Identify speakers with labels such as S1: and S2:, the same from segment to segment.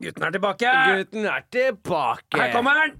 S1: Gutten er tilbake!
S2: Gutten er tilbake.
S1: Her kommer han!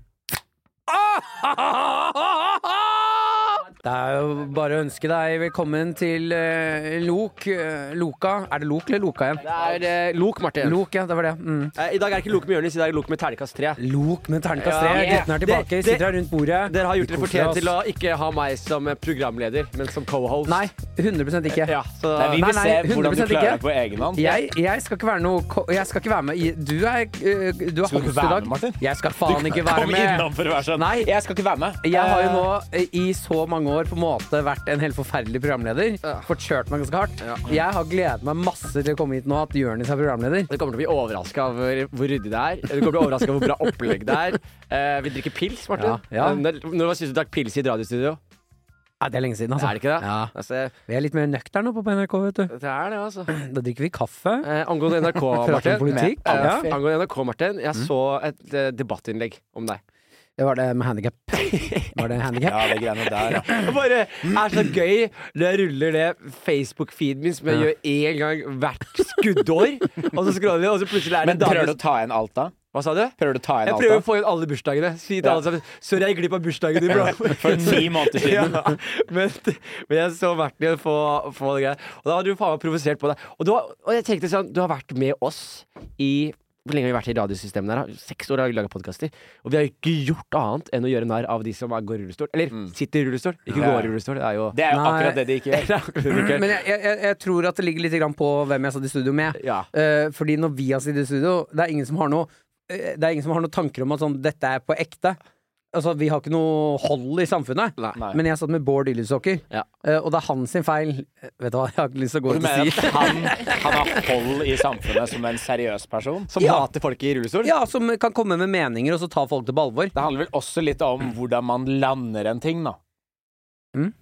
S2: Det er jo bare å ønske deg velkommen til eh, Lok. eh, Loka. Er det Lok eller Loka igjen?
S3: Det er eh, lok, Martin.
S2: Lok, ja. Det var det. Mm.
S3: Eh, I dag er det ikke lok med Jonis, i dag er det lok med terningkast tre.
S2: Lok med terningkast tre.
S3: Ja.
S2: Gutten er tilbake.
S3: Det- det-
S2: Sitter her rundt bordet.
S3: Dere har
S2: Vi
S3: gjort dere
S2: koser
S3: fortjent
S2: oss.
S3: til å ikke ha meg som eh, programleder, men som co-host.
S2: Nei, 100 ikke.
S3: Ja, så
S4: Nei, vi
S2: Nei,
S4: vil
S2: nei,
S4: se hvordan du
S2: 100%
S4: klarer
S2: ikke.
S4: deg på egen hånd.
S2: Jeg, jeg skal ikke være noe ko- Jeg skal ikke være med i Du er, eh, du er
S4: Skal du
S2: host
S4: være
S2: i
S4: med,
S2: dag.
S4: Martin?
S2: Jeg skal faen ikke være
S4: Kom innom
S2: med.
S4: for å være sånn.
S2: Nei,
S4: Jeg skal ikke være med.
S2: Jeg har jo
S4: Eh,
S2: nå eh, i så mange år på en måte vært en helt forferdelig programleder.
S3: Ja.
S2: Fått kjørt meg ganske hardt. Jeg har gledet meg masse til å komme hit nå at Jonis er programleder.
S3: Du kommer til å bli overraska over hvor ryddig det er. Du kommer til å bli overraska over hvor bra opplegg det er. Eh, vi drikker pils, Martin. Eh,
S2: Ja, ja.
S3: Når, når var sist du drakk pils i et radiostudio?
S2: Nei, det er lenge siden, altså.
S3: Er det ikke det?
S2: Ja.
S3: Altså,
S2: Vi er litt mer nøkterne oppe på NRK, vet du.
S3: det er det, altså.
S2: Da drikker vi kaffe.
S3: Eh, angående NRK,
S2: Prater om
S3: Martin.
S2: politikk.
S3: Eh,
S2: Ja.
S3: Angående NRK, Martin. Jeg så et eh, debattinnlegg om deg.
S2: Det var det med handikap. Var det handikap?
S4: Ja, det greiene der, ja.
S3: Det bare er så gøy når jeg ruller det Facebook-feeden min, som jeg gjør én gang hvert skuddår. Og så scroller jeg, og så plutselig er det
S4: Men
S3: en dame
S4: prøver du å ta igjen alt, da?
S3: Hva sa du?
S4: Prøver du å ta igjen
S3: Jeg
S4: alt,
S3: prøver
S4: da?
S3: å få igjen alle bursdagene. Si til
S4: Ja.
S3: alle sammen Sorry, jeg gikk glipp av bursdagen din, bro.
S4: For ti måneder
S3: Ja,
S4: siden.
S3: men, men jeg så Martin få, få det greia. Og da hadde du faen meg provosert på deg. Og, du har, og jeg tenkte sånn, du har vært med oss i Hvor lenge har vi vært i radiosystemet der? da? Seks år har vi laga podkaster. Og vi har jo ikke gjort annet enn å gjøre narr av de som er, går i rullestol. Eller sitter i rullestol. Ikke
S4: Mm. Ja.
S3: går i rullestol. Det er jo
S4: Det er Mm. jo
S2: Nei.
S4: akkurat det de ikke gjør.
S2: Mm, Men jeg, jeg, jeg- jeg tror at det ligger litt grann på hvem jeg satt i studio med.
S3: Ja.
S2: Eh, fordi når vi har sittet i studio, det er ingen som har noe eh, Det er ingen som har noen tanker om at sånn, dette er på ekte. Altså, Vi har ikke noe hold i samfunnet.
S3: Nei.
S4: Nei.
S2: Men jeg satt med Bård Ylvisåker,
S3: Ja.
S2: Eh, og det er han sin feil. Eh, Vet du hva, jeg har ikke lyst til å gå
S4: Du
S2: ut
S4: mener
S2: og si
S4: at han, han har hold i samfunnet som en seriøs person?
S3: Som
S2: Ja.
S3: hater folk i rullestol?
S2: Ja, som kan komme med meninger, og så ta folk det på alvor.
S4: Det handler vel også litt om hvordan man lander en ting, da. Hm?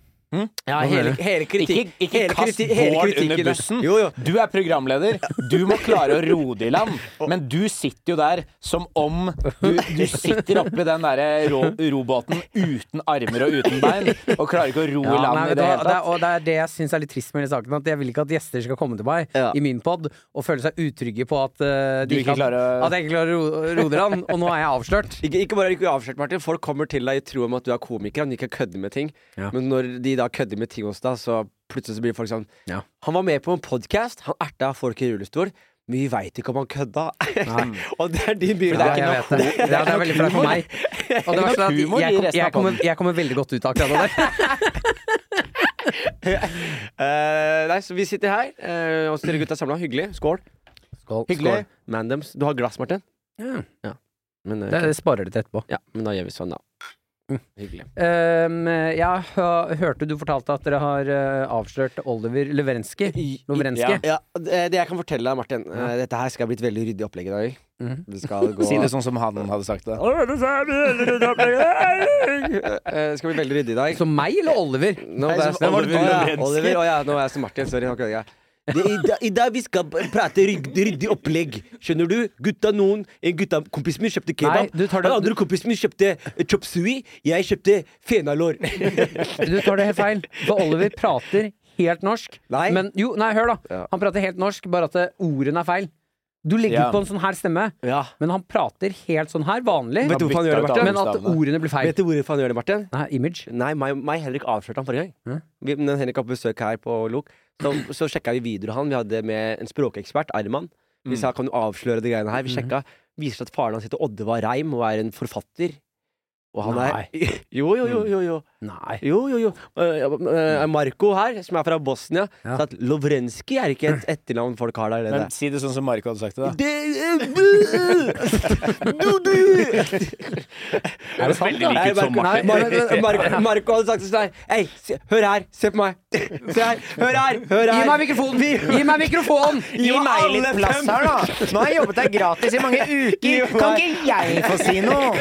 S3: Ja, hele, hele kritikk
S4: Ikke, ikke
S3: hele
S4: kast
S3: kriti- hele
S4: Bård
S3: kritikken
S4: under
S3: der.
S4: bussen.
S3: Jo, jo.
S4: Du er programleder. Du må klare å roe det i land. Men du sitter jo der som om du, du sitter oppi den derre ro, robåten uten armer og uten bein, og klarer ikke å ro i
S2: Ja,
S4: land
S2: nei,
S4: i
S2: vet du
S4: det
S2: hva,
S4: hele
S2: det
S4: tatt.
S2: er, og det er det jeg syns er litt trist med hele saken. At jeg vil ikke at gjester skal komme til meg
S3: Ja.
S2: i min pod og føle seg utrygge på at, eh,
S4: Du
S2: de
S4: ikke
S2: kan-
S4: klarer å-
S2: at jeg ikke klarer å ro- roe dere an. Og nå er jeg avslørt.
S3: Ikke, ikke bare er du ikke avslørt, Martin. Folk kommer til deg i tro om at du er komiker, og de ikke kødder med ting.
S2: Ja.
S3: Men når de da kødder med ting hos deg, så plutselig så blir folk sånn
S2: Ja.
S3: Han var med på en podkast, han erta folk i rullestol, men vi veit ikke om han kødda. og det er din byrde.
S2: Ja, jeg vet det. Ja, det er veldig flaut for meg. Og det verste er at jeg,
S4: humor i
S2: kom-
S4: resten av
S2: jeg, kommer,
S4: podden.
S2: jeg kommer veldig godt ut av akkurat det der.
S3: Eh, nei, så vi sitter her, eh, og så dere gutta er samla. Hyggelig. Skål.
S2: Skål.
S3: Hyggelig. Mandems. Du har glass, Martin?
S2: Ja.
S3: Men, eh,
S2: Det, Mm. det sparer du til etterpå.
S3: ja, men da gjør vi sånn, da. Hyggelig.
S2: Um, jeg hø- hørte du fortalte at dere har eh, avslørt Oliver Leverensky. Lovrenskij.
S3: Ja, det, det jeg kan fortelle deg, Martin eh, Dette her skal bli et veldig ryddig opplegg i dag.
S2: Mhm.
S3: Vi skal gå
S4: Si det sånn som han hadde sagt det.
S3: Eh, skal bli veldig ryddig i dag.
S2: Som meg eller Oliver?
S3: Nå
S4: Nei,
S3: ble jeg
S4: som
S3: som
S4: Oliver
S3: Å, ja.
S4: Lebrensky.
S3: Oliver, å, ja. Nå er jeg som Martin. Sorry. Okay, ja. det, i, dag, I dag vi skal p- prate rygg- ryddig opplegg. Skjønner du? Gutta noen En gutta, kompisen min kjøpte
S2: Nei,
S3: kebab.
S2: du tar det-
S3: Den andre kompisen min kjøpte eh, chop sui. Jeg kjøpte fenalår.
S2: Du tar det helt feil. For Oliver prater helt norsk.
S3: Nei.
S2: Men jo, nei, hør da.
S3: Ja.
S2: Han prater helt norsk, bare at eh, ordene er feil. Du legger
S4: Ja.
S2: ut på en sånn her stemme,
S3: ja.
S2: men han prater helt sånn her, vanlig.
S3: Vet du hvorfor han gjør det,
S4: bytta ut
S3: Martin?
S2: Men at
S4: bokstavene.
S2: ordene blir feil.
S3: Vet du hvorfor han gjør det, Martin?
S2: Nei, image.
S3: Nei, meg, meg Henrik avslørte han forrige gang.
S2: Mhm.
S3: Vi, når Henrik var på besøk her på Lok, så, så sjekka vi videoen han. Vi hadde med en språkekspert, Arman.
S2: Mm.
S3: Vi sa kan du avsløre de greiene
S2: Mhm.
S3: her. Vi sjekka. Viser seg at faren hans heter Oddvar Reim og er en forfatter. Og han er Jo, jo, jo, jo. jo.
S2: Nei. Mm.
S3: Jo, jo, jo. Eh, eh, Marco her, som er fra Bosnia,
S2: Ja.
S3: sa at Lovrenskij er ikke et etternavn folk har der nede.
S4: Men si det sånn som Marco hadde sagt det, da.
S3: Det eh, buh! Du, du!
S2: Er det sant, da?
S3: Nei,
S4: ut som
S3: Marco-
S2: Martin.
S3: Nei, Mar- Mar- Mar- Marco hadde sagt det sånn her. Hei, se- hør her, se på meg. Se her, hør her, hør her.
S2: Gi meg mikrofonen! Gi meg mikrofonen!
S3: Gi meg litt plass her,
S4: da! Nå har jeg jobbet her gratis i mange uker.
S3: Kan
S4: ikke jeg få si noe?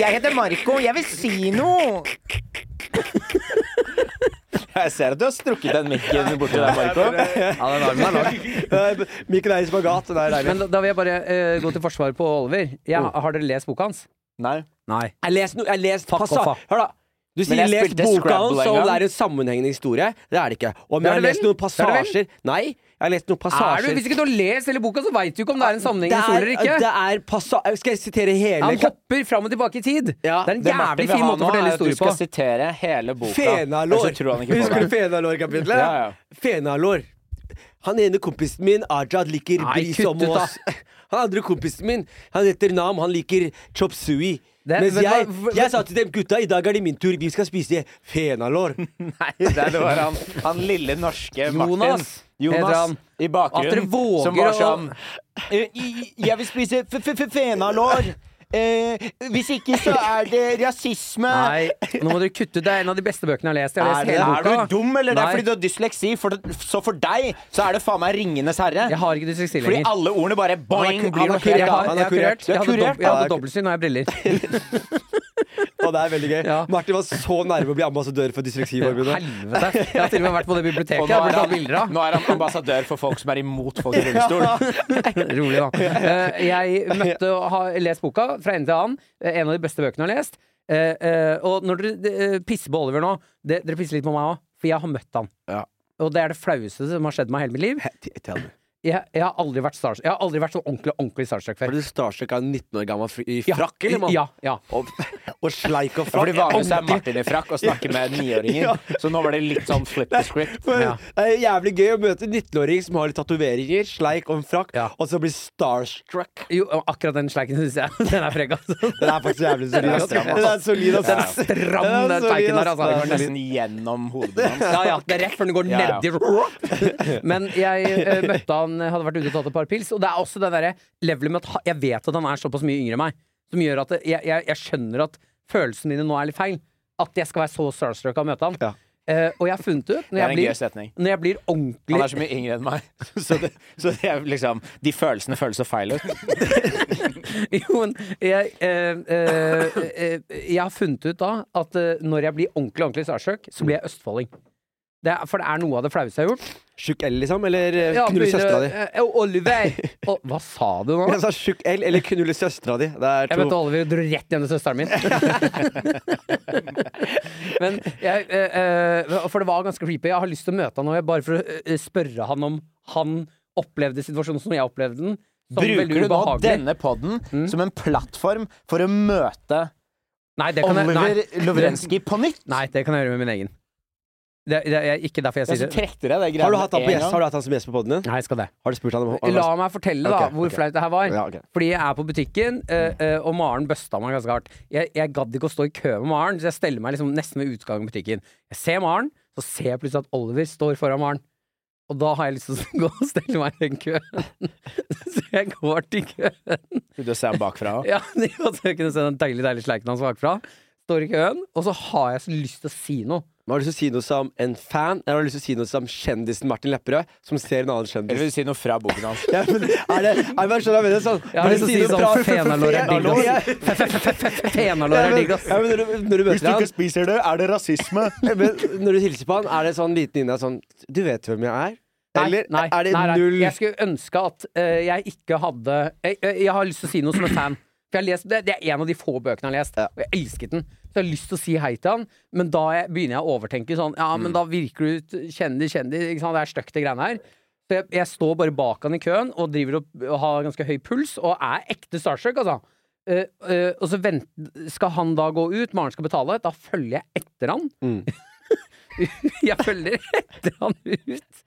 S4: Jeg heter Marco. Jeg vil si noe. Jeg ser at du har strukket den mikken borti der, Marco.
S3: da. Eh, Mikkel er i spagat. Det er deilig.
S2: Men da, da vil jeg bare eh, gå til forsvaret på Oliver. Jeg, har dere lest boka hans?
S4: Oh. Nei.
S2: Nei.
S3: Jeg leste noe, jeg leste
S2: Fuck
S3: passa-
S2: off,
S3: Hør da. Du sier
S4: jeg
S3: 'les
S4: spilte
S3: boka
S4: Scrabble
S3: hans'
S4: en
S3: som om det
S4: gang.
S3: er en sammenhengende historie. Det er det ikke. Om
S2: Det
S3: jeg
S2: er
S3: har
S2: det
S3: lest
S2: vel.
S3: noen
S2: Det er det vel.
S3: passasjer Nei, jeg Jeg har lest noen
S2: Er
S4: Ah,
S3: passasjer
S2: du, hvis ikke du har lest hele boka, så veit du ikke om det er en sammenheng i
S3: Det er-
S2: soler eller ikke.
S3: Det er passa... Skal jeg sitere hele
S2: Han hopper fram og tilbake i tid. Det er en
S4: Det Martin
S2: jævlig
S4: vil
S2: fin
S4: ha
S2: måte
S4: nå
S2: å
S4: er
S2: fortelle
S4: at Du skal
S2: historier på.
S4: sitere hele boka.
S3: Fenalår!
S4: Ellers så tror han ikke på
S3: Husker du
S4: deg.
S3: Fenalår-kapitlet?
S4: Ja, ja.
S3: Fenalår. Han ene kompisen min, Ajad, liker
S2: Nei,
S3: bris
S2: kutt
S3: om
S2: ut, da.
S3: oss. Han andre kompisen min, han heter Nam, han liker chop sui.
S2: Det-
S3: Mens
S2: vet du
S3: jeg,
S2: hva-
S3: jeg sa til dem gutta, i dag er det min tur, vi skal spise fenalår.
S4: Nei, det var han, han lille norske Martin.
S2: Jonas, heter han.
S4: i
S2: At dere
S4: bakgrunnen.
S2: våger
S4: som var
S2: å-
S4: sånn «Eh, i- Jeg vil spise f- f- f- fenalår. Eh, hvis ikke så er det rasisme.
S2: Nei, nå må dere kutte ut. Det er en av de beste bøkene jeg har lest. Jeg har
S4: Er,
S2: lest
S4: det,
S2: hele boka.
S4: er du dum, eller? Det er
S2: Nei.
S4: fordi du har dysleksi. For, det- så for deg så er det faen meg Ringenes herre.
S2: Jeg har ikke dysleksi
S4: Fordi
S2: lenger.
S4: alle ordene bare boing,
S3: Han er-
S4: blir
S3: han
S4: noe
S3: er
S4: helt
S2: Jeg har,
S4: annet.
S3: Han
S2: jeg
S3: er
S2: har
S3: kurert.
S2: kurert. Jeg
S4: Du er
S2: hadde,
S4: kurert.
S2: dob jeg
S4: Ja,
S2: hadde
S4: det er-
S2: dobbeltsyn, og jeg har briller.
S3: Og det er veldig gøy.
S2: Ja.
S3: Martin var så nærme å bli ambassadør for Dysleksiforbundet.
S2: Helvete. Jeg har til og med vært på det
S4: Og
S2: biblioteket
S4: nå
S2: jeg
S4: er,
S2: burde tatt
S4: han,
S2: bilder av.
S4: nå er han ambassadør for folk som er imot folk i rullestol.
S2: Rolig, da. Eh, Jeg møtte og har lest boka fra ende til annen. Eh, En av de beste bøkene jeg har lest. Eh, eh, Og når dere eh, pisser på Oliver nå, det, dere pisser litt på meg òg, for jeg har møtt han.
S3: Ja.
S2: Og det er det flaueste som har skjedd meg i hele mitt liv.
S3: He- tell me.
S2: Jeg, jeg har aldri vært starstruck. Jeg har aldri vært så ordentlig ordentlig starstruck før.
S3: Ble du starstruck av en 19 år gammel fri- i
S2: Ja,
S3: frakk, eller, mann?
S2: Ja, ja.
S3: Og, og sleik og
S4: Fordi
S3: frakk.
S4: vanligvis er Martin i frakk og snakker med niåringer. Så nå var det litt sånn flip the script.
S3: For
S2: Ja.
S3: Det er jævlig gøy å møte en 19-åring som har litt tatoveringer, sleik og en frakk,
S2: Ja.
S3: og så blir starstruck.
S2: Jo, akkurat den sleiken syns jeg den er frekk, altså.
S3: Den er faktisk jævlig solid.
S4: Den er
S3: ass.
S4: stram, ass.
S3: Den er solid, ass.
S2: Den er stram,
S3: Den er
S2: den
S3: solid,
S2: teiken der,
S3: ass.
S2: altså.
S4: Det går nesten gjennom hodet hans.
S2: Ja, ja, det er rett før den går
S4: Ja, ja.
S2: ned i Men jeg eh, møtte han, eh, hadde vært ute og tatt et par pils, og det er også det derre levelet med at ha- jeg vet at han er såpass mye yngre enn meg, som gjør at det- jeg, jeg, jeg skjønner at følelsene mine nå er litt feil. At jeg skal være så starstruck av å møte han.
S3: Ja.
S2: Eh, og jeg har funnet ut, når
S4: Det er
S2: jeg
S4: en gøy
S2: blir,
S4: setning.
S2: når jeg blir ordentlig
S4: Han er så mye yngre enn meg, så, det, så det er liksom, de følelsene føles så feil
S2: Sånn
S4: ut.
S2: Jo, men jeg, eh, eh, eh, jeg har funnet ut da at eh, når jeg blir ordentlig ordentlig starstruck, så blir jeg østfolding. Det er, for det er noe av det flaueste jeg har gjort.
S3: Tjukk L, liksom? Eller eh,
S2: Ja,
S3: knulle
S2: begynner-
S3: søstera di?
S2: eh, Oliver! Å, hva sa du nå?
S3: Jeg sa tjukk L eller knulle søstera di. Det er
S2: Jeg møtte
S3: to
S2: Oliver og dro rett hjem til søsteren min. Men jeg, eh, eh, For det var ganske creepy. Jeg har lyst til å møte han nå, jeg, bare for å eh, spørre han om han opplevde situasjonen som jeg opplevde den. Som veldig
S4: Bruker du nå
S2: ubehagelig. Mm.
S4: denne podden som en plattform for å møte
S2: Nei, det kan jeg,
S4: Oliver
S2: nei,
S4: Lovrenskij på nytt?
S2: nei, det kan jeg gjøre med min egen. Det, det er ikke derfor jeg
S4: Ja, så
S2: sier det.
S4: trekte dere det greiene
S3: Har du hatt han på
S4: en
S3: gjest?
S4: gang.
S3: Har du hatt han som gjest på poden din?
S2: Nei, jeg skal det.
S3: Har du spurt han om om-
S2: La meg fortelle da
S3: Ok,
S2: hvor
S3: ok.
S2: flaut det her var.
S3: Ja, ok.
S2: Fordi jeg er på butikken, eh, eh, og Maren bøsta meg ganske hardt. Jeg, jeg gadd ikke å stå i kø med Maren, så jeg steller meg liksom nesten ved utgangen av butikken. Jeg ser Maren, så ser jeg plutselig at Oliver står foran Maren. Og da har jeg lyst til å gå og stelle meg i den køen. Så jeg går til køen.
S4: Skulle du se ham bakfra òg?
S2: Ja, det var så jeg kunne se den deilige, deilige sleiken hans bakfra. Står i køen, og så har jeg så lyst til å si noe.
S3: Har du lyst til å si noe som en fan, eller har du lyst til å si noe som kjendisen Martin Lepperød, som ser en annen kjendis?
S4: Eller vil du si noe fra boken hans?
S3: Ja, men er det, er det skjønner jeg mener sånn
S2: Jeg har lyst til å si sånn Fenalår er digg,
S3: Ja,
S2: ass. Fenalår er digg, ass.
S3: men når du, når du møter han
S4: spiser det, er det rasisme.
S3: men Når du hilser på han, er det sånn liten inni deg sånn Du vet hvem jeg er? Eller er det null
S2: Jeg skulle ønske at eh, jeg ikke hadde jeg, jeg, jeg har lyst til å si noe som en fan. For jeg har lest, det, det er en av de få bøkene jeg har lest, og jeg elsket den. Så jeg har lyst til å si hei til han, men da jeg, begynner jeg å overtenke sånn Ja,
S3: Mm.
S2: men da virker du ut kjendis, kjendis, ikke sant, det er stygt, det greiene her. Så jeg, jeg står bare bak han i køen og driver og, og har ganske høy puls, og er ekte starstruck, altså. Eh, eh, og så vent, skal han da gå ut, Maren skal betale, da følger jeg etter han. Jeg følger etter han ut.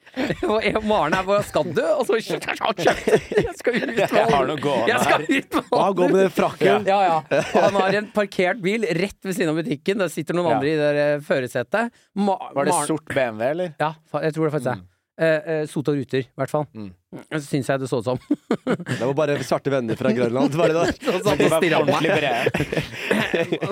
S2: Og jeg og Maren er bare 'skal du?' Og så Jeg skal ut med
S4: Jeg har noe gående
S2: Jeg skal ut med
S3: Han går med den frakken.
S2: Ja, ja. Og han har en parkert bil rett ved siden av butikken. Der sitter noen
S4: Ja.
S2: andre i det der, eh, førersetet. Ma
S4: Var det
S2: Maren-
S4: sort Mm. BMW, eller?
S2: Ja, fa- jeg tror det faktisk er. Eh, eh, sota ruter, i hvert fall.
S4: Mm.
S2: Syns jeg det så ut som.
S3: Det var bare svarte venner fra Grønland. Var det det?
S2: Sånn som de stirrer på meg.
S4: brede.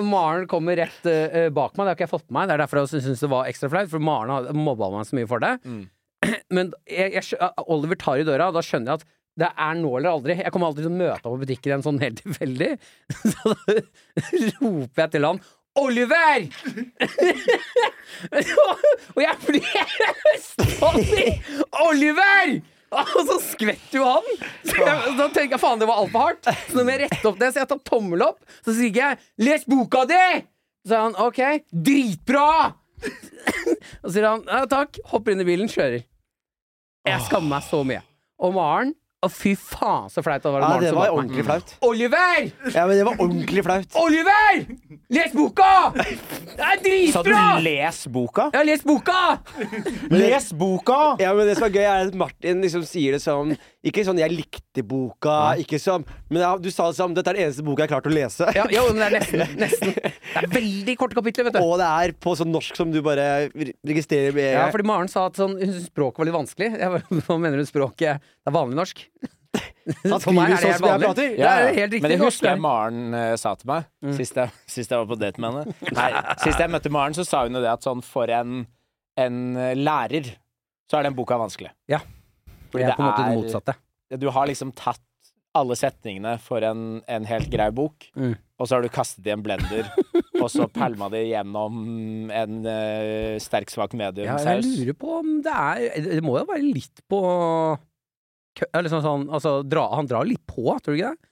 S2: Maren kommer rett eh, eh, bak meg, det har ikke jeg fått med meg. Det er derfor jeg også syns det var ekstra flaut, for Maren har mobba meg så mye for det. Men jeg, jeg, skjø- Oliver tar i døra, og da skjønner jeg at det er nå eller aldri. Jeg kommer alltid til å møte ham på butikken igjen sånn helt tilfeldig. Så da roper jeg til han Oliver! og jeg blir østfolding! Oliver! Og så skvetter jo han! Så jeg, da tenker jeg faen, det var altfor hardt. Så nå må jeg rette opp det, så jeg tar tommel opp. Så sier jeg 'les boka di'! Så sier han OK, dritbra! Og så sier han ja takk, hopper inn i bilen, kjører. Jeg skammer meg så mye. Og Maren Å, fy faen så flaut det var. at
S3: Ja,
S2: Maren
S3: det
S2: sto
S3: var
S2: bak meg.
S3: ordentlig flaut.
S2: Oliver!
S3: Ja, men det var ordentlig flaut.
S2: Oliver! Les boka! Det er
S4: Sa du
S2: dritbra!
S4: 'les boka'?
S2: Jeg har lest boka!
S4: Les boka!
S3: Ja, men det som er gøy, er at Martin liksom sier det som Ikke sånn 'jeg likte boka', ikke som Men ja, du sa det som 'dette er den eneste boka jeg har klart å lese'.
S2: Ja, jo, men det er nesten, nesten. Det er veldig korte kapitler, vet du.
S3: Og det er på sånn norsk som du bare re- registrerer med
S2: Ja, fordi Maren sa at sånn, hun syntes språket var litt vanskelig. Jeg bare, Hva mener hun språket? Det er vanlig norsk.
S3: Han
S2: For meg er det
S3: skriver sånn
S2: helt
S3: som jeg
S2: vanlig.
S3: prater.
S2: Ja, det er helt riktig. Mm.
S4: Men det
S2: Norsk
S4: husker
S2: er-
S4: jeg Maren eh, sa til meg sist, jeg, sist jeg var på date med henne. Nei, sist jeg møtte Maren, så sa hun jo det at sånn for en, en eh, lærer så er den boka vanskelig.
S2: Ja.
S4: Fordi
S2: jeg
S4: det
S2: er på en måte det
S4: er-
S2: motsatte.
S4: Du har liksom tatt alle setningene for en, en helt grei bok,
S2: Mm.
S4: og så har du kastet det i en blender, og så pælma det gjennom en eh, sterk, svak
S2: Ja, jeg
S4: mediumsaus.
S2: lurer på om det er Det må jo være litt på kø- eller sånn, sånn, altså, dra, Han drar litt på, tror du ikke det?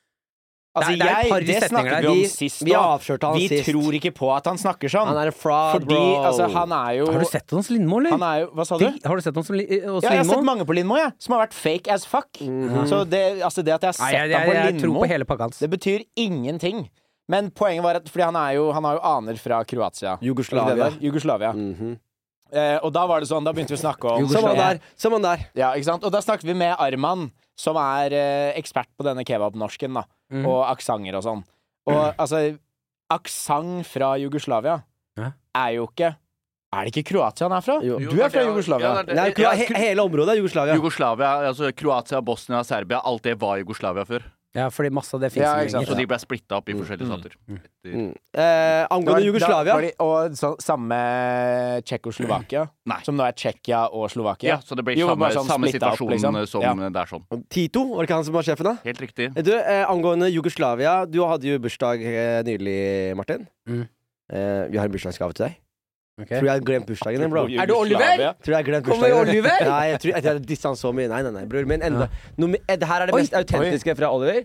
S4: altså,
S2: det er et par
S4: jeg, det
S2: setninger der.
S4: snakket vi om
S2: Vi-
S4: sist
S3: vi
S4: òg.
S3: avslørte han
S4: Vi
S3: sist.
S4: tror ikke på at han snakker sånn.
S3: Han er en fraud,
S4: fordi
S3: bro.
S4: altså, han er jo
S2: Har du sett hans Lindmo, eller?
S4: Han er jo Hva sa du?
S2: De- Har du sett ham som Li- eh, hos
S4: Ja, jeg har sett
S2: Lindmo? Mhm.
S4: mange på Lindmo, jeg, som har vært fake as fuck. Så det, altså det at jeg har
S2: Nei,
S4: sett
S2: jeg,
S4: ham
S2: jeg,
S4: på
S2: jeg, tror
S4: Lindmo,
S2: på hele pakka hans.
S4: det betyr ingenting. Men poenget var at Fordi han, er jo, han har jo aner fra Kroatia.
S3: Jugoslavia.
S4: Det der, Jugoslavia. eh, og da var det sånn, da begynte vi å snakke om
S3: Mhm. Som han der. Som han der.
S4: Ja, ikke sant? Og da snakket vi med Arman, som er eh, ekspert på denne kebabnorsken, da.
S2: Mhm.
S4: Og aksenter og sånn. Og altså, aksent fra Jugoslavia
S2: Ja.
S4: er jo ikke Er det ikke Kroatia han er fra?
S3: Jo.
S4: Du er fra Jugoslavia.
S5: Ja, det er det.
S3: Nei,
S5: Ja,
S3: Kro- he hele området er Jugoslavia.
S5: Jugoslavia, altså Kroatia, Bosnia, Serbia, alt det var Jugoslavia før.
S2: Ja, fordi masse av det fins
S4: Ja,
S2: ikke
S4: ikke sant.
S5: Så
S2: lenger.
S5: de ble splitta
S4: Mm,
S5: opp i forskjellige stater. Etter...
S3: Mm. Eh,
S4: Det var-
S3: angående Jugoslavia
S4: Da, var de, og så, samme Tsjekkoslovakia,
S5: Nei.
S4: som nå er Tsjekkia og Slovakia.
S5: Ja, så det ble
S4: Jo,
S5: samme,
S4: bare sånn
S5: samme
S4: splittet opp,
S5: situasjon
S4: liksom.
S5: som
S4: Ja.
S5: det er sånn.
S3: Tito, var det ikke han som var sjefen, da?
S5: Helt riktig.
S3: Du, eh, Angående Jugoslavia, du hadde jo bursdag eh, nylig, Martin.
S2: Mm.
S3: Eh, vi har en bursdagsgave til deg.
S2: Ok.
S3: Tror jeg har glemt bursdagen din, bro.
S4: Jugoslavia.
S2: Er du Oliver?
S3: Tror jeg har glemt
S2: Kommer
S3: bursdagen
S2: Oliver?
S3: Nei, jeg tror jeg hadde disset han så mye. Nei, nei, nei, bror. Men enda Nummer- eh, Det her er det
S2: Oi.
S3: mest autentiske fra Oliver.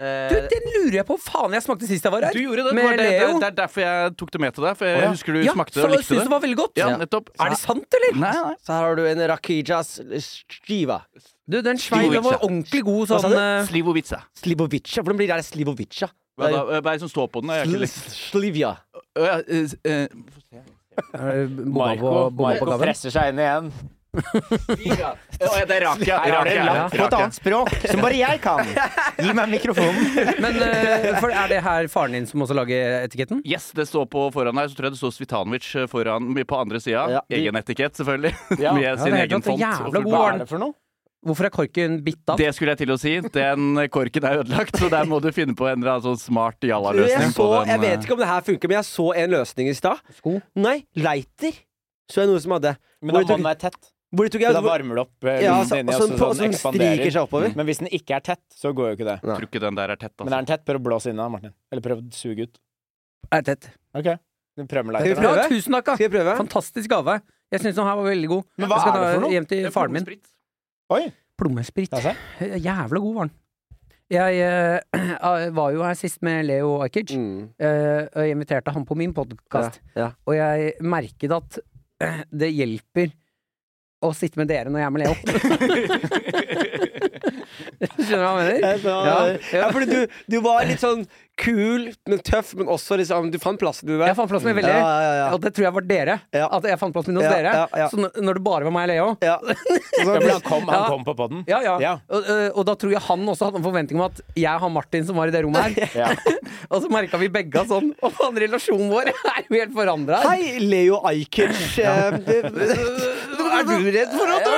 S2: Du,
S3: Eh,
S2: den lurer jeg på! Faen, jeg smakte sist jeg var her!
S5: Du gjorde det. Det,
S2: Med
S5: var det, det,
S2: Leo.
S5: det er derfor jeg tok det med til deg. For jeg
S4: Å, ja.
S5: husker du
S2: ja,
S5: smakte
S2: så
S5: det og
S2: syntes
S5: likte
S2: det
S5: det.
S2: var veldig godt!
S5: Ja, nettopp.
S2: Er det sant, eller?
S5: Nei, nei.
S3: så her har du en Rakijas eh, skiva.
S2: Du, den svei, den var ordentlig god
S3: sa
S2: sånn
S3: du?
S2: eh,
S5: Slivovica.
S3: Slivovica. Hvordan blir det her Slivovica?
S5: Hva er det hva er det som står på den? Jeg er ikke litt-
S3: Slivia.
S5: Å, ja, eh, eh,
S2: er det bomma på,
S4: Marco,
S2: bomma på
S4: Marco
S2: gaven.
S4: presser seg inn igjen.
S5: Å, ja, det er Rakia.
S4: Her er det
S5: Rakia,
S4: langt på et
S5: Rakia.
S4: annet språk, som bare jeg kan. Gi meg mikrofonen.
S2: Men eh, for er det her faren din som også lager etiketten?
S5: Yes, det står på foran her. Så tror jeg det står Svitanovic eh, foran, på andre sida.
S3: Ja, de-
S5: Egen etikett, selvfølgelig.
S4: Ja.
S5: Med
S4: Ja,
S5: sin
S2: det er klart, det
S5: egen
S2: er
S5: font.
S2: jævla
S5: og
S2: god
S5: fullt
S4: Hva
S2: var
S4: er
S2: den?
S4: det for noe?
S2: Hvorfor er korken bitt av?
S5: Det skulle jeg til å si. Den korken er ødelagt, så der må du finne på en eller annen sånn smart
S3: Du, Jeg,
S5: jalla-løsning.
S3: så,
S5: på den,
S3: jeg vet
S5: eh.
S3: ikke om det her funker, men jeg så en løsning i stad.
S2: Sko?
S3: Nei, Leiter. Så jeg noe som hadde.
S4: Men da
S3: Hvor
S4: hånden er tett.
S3: Hvor de tok
S4: Da
S3: jeg
S4: varmer det opp eh,
S3: ja,
S4: lungen
S3: altså,
S4: inni,
S3: altså,
S4: og
S3: på-
S4: så
S3: som
S4: sånn
S3: stryker
S4: ekspanderer.
S3: seg oppover.
S4: Men hvis den ikke er tett, så går jo ikke det.
S5: Tror ikke den der er tett,
S4: Men er
S5: altså.
S4: den tett, bør du blåse inn av, Martin. Eller prøv å suge ut.
S2: Er tett.
S4: Ok. Du prøver med
S3: Skal vi
S4: lighteren,
S2: Ja,
S4: da.
S3: prøve?
S2: tusen takk, da!
S3: Skal vi prøve?
S2: Fantastisk gave. Jeg syns den her var veldig god.
S4: Men hva
S2: jeg skal
S4: er det
S2: ta
S4: for noe?
S2: hjem til faren min.
S5: Sprit.
S4: Oi!
S2: Plommesprit.
S4: Altså,
S2: Jævla god var den. Jeg eh, var jo her sist med Leo Ajkic,
S3: Mm.
S2: eh, og jeg inviterte han på min podkast.
S3: Ja, ja.
S2: Og jeg merket at eh, det hjelper å sitte med dere når jeg er med Leo. Skjønner du hva jeg
S3: Ja,
S2: mener? Ja, ja.
S3: fordi du, du var litt sånn kul, men tøff, men også liksom Du fant plassen din der.
S2: Jeg fant plassen min
S3: Ja,
S2: veldig.
S3: ja, ja.
S2: Og det tror jeg var dere.
S3: Ja.
S2: At jeg fant plassen min hos
S3: Ja,
S2: dere.
S3: ja, ja.
S2: Så n- når det bare var meg og Leo
S3: Ja.
S4: ja, men han kom, han
S2: Ja.
S4: kom på podden
S2: ja, ja.
S4: Ja.
S2: Og, eh, og da tror jeg han også hadde en forventning om at jeg har Martin som var i det rommet her.
S4: Ja.
S2: Og så merka vi begge at sånn. Og faen, relasjonen vår er jo helt forandra.
S3: Hei, Leo Ajkic. Eh, det-
S2: Er du redd for at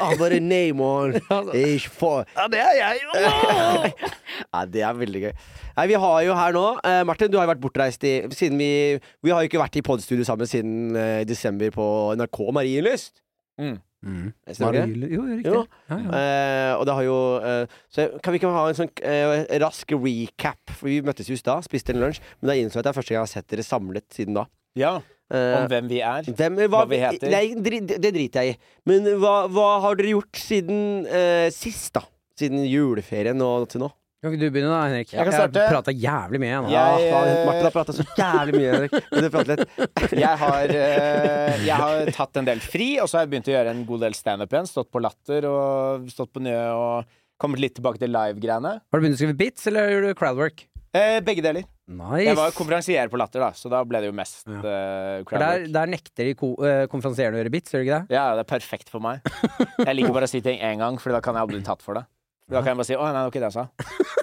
S3: Han bare Nei, man. Ikke for
S5: Ja, det er jeg!
S3: Nei, det er veldig gøy. Nei, vi har jo her nå eh, Martin, du har jo vært bortreist i Siden vi Vi har jo ikke vært i podstudio sammen siden eh, desember på NRK Marienlyst.
S4: Mm.
S2: Mm.
S3: Jeg snakker ikke.
S2: Marie- Jo, riktig.
S3: Jo.
S2: Ja, ja.
S3: Eh, og det har jo eh, Så kan vi ikke ha en sånn eh, rask recap? For vi møttes jo i stad, spiste en lunsj, men da innså jeg at det er første gang jeg har sett dere samlet siden da.
S4: ja.
S3: Eh,
S4: Om hvem vi er.
S3: hvem, hva,
S4: hva vi heter.
S3: Nei, dri- det, det driter jeg i. Men hva, hva har dere gjort siden eh, sist, da? Siden juleferien og til nå?
S2: Kan ikke du begynne da, Henrik?
S4: Jeg kan starte.
S2: har prata jævlig mye, jeg nå.
S4: Ja. Jeg-
S3: faen, Martin Ah, har prata så jævlig mye, Henrik. Vil du prate litt?
S4: Jeg har, eh, jeg har tatt en del fri, og så har jeg begynt å gjøre en god del standup igjen. Stått på Latter og stått på Njø og kommet litt tilbake til live-greiene.
S2: Har du begynt å skrive bits, eller gjør du crowdwork?
S4: Eh, begge deler.
S2: Nice.
S4: Jeg var konferansier på Latter, da, så da ble det jo mest
S2: Ja.
S4: eh,
S2: For der,
S4: crowdwork.
S2: der nekter de ko eh, konferansierende å gjøre bits, gjør de ikke det?
S4: Ja, det er perfekt for meg. Jeg liker bare å si ting én gang, for da kan jeg aldri bli tatt for det. Da kan jeg bare si 'Å, nei, det var ikke det jeg sa'.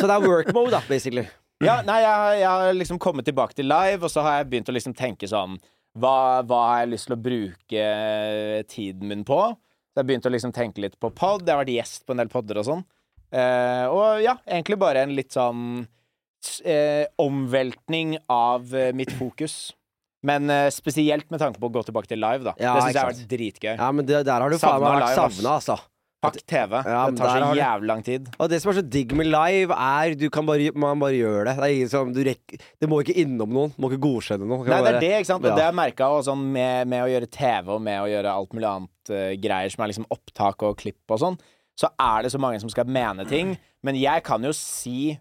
S3: Så det er work mode, da, basically.
S4: Ja, nei, jeg, har- jeg har liksom kommet tilbake til live, og så har jeg begynt å liksom tenke sånn hva, hva har jeg lyst til å bruke eh, tiden min på? Så jeg begynte å liksom tenke litt på pod. Jeg har vært gjest på en del podder og sånn. Eh, og ja, egentlig bare en litt sånn s- eh, omveltning av eh, mitt fokus. Men eh, spesielt med tanke på å gå tilbake til live, da.
S3: Ja,
S4: det syns jeg
S3: ikke
S4: har vært dritgøy.
S3: Ja, men det, der har du faen meg vært
S4: Savna live,
S3: savna, altså.
S4: Fuck TV.
S3: Ja, men
S4: det tar
S3: der
S4: så
S3: har du-
S4: jævlig lang tid.
S3: Og det som er så digg med live, er du kan bare, man bare gjør det. Det, er ingen som, du rekker, det må ikke innom noen. Du må ikke godkjenne noen. Du kan
S4: Nei, det er
S3: bare-
S4: det, ikke sant? Og
S3: Ja.
S4: det har jeg merka sånn med, med å gjøre TV og med å gjøre alt mulig annet eh, greier som er liksom opptak og klipp og sånn, så er det så mange som skal mene ting. Men jeg kan jo si,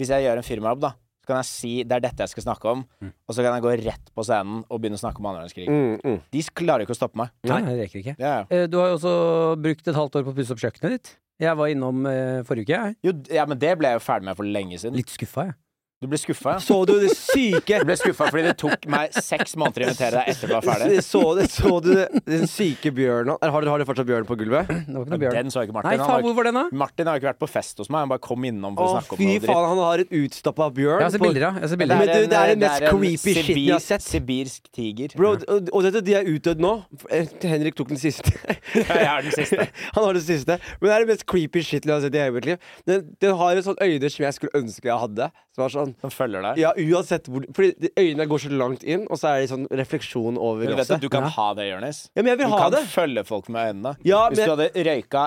S4: hvis jeg gjør en firmajobb, da, så kan jeg si det er dette jeg skal snakke om, og så kan jeg gå rett på scenen og begynne å snakke om andre verdenskrig.
S3: Mm, mm.
S4: De klarer jo ikke å stoppe meg.
S2: Nei, det rekker ikke.
S4: Ja, ja.
S2: Eh, Du har jo også brukt et halvt år på å pusse opp kjøkkenet ditt. Jeg var innom eh, forrige uke, jeg.
S4: Jo, d- ja, men det ble jeg jo ferdig med for lenge siden.
S2: Litt skuffa, jeg.
S4: Du ble skuffa.
S3: Så du det syke
S4: Du ble skuffa fordi det tok meg seks måneder å invitere deg etter du var ferdig.
S3: så, så du den syke bjørnen Har dere har dere fortsatt bjørn på gulvet?
S2: Det var ikke noe bjørn.
S4: Den så ikke
S2: Nei,
S4: Martin. Han
S2: faen,
S4: har,
S2: hvor var den, da?
S4: ikke- Martin har jo ikke vært på fest hos meg. Han bare kom
S3: Å,
S4: innom for å snakke om
S3: fy
S4: noe dritt.
S3: faen, han har et utstappa bjørn.
S2: Jeg har sett
S3: på-
S2: bilder, ja. Jeg har sett
S3: Men
S2: bilder.
S3: du, det er den mest
S4: en- det er en
S3: creepy shit jeg har
S4: sibir-
S3: sett.
S4: Sibirsk tiger.
S3: Bro, og, og vet du, de er utdødd nå. Eh, Henrik tok den siste.
S4: Jeg er den siste.
S3: Han har den siste. Men det er det mest creepy shit jeg har sett i hele mitt liv. Den, den har et sånt øyne som jeg skulle ønske jeg hadde. Som var sånn
S4: Som følger deg.
S3: Ja, uansett hvor Fordi de- øynene går så langt inn, og så er det sånn refleksjon over
S4: Men du vet at
S3: glasset.
S4: du kan ha det, Jonis.
S3: Ja, men jeg vil
S4: Du
S3: ha
S4: kan
S3: det!
S4: følge folk med øynene.
S3: Ja,
S4: Hvis
S3: men-
S4: du hadde røyka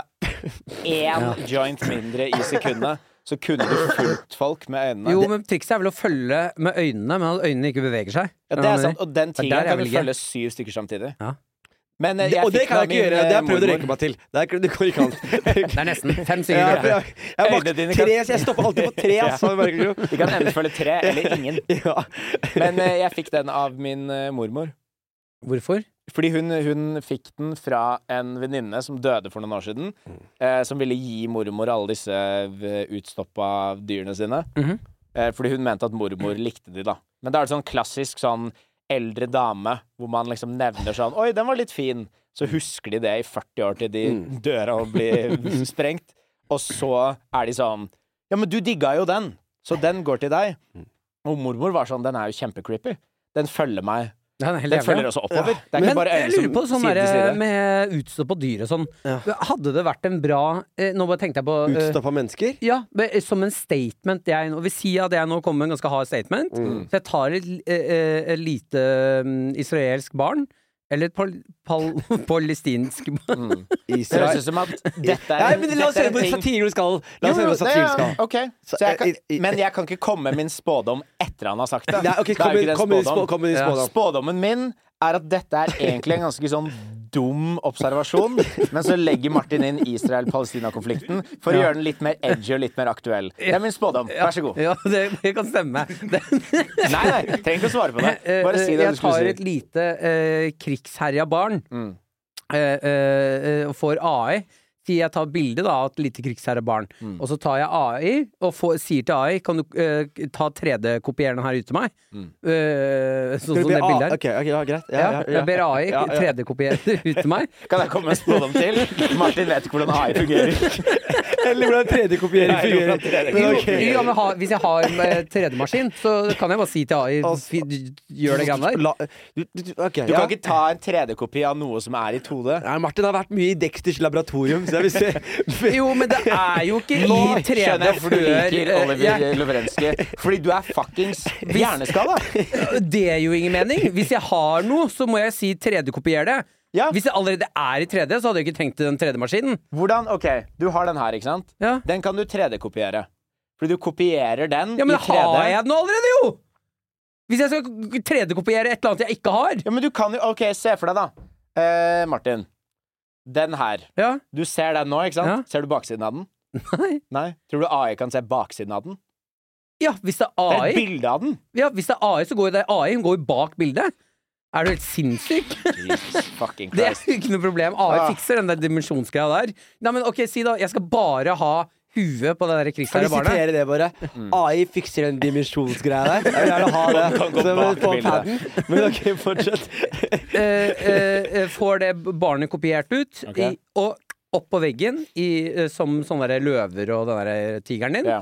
S4: én joint mindre i sekundet, så kunne du fulgt folk med øynene.
S2: Jo, men trikset er vel å følge med øynene, men at øynene ikke beveger seg.
S4: ja, det er sant. Og den
S2: der er
S4: tigeren kan
S2: vel
S4: du
S2: ikke.
S4: følge syv stykker samtidig.
S2: Ja.
S4: Men eh,
S3: Det-
S4: jeg
S3: Og det
S4: fikk
S3: kan jeg ikke
S4: den av min,
S3: gjøre. Det har jeg
S4: eh,
S3: prøvd å
S4: mormor.
S3: røyke meg til. Det, er, det går ikke an.
S2: Det er nesten. Fem
S3: Ja,
S2: stykker.
S3: jeg,
S2: Ja,
S3: jeg, jeg,
S4: Øynene dine
S3: makt
S4: kan-
S3: tre, så jeg stopper alltid på tre. Altså, jeg merker jo.
S4: De kan enten følge tre eller ingen.
S3: ja.
S4: Men eh, jeg fikk den av min eh, mormor.
S2: Hvorfor?
S4: Fordi hun, hun fikk den fra en venninne som døde for noen år siden. Eh, som ville gi mormor alle disse eh, utstoppa dyrene sine.
S2: Mhm.
S4: eh, fordi hun mente at mormor likte de, da. Men da er det sånn klassisk sånn eldre dame hvor man liksom nevner sånn Oi, den var litt fin. Så husker de det i 40 år til de dør av å bli sprengt. Og så er de sånn Ja, men du digga jo den, så den går til deg. Og mormor var sånn Den er jo kjempecreepy. Den følger meg
S2: Det er helt
S4: den
S2: jævlig,
S4: følger
S2: ja.
S4: også oppover. Det er
S2: Men
S4: ikke bare liksom
S2: jeg lurer
S4: øyne som
S2: på sånn
S4: side til
S2: der,
S4: side.
S2: med utstopp og dyr og sånn. Hadde det vært en bra eh, Nå bare tenkte jeg på eh,
S3: Utstoppa mennesker?
S2: Ja, be- som en statement jeg nå Ved siden av det jeg nå kommer med en ganske hard statement
S4: Mm.
S2: Så jeg tar et, li- eh, eh, et lite mm, israelsk barn Eller et pal, pal, palestinsk barn
S4: Mm. Det høres
S3: Israel
S4: ut som at dette er
S3: Nei, men La oss
S4: dette er
S3: høre på
S4: en ting-
S3: satiren du skal. La
S4: Jo,
S3: oss høre
S4: jo,
S3: på satiren du
S4: det
S3: skal.
S4: er- ok. Så jeg
S3: Så, eh, i- i-
S4: kan, men jeg kan ikke komme med min spådom etter han har sagt det.
S3: Nei, ok, kom
S4: Da er jo ikke
S3: med
S4: det
S3: kom med din
S4: spådom.
S3: spå- kom med din
S2: Ja.
S3: spådom.
S4: Spådommen min er at dette er egentlig en ganske sånn dum observasjon, men så legger Martin inn Israel-Palestina-konflikten for å gjøre den litt mer edgy og litt mer aktuell. Det er min spådom. Vær så god.
S2: Ja, det, det kan stemme det,
S4: Nei, nei, trenger ikke å svare på
S2: Eh,
S4: det. Bare si det du
S2: Jeg tar
S4: skulle
S2: et
S4: si. Mm.
S2: lite eh, krigsherja barn eh, eh, eh, og får AI. Sier jeg tar bilde da, av et lite krigsherja barn,
S4: Mm.
S2: og så tar jeg AI og får, sier til AI Kan du eh, ta 3D-kopiereren her ut til meg?
S4: Mm.
S2: Eh, sånn som
S3: Skal du be
S2: det bildet
S3: A-
S2: her.
S3: Ok, ok, ja, greit.
S2: Ja, jeg ber AI
S3: Ja, ja.
S2: 3D-kopiere det ut til meg.
S4: Kan jeg komme med en spådom til? Martin vet ikke hvordan AI fungerer.
S3: Eller hvordan 3D-kopiering
S4: Nei, hvordan
S3: fungerer.
S4: 3D-kopiering
S3: Men
S2: Jo,
S3: ok.
S2: ja, men ha, hvis jeg har eh, 3D-maskin, så kan jeg bare si til AI
S3: Altså,
S2: fi- Gjør det greiene der.
S3: La- du- du- du- ok,
S4: Du
S3: ja.
S4: kan ikke ta en 3D-kopi av noe som er i 2D.
S3: Nei, Martin har vært mye i Dexters laboratorium, så jeg vil se
S2: Jo, men det er jo ikke
S4: Nå
S2: i 3D
S4: skjønner jeg hvorfor du liker
S2: eh,
S4: Oliver
S2: jeg-
S4: Lovrenskij. Fordi du er fuckings hjerneskada.
S2: Det er jo ingen mening. Hvis jeg har noe, så må jeg si 3D-kopier det.
S4: Ja.
S2: Hvis jeg allerede er i 3D, så hadde jeg ikke trengt den 3D-maskinen.
S4: Hvordan, ok, Du har den her, ikke sant?
S2: Ja.
S4: Den kan du 3D-kopiere. Fordi du kopierer den
S2: ja, men
S4: i 3D.
S2: har jeg den allerede, jo! Hvis jeg skal 3D-kopiere et eller annet jeg ikke har.
S4: Ja, men du kan jo Ok, se for deg, da. Eh, Martin. Den her.
S2: Ja,
S4: Du ser den nå, ikke sant?
S2: Ja.
S4: Ser du baksiden av den? Nei. Tror du AI kan se baksiden av den?
S2: Ja, hvis det
S4: Det
S2: er
S4: er et
S2: AI,
S4: bilde av den!
S2: ja, hvis det er AI så går jo det AI. Hun går jo bak bildet. Er du helt sinnssyk?
S4: Jesus fucking
S2: Det er
S4: Christ.
S2: jo ikke noe problem. AI
S4: Ah.
S2: fikser den der dimensjonsgreia der. Nei, men ok, si da, jeg skal bare ha huet på det der
S3: Kan
S2: krigsherre
S3: du
S2: barnet.
S3: sitere det, Mm. bare? AI fikser den dimensjonsgreia der. Jeg vil gjerne ha det
S4: Kan gå
S3: Så, men,
S4: bak
S3: på
S4: bildet.
S3: padden. Men ok, fortsett.
S2: Eh, eh, eh, får det barnet kopiert ut,
S4: Ok.
S2: i, og opp på veggen i, eh, som sånne der løver og den der eh, tigeren din.
S4: Ja.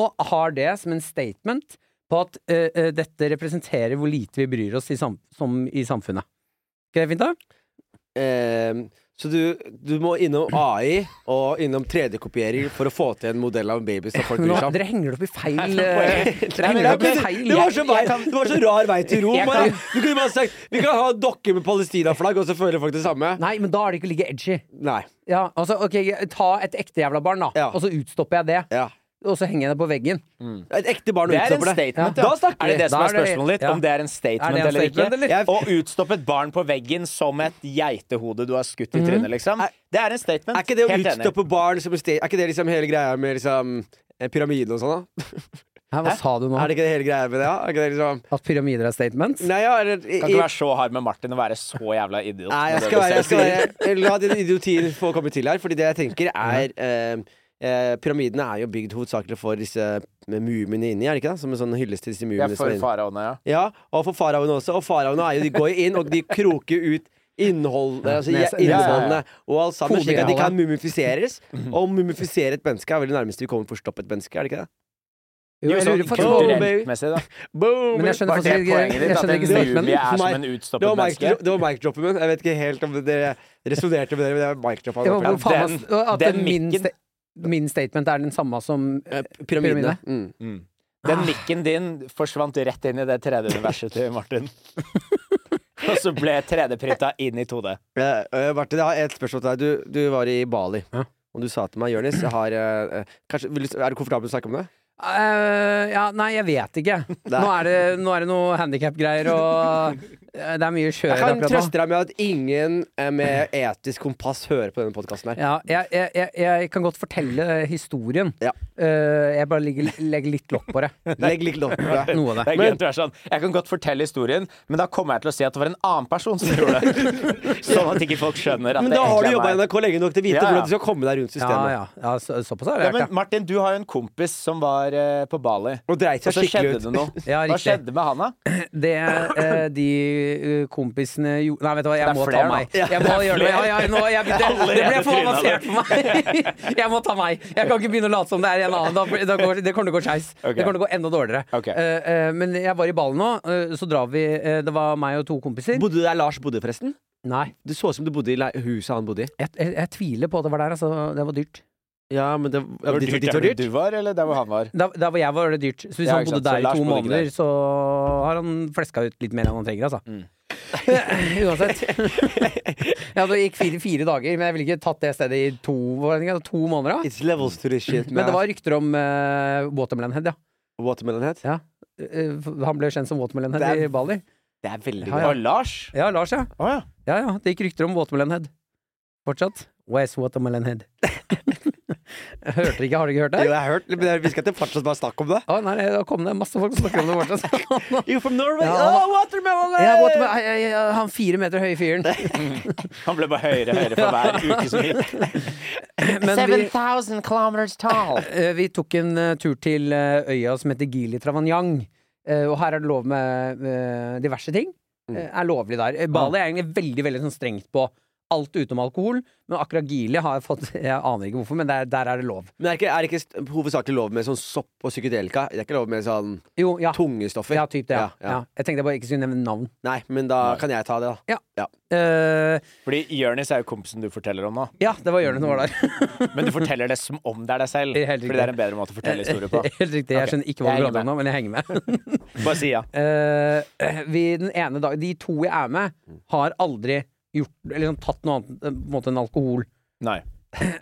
S2: Og har det som en statement på at eh, eh, dette representerer hvor lite vi bryr oss i, sam som i samfunnet. Ikke det fint, da?
S3: Ehm, så du, du må innom AI og innom 3D-kopiering for å få til en modell av en baby som folk
S2: Men
S3: bryr
S2: nå,
S3: seg om.
S2: dere henger det opp i feil eh, Dere henger det opp i feil
S3: Det var så, vei,
S2: Jeg- jeg kan-
S3: det var så rar vei til Rom.
S2: Jeg
S3: bare.
S2: kan-
S3: Du kunne bare sagt vi kan ha dokker med Palestina-flagg, og så føler folk det samme.
S2: Nei, men da er det ikke å ligge edgy.
S3: Nei.
S2: Ja, altså, ok, Ta et ekte jævla barn, da,
S3: Ja.
S2: og så utstopper jeg det.
S3: Ja.
S2: Og så henger jeg det på veggen.
S3: Et ekte barn
S4: Det er en
S3: utstopper det.
S4: statement,
S2: Ja.
S4: ja.
S2: Da snakker
S4: er det
S2: vi.
S4: det som
S2: Da
S4: er
S2: er det-
S4: spørsmålet ditt?
S2: ja.
S4: Om det er en statement,
S2: Er det en
S4: eller
S2: statement,
S4: ikke?
S2: eller?
S4: Å utstoppe et barn på veggen som et geitehode du har skutt i trynet, liksom.
S3: Er-
S4: Det er en statement.
S3: Er ikke det å
S4: Helt enig.
S3: utstoppe barn som en sta- Er ikke det liksom hele greia med liksom eh, pyramiden og sånn, da?
S2: Hæ, hva sa du nå?
S3: Er det ikke det hele greia med det? Ja? Er ikke det liksom
S2: At pyramider er statements?
S3: Nei, ja, eller i,
S4: Kan
S3: i,
S4: ikke være så hard med Martin og være så jævla idiot.
S3: Nei,
S4: med
S3: jeg
S4: det
S3: skal
S4: du
S3: være, jeg
S4: selv
S3: skal
S4: sier.
S3: være La din idioti få komme til her, Fordi det jeg tenker er eh, eh, Pyramidene er jo bygd hovedsakelig for disse mumiene inni, er det ikke det? Som en sånn hyllest til disse
S4: Jeg
S3: mumiene.
S4: er
S3: som er
S4: for
S3: inni.
S4: faraoene, ja.
S3: Ja, og for faraoene også. Og faraoene er jo, de går jo inn, og de kroker ut innhold, altså, ja,
S2: Nes-
S3: innholdene og alt sammen, slik at de
S2: Hodeinnholdet.
S3: kan mumifiseres. Og å mumifisere et menneske er vel det nærmeste vi kommer for å stoppe et menneske, er det ikke det?
S2: Jo, jeg
S4: sånn
S2: lurer faktisk på
S3: kulturelt.
S2: om-
S4: kulturelt-messig, da.
S3: Boom!
S2: Men jeg skjønner
S4: Var det
S2: faktisk ikke,
S4: poenget
S2: jeg
S4: ditt? At
S2: skjønner
S4: en
S2: ikke
S4: mumie
S2: statementen.
S4: er som
S3: Nei,
S4: en
S3: Det var
S4: utstoppet
S3: mic- det
S4: menneske?
S3: var mic-droppen min. Jeg vet ikke helt om dere resonnerte med det, men det var mic-droppen.
S2: Jeg må-
S4: Ja,
S2: hvor faen
S4: den-
S2: var- at
S4: den
S2: min,
S4: mikken.
S2: sta min statement er den samme som
S3: Eh, Pyramidene.
S2: Pyramide.
S3: Mm.
S4: Mm. Den mikken din forsvant rett inn i det 3D-universet til Martin. Og så ble 3D-printa inn i 2D.
S3: Eh, eh, Martin, jeg har et spørsmål til deg. Du, du var i Bali.
S2: Ja.
S3: Og du sa til meg, Jørnis, jeg har eh, eh, kanskje, vil du, Er du komfortabel med å snakke om det?
S2: Eh, Ja, nei, jeg vet ikke. Nå er det, nå er det noe handikap-greier, og eh, det er mye kjør
S3: Jeg kan
S2: akkurat nå.
S3: trøste deg med at ingen eh, med etisk kompass hører på denne podkasten her.
S2: Ja, jeg, jeg, jeg, jeg kan godt fortelle historien.
S3: Ja.
S2: Eh, jeg bare legger, legger litt lokk på det.
S3: Legg litt lov på det.
S2: Noe av det.
S4: Det er gøy at du er sånn. Jeg kan godt fortelle historien, men da kommer jeg til å si at det var en annen person som gjorde det. Sånn at ikke folk skjønner at
S3: Men
S4: det
S3: da har du
S4: egentlig
S3: jobba i
S4: er meg.
S3: NRK lenge nok til å vite
S4: Ja, ja.
S3: hvordan du skal komme deg rundt
S2: Ja,
S3: systemet.
S2: ja. ja så, såpass har
S4: Ja,
S2: jeg
S4: men
S2: lært,
S4: Martin, du har jo en kompis som var eh, på Bali.
S3: Og dreit
S4: Og
S3: seg
S4: så
S3: skikkelig
S4: skjedde
S3: ut.
S4: det noe.
S2: ja.
S4: Hva
S2: riktig.
S4: skjedde med han, da?
S2: Det eh, de eh, kompisene gjorde Nei, vet du hva,
S4: Det
S2: jeg
S4: er
S2: må
S4: flere
S2: ta
S4: nå.
S2: meg. Jeg må gjøre det. Ja, ja, nå, jeg, det, det ble for avansert for meg. Jeg må ta meg. Jeg kan ikke begynne å late som det er en annen. Da, blir- da går, det kommer til å gå skeis.
S4: Ok.
S2: Det kommer til å gå enda dårligere.
S4: Ok.
S2: Eh, eh, men jeg var i ballen nå, eh, så drar vi eh, Det var meg og to kompiser.
S3: Bodde der Lars bodde, forresten?
S2: Nei,
S3: Det så ut som du bodde i le- huset han bodde i.
S2: jeg, jeg, jeg tviler på at det var der. Altså, det var dyrt.
S3: Ja, men det, ja, ditt, ditt var
S4: der hvor
S3: dyrt.
S4: du var, eller der hvor han var?
S2: Da, der hvor jeg var, var det dyrt. Så hvis
S4: Ja,
S2: han
S4: ikke
S2: bodde
S4: sant. Så
S2: der i
S4: Lars
S2: to
S4: bodde ikke
S2: måneder,
S4: der.
S2: så har han fleska ut litt mer enn han trenger, altså.
S4: Mm.
S2: Uansett. ja, det gikk fire, fire dager, men jeg ville ikke tatt det stedet i to, hva er det, to måneder. Da.
S3: It's levels to this shit.
S2: Men det var rykter om uh, Watermelon Head, ja.
S3: Watermelon het.
S2: Eh, han ble kjent som Watermelon Head
S3: Det er-
S2: i Bali.
S3: Det er veldig
S2: Ja, ja.
S4: Og Lars?
S2: Ja, Lars, ja.
S4: Å ja.
S2: Ja, ja. Det gikk rykter om Watermelon Head. Fortsatt. Where's Watermelon Head? Hørte dere ikke? Har dere ikke hørt
S3: Jo,
S2: det?
S3: jeg har hørt, men jeg visste ikke at det fortsatt var snakk om det.
S2: Å, nei, det kom det masse folk som snakker om det fortsatt.
S3: You from Norway?
S2: Ja,
S3: oh,
S2: han-
S3: watermelon!
S2: Ja, what about- jeg- jeg- jeg- han fire meter høye fyren.
S4: Han ble bare høyere og høyere for hver uke som gikk.
S2: Men vi,
S4: 7000 kilometers tall.
S2: eh, vi tok en eh, tur til eh, øya som heter Gili Travanyang. Eh, og her er det lov med eh, diverse ting.
S4: Mm.
S2: Eh, er lovlig der. Eh, Bali er egentlig veldig veldig sånn strengt på alt utenom alkohol, men akkurat Gili har jeg fått Jeg aner ikke hvorfor, men der, der er det lov.
S3: Men er det ikke, er det ikke st- hovedsakelig lov med sånn sopp og psykedelika? Det er ikke lov med sånn
S2: Jo, ja.
S3: tunge stoffer?
S2: Ja, typ det. Ja.
S3: Ja, ja.
S2: Ja. Jeg tenkte jeg bare ikke skulle nevne navn.
S3: Nei, men da kan jeg ta det, da.
S2: Eh,
S4: Fordi Jonis er jo kompisen du forteller om nå.
S2: ja, det var Jørgen som var der.
S4: Mm. Men du forteller det som om det er deg selv.
S2: Helt riktig.
S4: Fordi det er en bedre måte å fortelle historier på.
S2: Helt riktig. Jeg
S4: Ok.
S2: skjønner ikke
S4: Jeg
S2: hva du
S4: henger
S2: prater om nå, men jeg henger med.
S4: Bare si ja.
S2: Eh, vi, den ene dag, de to jeg er med, har aldri gjort, eller liksom, tatt noe annet eh, på en måte enn alkohol.
S4: Nei.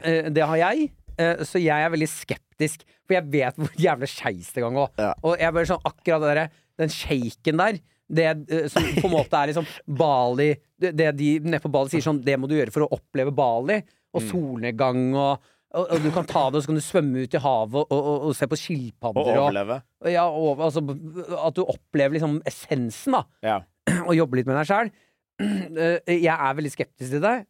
S2: Eh, det har jeg, eh, så jeg er veldig skeptisk. For jeg vet hvor jævlig skeis det kan gå.
S3: Ja.
S2: Og jeg bare sånn akkurat det der, den shaken der, det eh, som på en måte er liksom Bali Det det de nede på Bali sier sånn Det må du gjøre for å oppleve Bali, og solnedgang og og, og du kan ta det, og så kan du svømme ut i havet og, og, og se på
S4: Å
S2: skilpadder. Og,
S4: overleve.
S2: ja, og, altså, at du opplever liksom essensen, da.
S4: Ja.
S2: Og jobbe litt med deg sjæl. Jeg er veldig skeptisk til deg,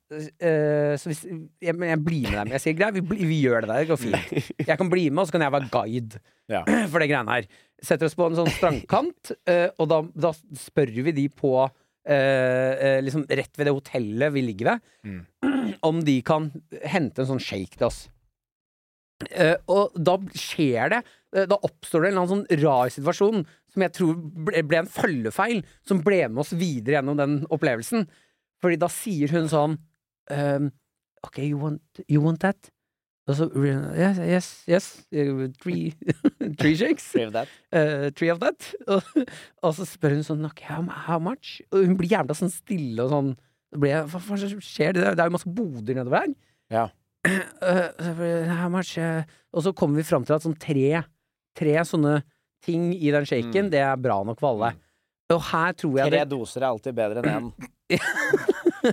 S2: eh, så hvis, jeg, men jeg blir med deg. Men Jeg sier greit, vi, bli- vi gjør det der, det går fint. Jeg kan bli med, og så kan jeg være guide
S4: Ja.
S2: for det greiene her. Setter oss på en sånn strandkant, eh, og da, da spør vi de på eh, eh, liksom rett ved det hotellet vi ligger ved, om de kan hente en sånn shake til oss. Eh, og da skjer det eh, Da oppstår det en eller annen sånn rar situasjon som jeg tror ble, ble en følgefeil, som ble med oss videre gjennom den opplevelsen. Fordi da sier hun sånn ehm, OK, you want, you want that? Og så Yes, yes, yes. eh, Three, three shakes.
S4: Believe that.
S2: Eh, three of that. Og, og så spør hun sånn okay, how, how much? Og hun blir jævla sånn stille og sånn da blir jeg, Hva faen skjer? Det, det er jo masse boder nedover her.
S4: Ja.
S2: Eh, så blir det, how much? eh, og så kommer vi fram til at sånn tre, tre sånne ting i den shaken, det er bra nok for alle. Og her tror jeg
S4: Mm. Tre
S2: det
S4: doser er alltid bedre enn én.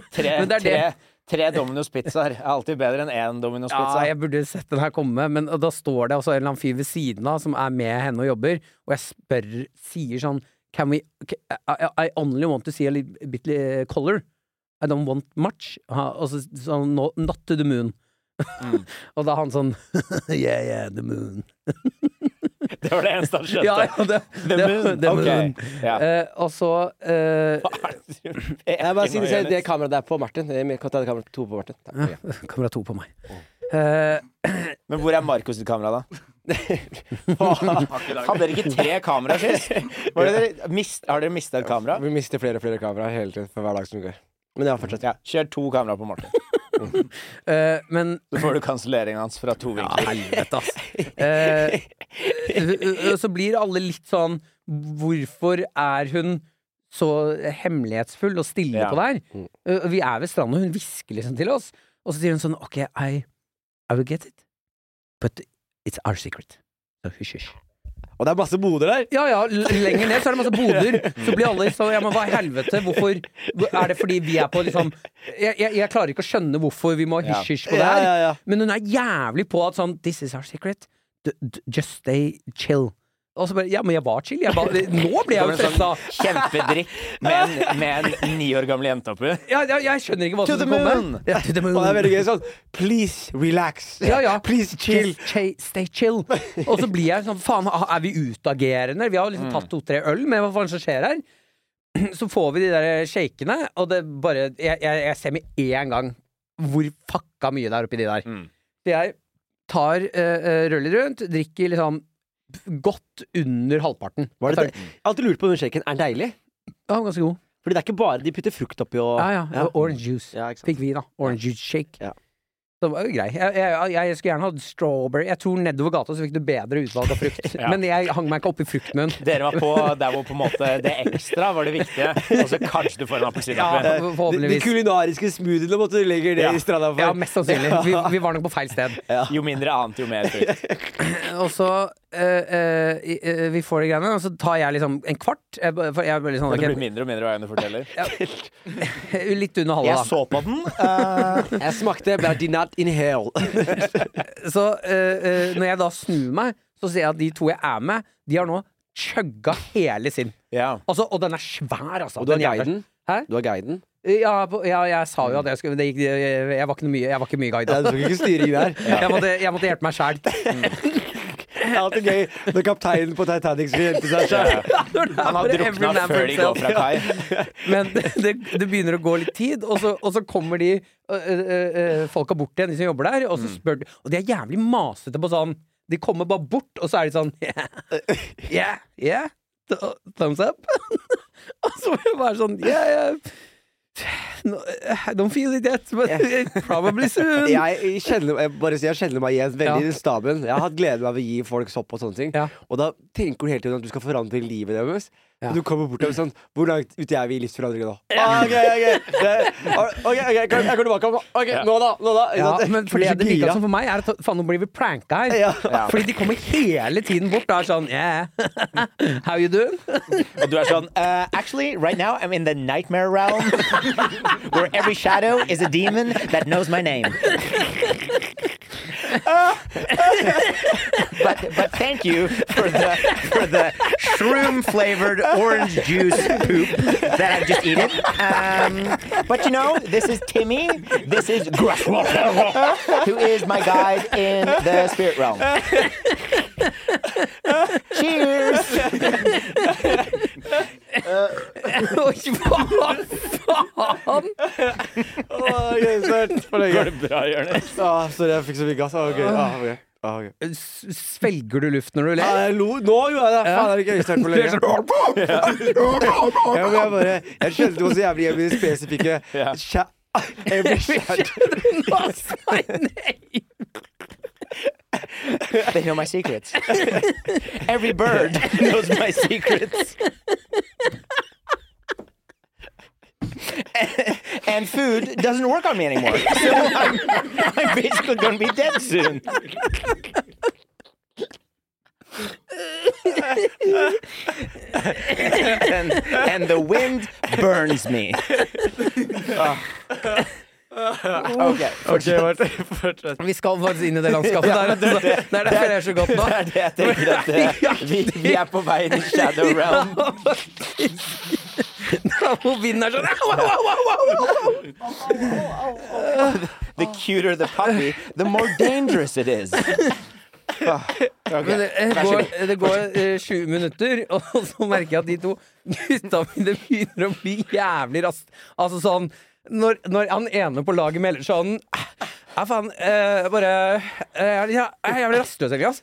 S4: Tre,
S2: Men det er
S4: tre,
S2: det-
S4: tre Domino's pizzaer er alltid bedre enn én Domino's
S2: Ja,
S4: pizza.
S2: jeg burde sett den her komme, men da står det altså en eller annen fyr ved siden av som er med henne og jobber, og jeg spør, sier sånn Can we I, I only want to see a little bit eh, color. I don't want much. Ha, Og så sånn no, Not to the moon.
S4: Mm.
S2: og da er han sånn Yeah, yeah, the moon.
S4: Det var det eneste han skjønte.
S2: Ja, ja, det,
S4: The
S2: det-
S4: moon.
S2: the
S4: Ok.
S2: moon.
S4: Ja.
S2: Eh, og så eh,
S3: Jeg bare sier, se, det kameraet der på Martin. Jeg kan ta det kameraet to på Martin. Takk. for det.
S2: Kamera to på meg. Eh,
S4: Men hvor er Markus sitt kamera, da? Hadde dere ikke tre kameraer sist? Var det dere mist, har dere mista et kamera?
S3: Vi mister flere og flere kameraer hele tiden for hver dag som går. Men ja, fortsett.
S4: Ja, Kjør to kameraer på Morten.
S2: eh, men
S4: Så får du kanselleringen hans fra to
S2: Ja,
S4: vinkler.
S2: helvete, ass. Eh, eh, så blir alle litt sånn Hvorfor er hun så hemmelighetsfull og stille
S4: Ja.
S2: på det her?
S3: Mm.
S2: Eh, vi er ved stranda, og hun hvisker liksom til oss. Og så sier hun sånn Ok, I, I will get it. But it's our secret. Så hysj, hysj.
S3: Og det er masse boder der!
S2: Ja ja, l- lenger ned så er det masse boder. Så blir alle så Ja, men hva i helvete? Hvorfor Er det fordi vi er på liksom Jeg, jeg, jeg klarer ikke å skjønne hvorfor vi må
S4: Ja.
S2: hysj-hysj på det
S3: Ja,
S2: her.
S3: ja, ja.
S2: Men hun er jævlig på at sånn This is our secret. D d just stay chill. Og så bare Ja, men jeg var chill. Jeg bare, nå ble jeg jo stressa!
S3: sånn
S4: Kjempedrikk med en, med en ni år gammel jente oppi.
S2: Jeg, jeg, jeg skjønner ikke hva
S4: To
S2: som
S4: the
S2: kommer.
S4: moon.
S2: Ja, to the moon.
S3: Og det er veldig gøy sånn Please relax.
S2: Ja, ja.
S3: Please chill.
S2: Just cha- stay chill. Og så blir jeg sånn Faen, er vi utagerende? Vi har liksom tatt to-tre øl, men hva faen som skjer her? Så får vi de der shakene, og det bare Jeg, jeg, jeg ser med en gang hvor fucka mye det er oppi de der. Så jeg tar uh, rullet rundt, drikker liksom godt under halvparten.
S3: Var det
S2: Jeg
S3: det? Jeg har alltid lurt på om den shaken er deilig.
S2: tar- Ja, ganske god.
S3: Fordi det er ikke bare de putter frukt oppi og
S2: Ja, ja. Orange juice.
S3: Ja, ikke
S2: Fikk
S3: sant.
S2: vi, da. Orange juice shake.
S3: Ja.
S2: Så det var jo grei. Jeg, jeg, jeg, jeg skulle gjerne hatt strawberry. Jeg tror nedover gata så fikk du bedre utvalg av frukt. Men jeg hang meg ikke opp i fruktmunn.
S4: Dere var på der hvor på en måte det ekstra var det viktige, og så kanskje du får en appelsin
S2: Ja,
S4: oppi.
S3: Eh, De, de
S2: forhåpentligvis.
S3: kulinariske smoothiene måtte du legge det
S4: Ja.
S3: i stranda for.
S2: Ja, mest sannsynlig. Vi, vi var nok på feil sted.
S4: Jo mindre annet, jo mer frukt.
S2: Og så eh, eh, i- eh, Vi får de greiene, og så tar jeg liksom en kvart. Jeg, bare- for jeg, bare liksom,
S4: Det blir
S2: ok,
S4: mindre og mindre hva øynene forteller.
S2: litt under halve, da.
S4: Jeg så på den. eh,
S3: Jeg smakte, but I did not inhale.
S2: Så øh, øh, når jeg da snur meg, så ser jeg at de to jeg er med, de har nå chugga hele sin.
S4: ja.
S2: Altså, og den er svær, altså.
S3: Og du har
S2: Den jævla-
S3: guiden?
S2: Hæ?
S3: Du har guiden?
S2: Ja, på, ja, jeg sa jo at jeg skulle det gikk, jeg, jeg, var ikke noe mye, jeg var ikke mye guide.
S3: Ja, du
S2: da.
S3: skal ikke styre inn her.
S2: Jeg, måtte, jeg måtte hjelpe meg sjæl.
S3: Det er alltid gøy når kapteinen på Titanic skal hjelpe seg selv.
S4: Han har drukna før de går fra kai.
S2: Men det, det, det begynner å gå litt tid, og så, og så kommer de øh, øh, øh, folka bort igjen, de som jobber der, og
S4: Mm.
S2: så spør de Og de er jævlig masete på sånn De kommer bare bort, og så er de sånn Yeah, yeah, yeah th- thumbs up. og så må jeg bare sånn Yeah, yeah. No, I don't feel it yet, but probably soon.
S3: Jeg kjenner, jeg bare sier, jeg kjenner meg igjen
S2: Ja.
S3: veldig i den staben. Jeg har hatt glede av å gi folk sopp og sånne ting.
S2: Ja.
S3: Og da tenker du hele tiden at du skal forandre livet deres.
S2: Ja.
S3: Og du kommer bort til dem sånn Hvor langt ute er vi i livsforandringen nå? Ah, Ok, ok, det, ah, ok, ok, jeg kan- jeg kommer tilbake om Ok, nå da, nå da.
S2: Ja,
S3: Ikke sant?
S2: men for det
S3: Blir
S2: det virka
S3: gira.
S2: som for meg, er at faen, nå blir vi pranka her.
S3: Ja.
S2: Fordi de kommer hele tiden bort og er sånn Yeah, how you doing?
S4: Og du er sånn eh, Actually, right now I'm in the nightmare realm. Where every shadow is a demon that knows my name. but, but thank you for the, for the shroom flavored orange juice poop that I've just eaten. Um, but you know, this is Timmy. This is Grushwalker, who is my guide in the spirit realm. Cheers!
S2: Oi, Hva faen?
S3: Går det bra, Jonis? Ah, sorry, jeg fikk så mye gass. Ah, ok. Ah, ok. Ah, ok.
S2: S- Svelger du luft når du
S3: Ja,
S2: ler?
S3: jeg lo. Nå gjorde jeg det! Faen, jeg har ikke øyesterk på lenge.
S2: sånn,
S3: Ja, men jeg, bare, jeg skjønte hvor så jævlig jeg blir spesifikke Kjæ- Jeg blir kjært.
S2: Nå sa jeg nei!
S4: They know my secrets. Every bird knows my secrets. and food doesn't work on me anymore. So I'm, I'm basically going to be dead soon. and, and the wind burns me. Ah. Okay.
S3: Ok, Martin, fortsett.
S2: Vi skal faktisk inn i det landskapet der. Altså. Det er derfor jeg er så godt nå.
S4: Det er det jeg tenker at eh, vi, vi er på vei inn i shadow realm.
S2: Hvor vinden er sånn au, au, au, au, au, au.
S4: The cuter the puppy, the more dangerous it is. Ah, ok.
S2: Men det, det går, det går eh, sju minutter, og så merker jeg at de to gutta mine begynner å bli jævlig rast. Altså sånn når, når han ene på laget melder sånn Ja, faen, eh, bare eh, Jeg er- jeg er jævlig rastløs, egentlig, ass.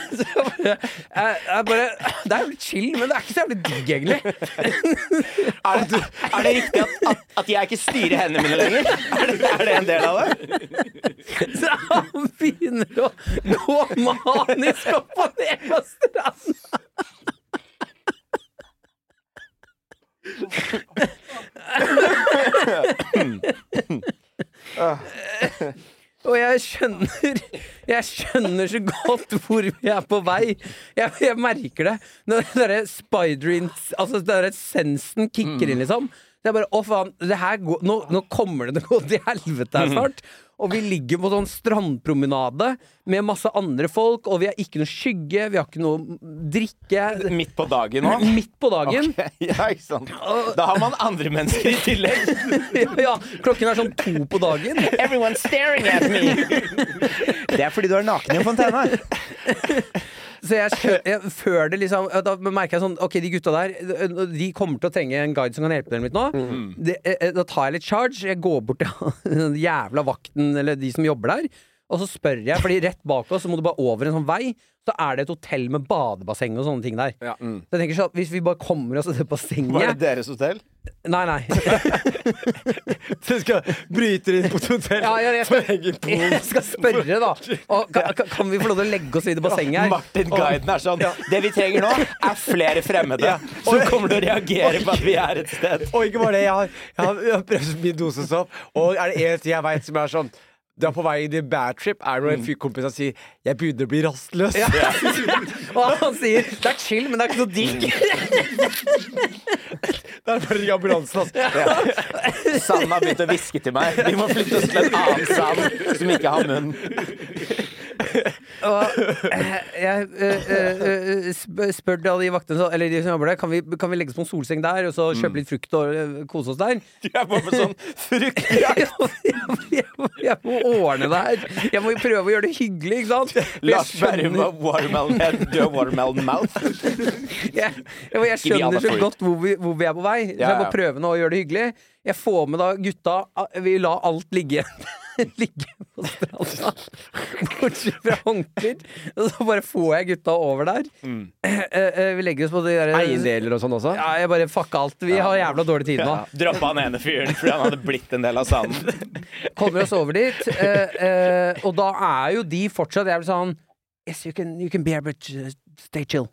S2: Så jeg bare, jeg, jeg bare Det er jo chill, men det er ikke så jævlig digg, egentlig.
S4: Er det, er det riktig at, at, at jeg ikke styrer hendene mine lenger? Er det, er det en del av det?
S2: Så han begynner å gå manisk opp og ned på stranda. Og jeg skjønner Jeg skjønner så godt hvor vi er på vei. Jeg, jeg merker det. Når den derre spider Altså den derre sensen kicker inn, liksom. Så jeg bare Å, faen. Det her går, nå, nå kommer det til å gå til helvete her snart. Og vi ligger på sånn strandpromenade med masse andre folk, og vi har ikke noe skygge, vi har ikke noe drikke.
S4: Midt på dagen nå?
S2: Midt på dagen.
S4: Ja, ikke sant. Da har man andre mennesker i tillegg.
S2: Ja, ja, klokken er sånn to på dagen.
S4: Everyone's staring at me. Det er fordi du er naken i en fontene.
S2: Så jeg, skjø- jeg før det liksom Da merker jeg sånn Ok, de gutta der De kommer til å trenge en guide som kan hjelpe dem litt nå. Det- eh, eh, da tar jeg litt charge. Jeg går bort til den jævla vakten eller de som jobber der. Og så spør jeg, fordi rett bak oss så må du bare over en sånn vei. Så er det et hotell med badebasseng og sånne ting der. Så jeg tenker sånn, Hvis vi bare kommer oss til det bassenget
S4: deres hotell?
S2: Nei, nei.
S3: Du skal bryte inn på et hotell
S2: Ja, jeg,
S3: for å
S2: jeg,
S3: henge på.
S2: jeg skal spørre, da. Og, kan, kan- kan vi få lov til å legge oss i det bassenget her?
S4: Martin Guiden er sånn Det vi trenger nå, er flere fremmede som kommer til å reagere på at vi er et sted.
S3: Og ikke bare det, jeg har, jeg har, jeg har prøvd så mye dosesopp, og er det én ting jeg veit som er sånn du er på vei inn i en badtrip, er det
S4: Mm.
S3: når en fyr kompis som sier 'jeg begynner å bli rastløs'.
S2: Og han sier det er chill, men det er ikke noe digg.
S3: Det er bare i ambulansen, altså.
S4: Sand har begynt å hviske til meg. Vi må flytte oss til en annen sand som ikke har munn.
S2: Og eh, jeg eh, eh, eh, sp- spør til alle de vaktene så- Eller de som jobber der Kan vi, kan vi legge oss på en solseng der Og så
S4: Mm.
S2: kjøpe litt frukt og eh, kose oss der
S4: Du er bare sånn fruktjakt.
S2: jeg, må- jeg, må- jeg må ordne det her Jeg må jo prøve å gjøre det hyggelig Ikke sant? For jeg
S4: Lars Berrum
S2: skjønner-
S4: var watermelon head, du er watermelon mouth.
S2: jeg, jeg, jeg
S4: Ikke vi alle
S2: skjønner så
S4: får ut.
S2: godt hvor vi, hvor vi er på vei. Så
S4: Ja,
S2: jeg må
S4: ja.
S2: prøve nå å gjøre det hyggelig. Jeg får med da gutta Vi la alt ligge Ligge på stranda, bortsett fra håndklær. Og så bare får jeg gutta over der.
S4: Mm.
S2: Eh, eh, vi legger oss på det der
S3: Eiendeler og sånn også?
S2: Ja, jeg bare fucka alt. Vi har jævla dårlig tid nå.
S4: Droppa han ene fyren fordi han hadde blitt en del av sanden.
S2: Kommer oss over dit, eh, eh, og da er jo de fortsatt jævlig sånn Yes, you can, you can be here, but uh, stay chill.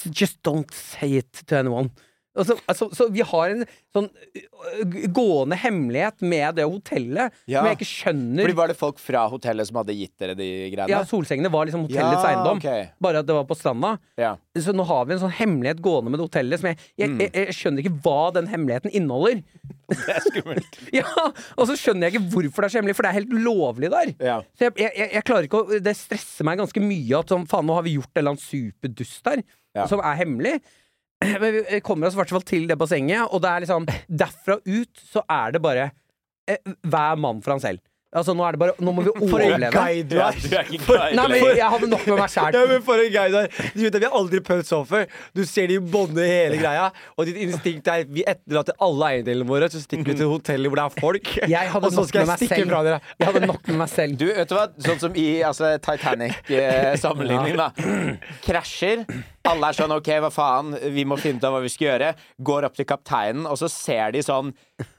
S2: So Just don't say it to anyone. Altså, altså, så vi har en sånn øh, g- gående hemmelighet med det hotellet
S4: Ja.
S2: som jeg ikke skjønner.
S4: Fordi Var det folk fra hotellet som hadde gitt dere de greiene?
S2: Ja, Solsengene var liksom hotellets
S4: Ja,
S2: eiendom,
S4: ok.
S2: bare at det var på stranda.
S4: Ja.
S2: Så nå har vi en sånn hemmelighet gående med det hotellet som jeg, jeg, jeg, jeg skjønner ikke hva den hemmeligheten inneholder.
S4: Mm. Det er skummelt.
S2: Ja, Og så skjønner jeg ikke hvorfor det er så hemmelig, for det er helt lovlig der.
S4: Ja.
S2: Så jeg, jeg, jeg, jeg klarer ikke å Det stresser meg ganske mye at sånn, faen, nå har vi gjort en eller annen superdust der,
S4: Ja.
S2: som er hemmelig. Men vi kommer oss i hvert fall til det bassenget, og det er liksom Derfra ut så er det bare eh, hver mann for han selv. Altså, nå er det bare Nå må vi overleve.
S3: guide
S4: Ja, du er ikke klar
S2: Nei, men jeg hadde nok med meg sjæl.
S3: Ja, men for en guide der. Du vet, at Vi har aldri prøvd sånn før. Du ser de bånde hele greia, og ditt instinkt er vi etterlater alle eiendelene våre, så stikker vi til hotellet hvor det er folk,
S2: Jeg hadde
S3: og så
S2: nok med
S3: skal Mhm. jeg
S2: meg
S3: stikke
S2: selv.
S3: fra dere.
S2: Jeg hadde nok med meg selv.
S4: Du, vet du hva? Sånn som i altså, Titanic-sammenligning, da. Krasjer. Alle er sånn OK, hva faen, vi må finne ut av hva vi skal gjøre. Går opp til kapteinen, og så ser de sånn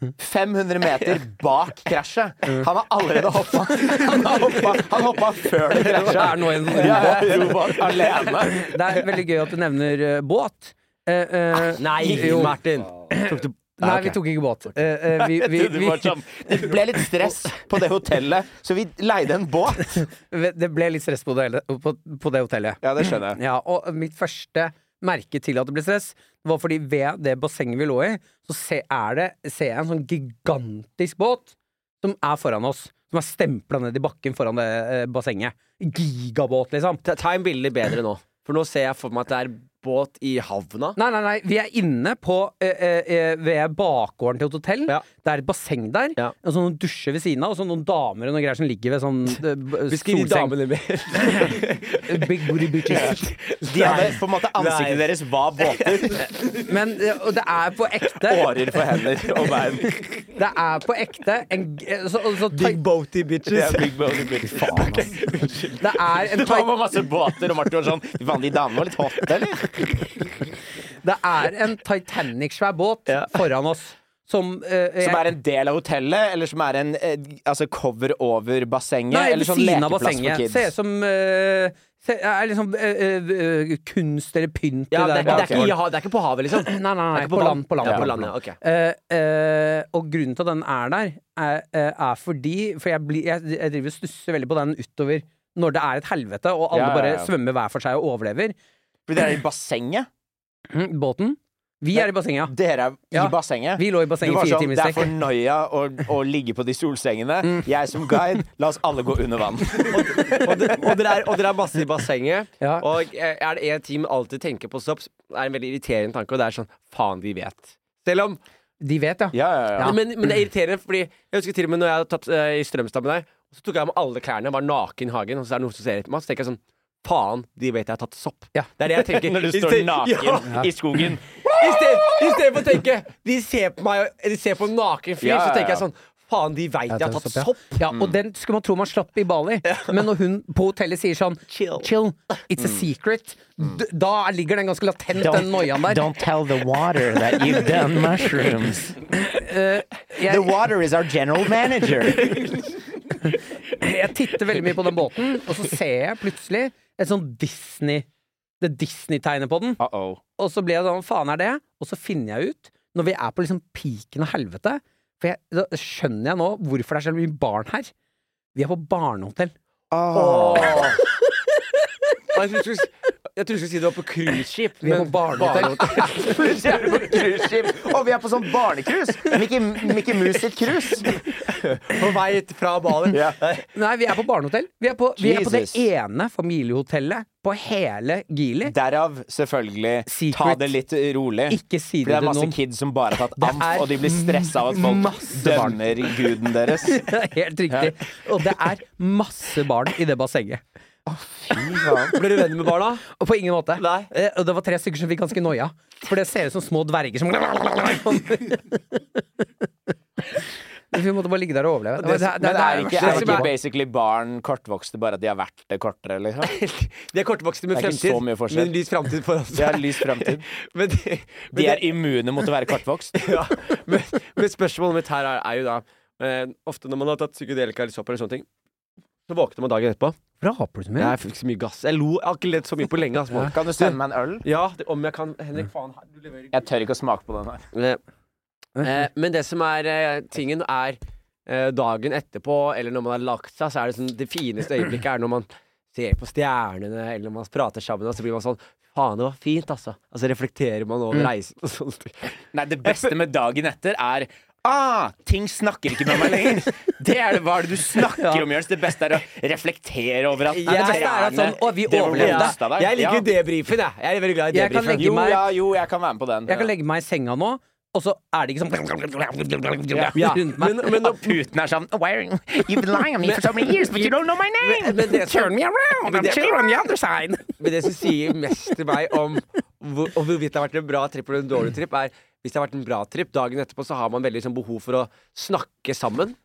S4: 500 meter bak krasjet. Han har allerede hoppa. Han har hoppa, han hoppa før det
S2: Det
S4: krasja.
S2: er nå en
S4: Ja, robot alene.
S2: Det er veldig gøy at du nevner eh, båt. Eh, eh,
S3: Nei,
S2: jo.
S3: Martin.
S2: Nei, vi tok ikke båt. Eh, eh, vi, vi,
S4: Det
S2: vi,
S4: var sånn- det ble litt stress på det hotellet, så vi leide en båt.
S2: det ble litt stress på det, hele- på, på det hotellet.
S4: Ja, det skjønner jeg.
S2: Ja, og mitt første merke til at det ble stress, var fordi ved det bassenget vi lå i, så se, er det, ser jeg en sånn gigantisk båt som er foran oss. Som er stempla ned i bakken foran det eh, bassenget. Gigabåt, liksom.
S3: Ta ta en bilde bedre nå, for nå ser jeg for meg at det er båt i havna.
S2: Nei, nei, nei, vi er inne på eh, eh, eh, ved bakgården til et hotell.
S3: Ja.
S2: Det er et basseng der,
S3: Ja.
S2: og så noen dusjer ved siden av, og så noen damer og noen greier som ligger ved sånn eh, b-
S3: Beskriv de
S2: solseng. Eh,
S3: damene mer.
S2: Big booty bitches.
S4: De hadde på en måte Ansiktet deres var båter.
S2: Men eh, og det er på ekte.
S4: Årer for hender og bein.
S2: Det er på ekte en, g- eh, så, så,
S3: Big boaty bitches.
S2: Det er en,
S4: Det
S2: ti-
S4: var masse båter, og Martin var sånn De vanlige damene var litt hot, eller?
S2: det er en Titanic-svær båt foran oss som eh,
S4: Som
S2: jeg-
S4: er en del av hotellet, eller som er en eh, altså cover over bassenget?
S2: Nei,
S4: eller
S2: ved
S4: sånn
S2: siden av
S4: lekeplass for
S2: bassenget.
S4: kids?
S2: Ser ut som eh, se, er liksom eh, eh, eh, kunst eller pynt i
S3: Ja, det, er, det, er ikke,
S2: bakgården.
S3: i ha- det er ikke på havet, liksom.
S2: Nei, nei, nei,
S3: ikke
S2: på
S3: på
S2: land.
S3: land.
S2: På land,
S3: Ja,
S2: på
S3: på
S2: land.
S3: land, ja, ok.
S2: Eh, eh, og grunnen til at den er der, er, eh, er fordi For jeg, blir, jeg, jeg driver og stusser veldig på den utover når det er et helvete, og alle
S4: Ja, ja,
S2: bare
S4: ja.
S2: svømmer hver for seg og overlever.
S4: Fordi dere er i bassenget?
S2: Mm, Båten. Vi er i bassenget, ja.
S4: Dere er i
S2: Ja.
S4: bassenget?
S2: Vi lå i
S4: Du
S2: bassenget i
S4: var
S2: fire
S4: sånn,
S2: timer i
S4: Det er
S2: strekk. Mm.
S4: for nøya å, å ligge på de solsengene. Jeg som guide, la oss alle gå under vann.
S3: Og, det- og, dere er, og dere er masse i bassenget.
S2: Ja.
S3: Og eh, er det én team alltid tenker på stopp, er det en veldig irriterende tanke, og det er sånn faen, de vet. Selv om
S2: De vet, ja.
S4: Ja, ja, ja.
S3: Men, men det er irriterende, fordi jeg husker til og med når jeg hadde tatt eh, i Strømstad med deg, så tok jeg av meg alle klærne, var naken i hagen, og så er det noen som ser etter meg, så tenker jeg sånn Faen, de vet jeg har tatt sopp.
S2: Ja.
S3: Det er det jeg tenker.
S4: Når du
S3: I
S4: står
S3: sted- Ja.
S4: naken i skogen.
S3: I sted- I stedet for å tenke De ser på meg, og- de ser på en naken fyr,
S4: Ja, ja,
S3: så tenker jeg
S4: ja.
S3: sånn Faen, de veit jeg har tatt sopp.
S2: Ja, og den skulle man tro man slapp i Bali, men når hun på hotellet sier sånn Chill,
S3: Chill.
S2: it's a secret, d- da ligger den ganske latent, den noiaen der.
S4: tell the water that you've done mushrooms. Uh,
S2: Jeg-
S4: water is our general manager.
S2: jeg titter veldig mye på den båten, og så ser jeg plutselig et sånn Disney Det Disney-tegnet på den.
S4: Uh-oh.
S2: Og så blir jeg sånn, faen er det? Og så finner jeg ut, når vi er på liksom piken av helvete For jeg, da skjønner jeg nå hvorfor det er så mye barn her. Vi er på barnehotell.
S3: Jeg trodde du skulle si- jeg trodde du skulle si det var på cruiseskip.
S2: Vi er på
S3: men-
S2: barnehotell.
S4: Plutselig er vi på cruiseskip, og vi er på sånn barnecruise! Mickey, Mickey Mouse sitt cruise!
S3: På vei fra Bali.
S4: Ja.
S2: Nei, vi er på barnehotell. Vi er på, vi er på det
S4: Jesus.
S2: ene familiehotellet på hele Gili.
S4: Derav, selvfølgelig,
S2: Secret.
S4: ta det litt rolig.
S2: Ikke si
S4: For det
S2: det
S4: er
S2: til
S4: masse
S2: noen.
S4: kids som bare har tatt
S2: Det
S4: amf,
S2: er
S4: og de blir stressa av at folk
S2: masse barn.
S4: dømmer guden deres.
S2: Det er Helt riktig. Og det er masse barn i det bassenget.
S3: Ble du venn med barna?
S2: Og på ingen måte.
S3: Nei.
S2: Eh, og det var tre stykker som fikk ganske noia. For det ser ut som små dverger som Vi måtte bare ligge der og overleve. Det,
S4: Men er ikke, er
S2: det
S4: ikke basically barn kortvokste, bare at de har vært det kortere, liksom?
S3: De er kortvokste med
S4: Det er ikke
S3: fremtid.
S4: så mye forskjell.
S3: men lys fremtid foran
S4: De har
S3: seg.
S4: lys fremtid.
S3: Men, de, men,
S4: De
S3: det-
S4: er immune mot å være kortvokst.
S3: ja, men, men spørsmålet mitt her er, er jo da eh, Ofte når man har tatt psykedelika eller sopp eller sånne ting, Så våkner man dagen etterpå.
S2: Raper du så mye?
S3: Jeg fikk så mye gass. Jeg lo jeg har ikke ledd så mye på lenge. ass, mann.
S4: Kan du sende meg en øl?
S3: Ja, det, om jeg kan Henrik, faen. Du leverer
S4: Jeg tør ikke å smake på den her.
S3: Eh, eh, men det som er eh, tingen, er eh, dagen etterpå, eller når man har lagt seg, så er det sånn Det fineste øyeblikket er når man ser på stjernene, eller når man prater sammen, og så blir man sånn Faen, det var fint, altså. Og så reflekterer man
S2: Mm.
S3: over reisen og sånne ting.
S4: Nei, det beste med dagen etter er Ah, ting snakker ikke med meg lenger! Det er det, hva er det du snakker om, Jørns? Det beste er å reflektere over at
S2: det beste er at sånn, å, vi
S4: det var
S2: overlevde.
S4: roligst av deg.
S3: Jeg liker
S4: Ja.
S3: debrifen, jeg. Jeg er veldig glad i
S2: Jeg kan
S3: debrifen.
S2: legge
S4: Jo,
S2: meg-
S4: ja, jo, jeg kan være med på den.
S2: Jeg kan legge meg i senga nå, og så er det ikke sånn
S3: Ja,
S2: rundt meg.
S3: men, men,
S4: At Putin er sånn Where? You've been lying on me for so many years, but you don't know my name!
S3: men det som-
S4: Turn me around!
S3: Men
S4: I'm
S3: det-
S4: chill on the other side!
S3: men det som sier mest til meg om, hvor, om hvorvidt det har vært en bra trip eller en dårlig trip, er hvis det har vært en bra trip, dagen etterpå så har man veldig sånn, behov for å snakke sammen.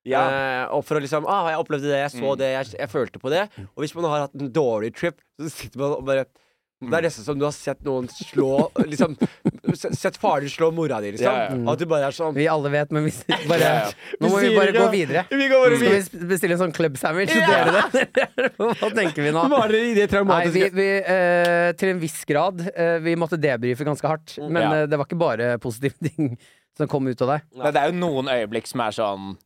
S3: Eh, og for å liksom ah, 'Jeg opplevde det, jeg så det, jeg, jeg følte på det'. Og hvis man har hatt en dårlig trip, så sitter man og bare Det er nesten som du har sett noen slå liksom, s- Sett faren slå mora di, liksom.
S4: Ja, ja.
S3: At du bare er sånn
S2: Vi alle vet, men vi sier bare
S4: Ja, ja.
S2: Nå må vi
S3: sier
S2: bare
S3: ikke-
S2: gå videre.
S3: Vi går bare
S2: Skal vi
S3: videre.
S2: sp- bestille en sånn club sandwich og dele det? Hva tenker vi nå?
S3: Hva er det i det
S2: Nei, vi,
S3: traumatiske
S2: vi, eh, til en viss grad. eh, vi måtte debrife ganske hardt. Men
S4: Ja.
S2: eh, det var ikke bare positive ting som kom ut av deg.
S4: Men det er jo noen øyeblikk som er sånn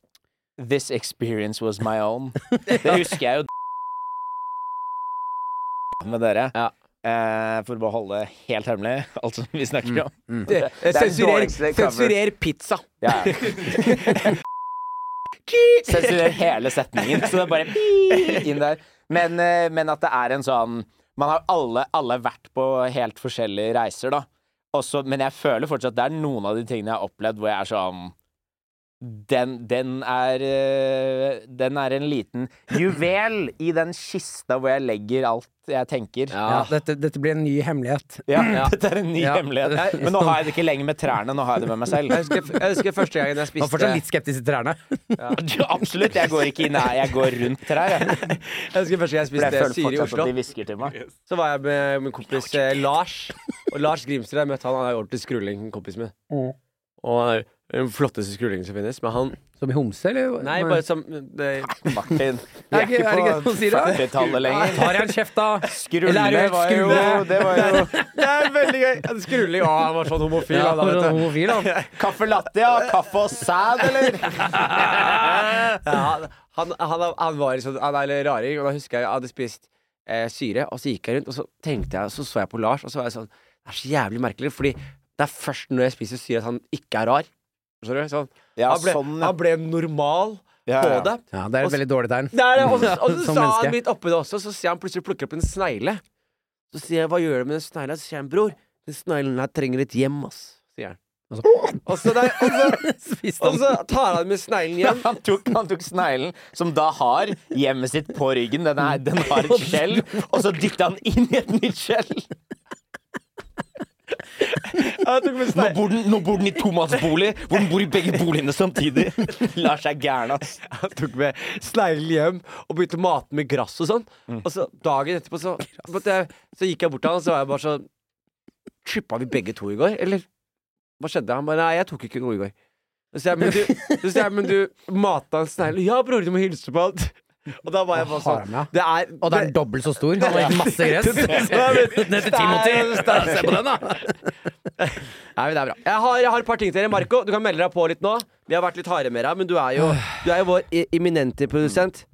S4: This experience was my own. Det husker jeg jo med dere.
S3: Ja.
S4: Eh, for å bare holde det helt hemmelig, alt som vi
S2: Mm.
S4: snakker om.
S3: Det- eh,
S4: den
S3: Sensurer,
S4: dårligste cover.
S3: sensurer pizza.
S4: Ja. Sensurer hele setningen, så det er bare inn der. Men, eh, men at det er en sånn Man har alle, alle vært på helt forskjellige reiser, da. Også, men jeg føler fortsatt det er noen av de tingene jeg har opplevd hvor jeg er sånn den, den, er, eh, den er en liten juvel i den kista hvor jeg legger alt jeg tenker.
S2: Ja, dette, dette blir en ny hemmelighet.
S4: Ja, Dette er en ny
S2: Ja.
S4: hemmelighet. Men nå har jeg det ikke lenger med trærne, nå har jeg det med meg selv.
S3: Jeg husker, jeg husker første gangen jeg
S2: Man er
S3: spiste
S2: fortsatt litt skeptisk til trærne.
S4: Ja, Absolutt. Jeg går ikke i nær, jeg går rundt trær. Jeg,
S3: Jeg husker første gang jeg
S4: For jeg
S3: spiste
S4: føler
S3: syre i
S4: fortsatt
S3: Oslo.
S4: at de hvisker til meg.
S3: Så var jeg med min kompis eh, Lars. Og Lars Grimstad, jeg møtte han, han er ordentlig skrulling, kompisen min. Og han er den flotteste skrullingen som finnes. Men han
S2: Som i homse, eller?
S3: Nei, bare som det,
S4: Martin, vi
S2: Er ikke-
S4: er ikke
S2: er det ikke
S4: på
S2: noe å si da?
S4: 40-tallet lenger.
S2: Ah, Tar jeg en kjeft, da?
S4: Skrulle
S2: Eller er du
S4: var jo
S2: skrulle?
S4: Det var jo
S3: det er veldig gøy! Han Skrulling Å, han var sånn homofil,
S2: Ja,
S3: han da, vet du.
S2: homofil, da.
S4: Kaffe latte, ja. Kaffe og sæd, eller?
S3: Ja, han, han, han, han var liksom Han er litt raring, og da husker jeg jeg hadde spist eh, syre, og så gikk jeg rundt, og så tenkte jeg, så så jeg på Lars, og så var jeg sånn Det er så jævlig merkelig, fordi det er først når jeg spiser syre at han ikke er rar. Skjønner du? Sånn.
S4: Ja,
S3: han, ble,
S4: sånn, ja.
S3: han ble normal
S4: Ja,
S3: på
S4: ja.
S3: det.
S2: Ja, det er et veldig dårlig tegn.
S3: Det er det, og, så- og så
S2: Som
S3: sa
S2: menneske.
S3: han midt oppi det også, så ser han plutselig plukker opp en snegle. Så sier jeg 'hva gjør du med den snegla?' Så sier han 'bror, den sneglen her trenger et hjem', ass. Sier han. Og så, og så, der, og så,
S2: Spiste
S3: og
S2: han.
S3: så tar han med sneglen hjem.
S4: Han tok, han tok sneglen, som da har hjemmet sitt på ryggen, den, er, den har et skjell, og så dytta han inn i et nytt skjell. Nå bor, den, nå bor den i tomannsbolig, hvor den bor i begge boligene samtidig. Lars er gæren, ass.
S3: Han tok med sneglen hjem og begynte å mate med gress og sånn.
S2: Mm.
S3: Og så dagen etterpå så, måtte jeg, så gikk jeg bort til han, og så var jeg bare sånn Trippa vi begge to i går, eller? Hva skjedde? Han bare Nei, jeg tok ikke noe i går. Så sier jeg, men du, så sier jeg, men du mata en snegle? Ja, bror, du må hilse på han. Og da var jeg bare
S2: Har han, ja.
S3: sånn Det er
S2: Og det er dobbelt så stor. Han har masse gress. Ned til Timothy. Se på den, da.
S3: Nei, men det er bra. Jeg har, jeg har et par ting til dere. Marco, du kan melde deg på litt nå. Vi har vært litt harde med deg, men du er jo, du er jo vår i- eminente produsent.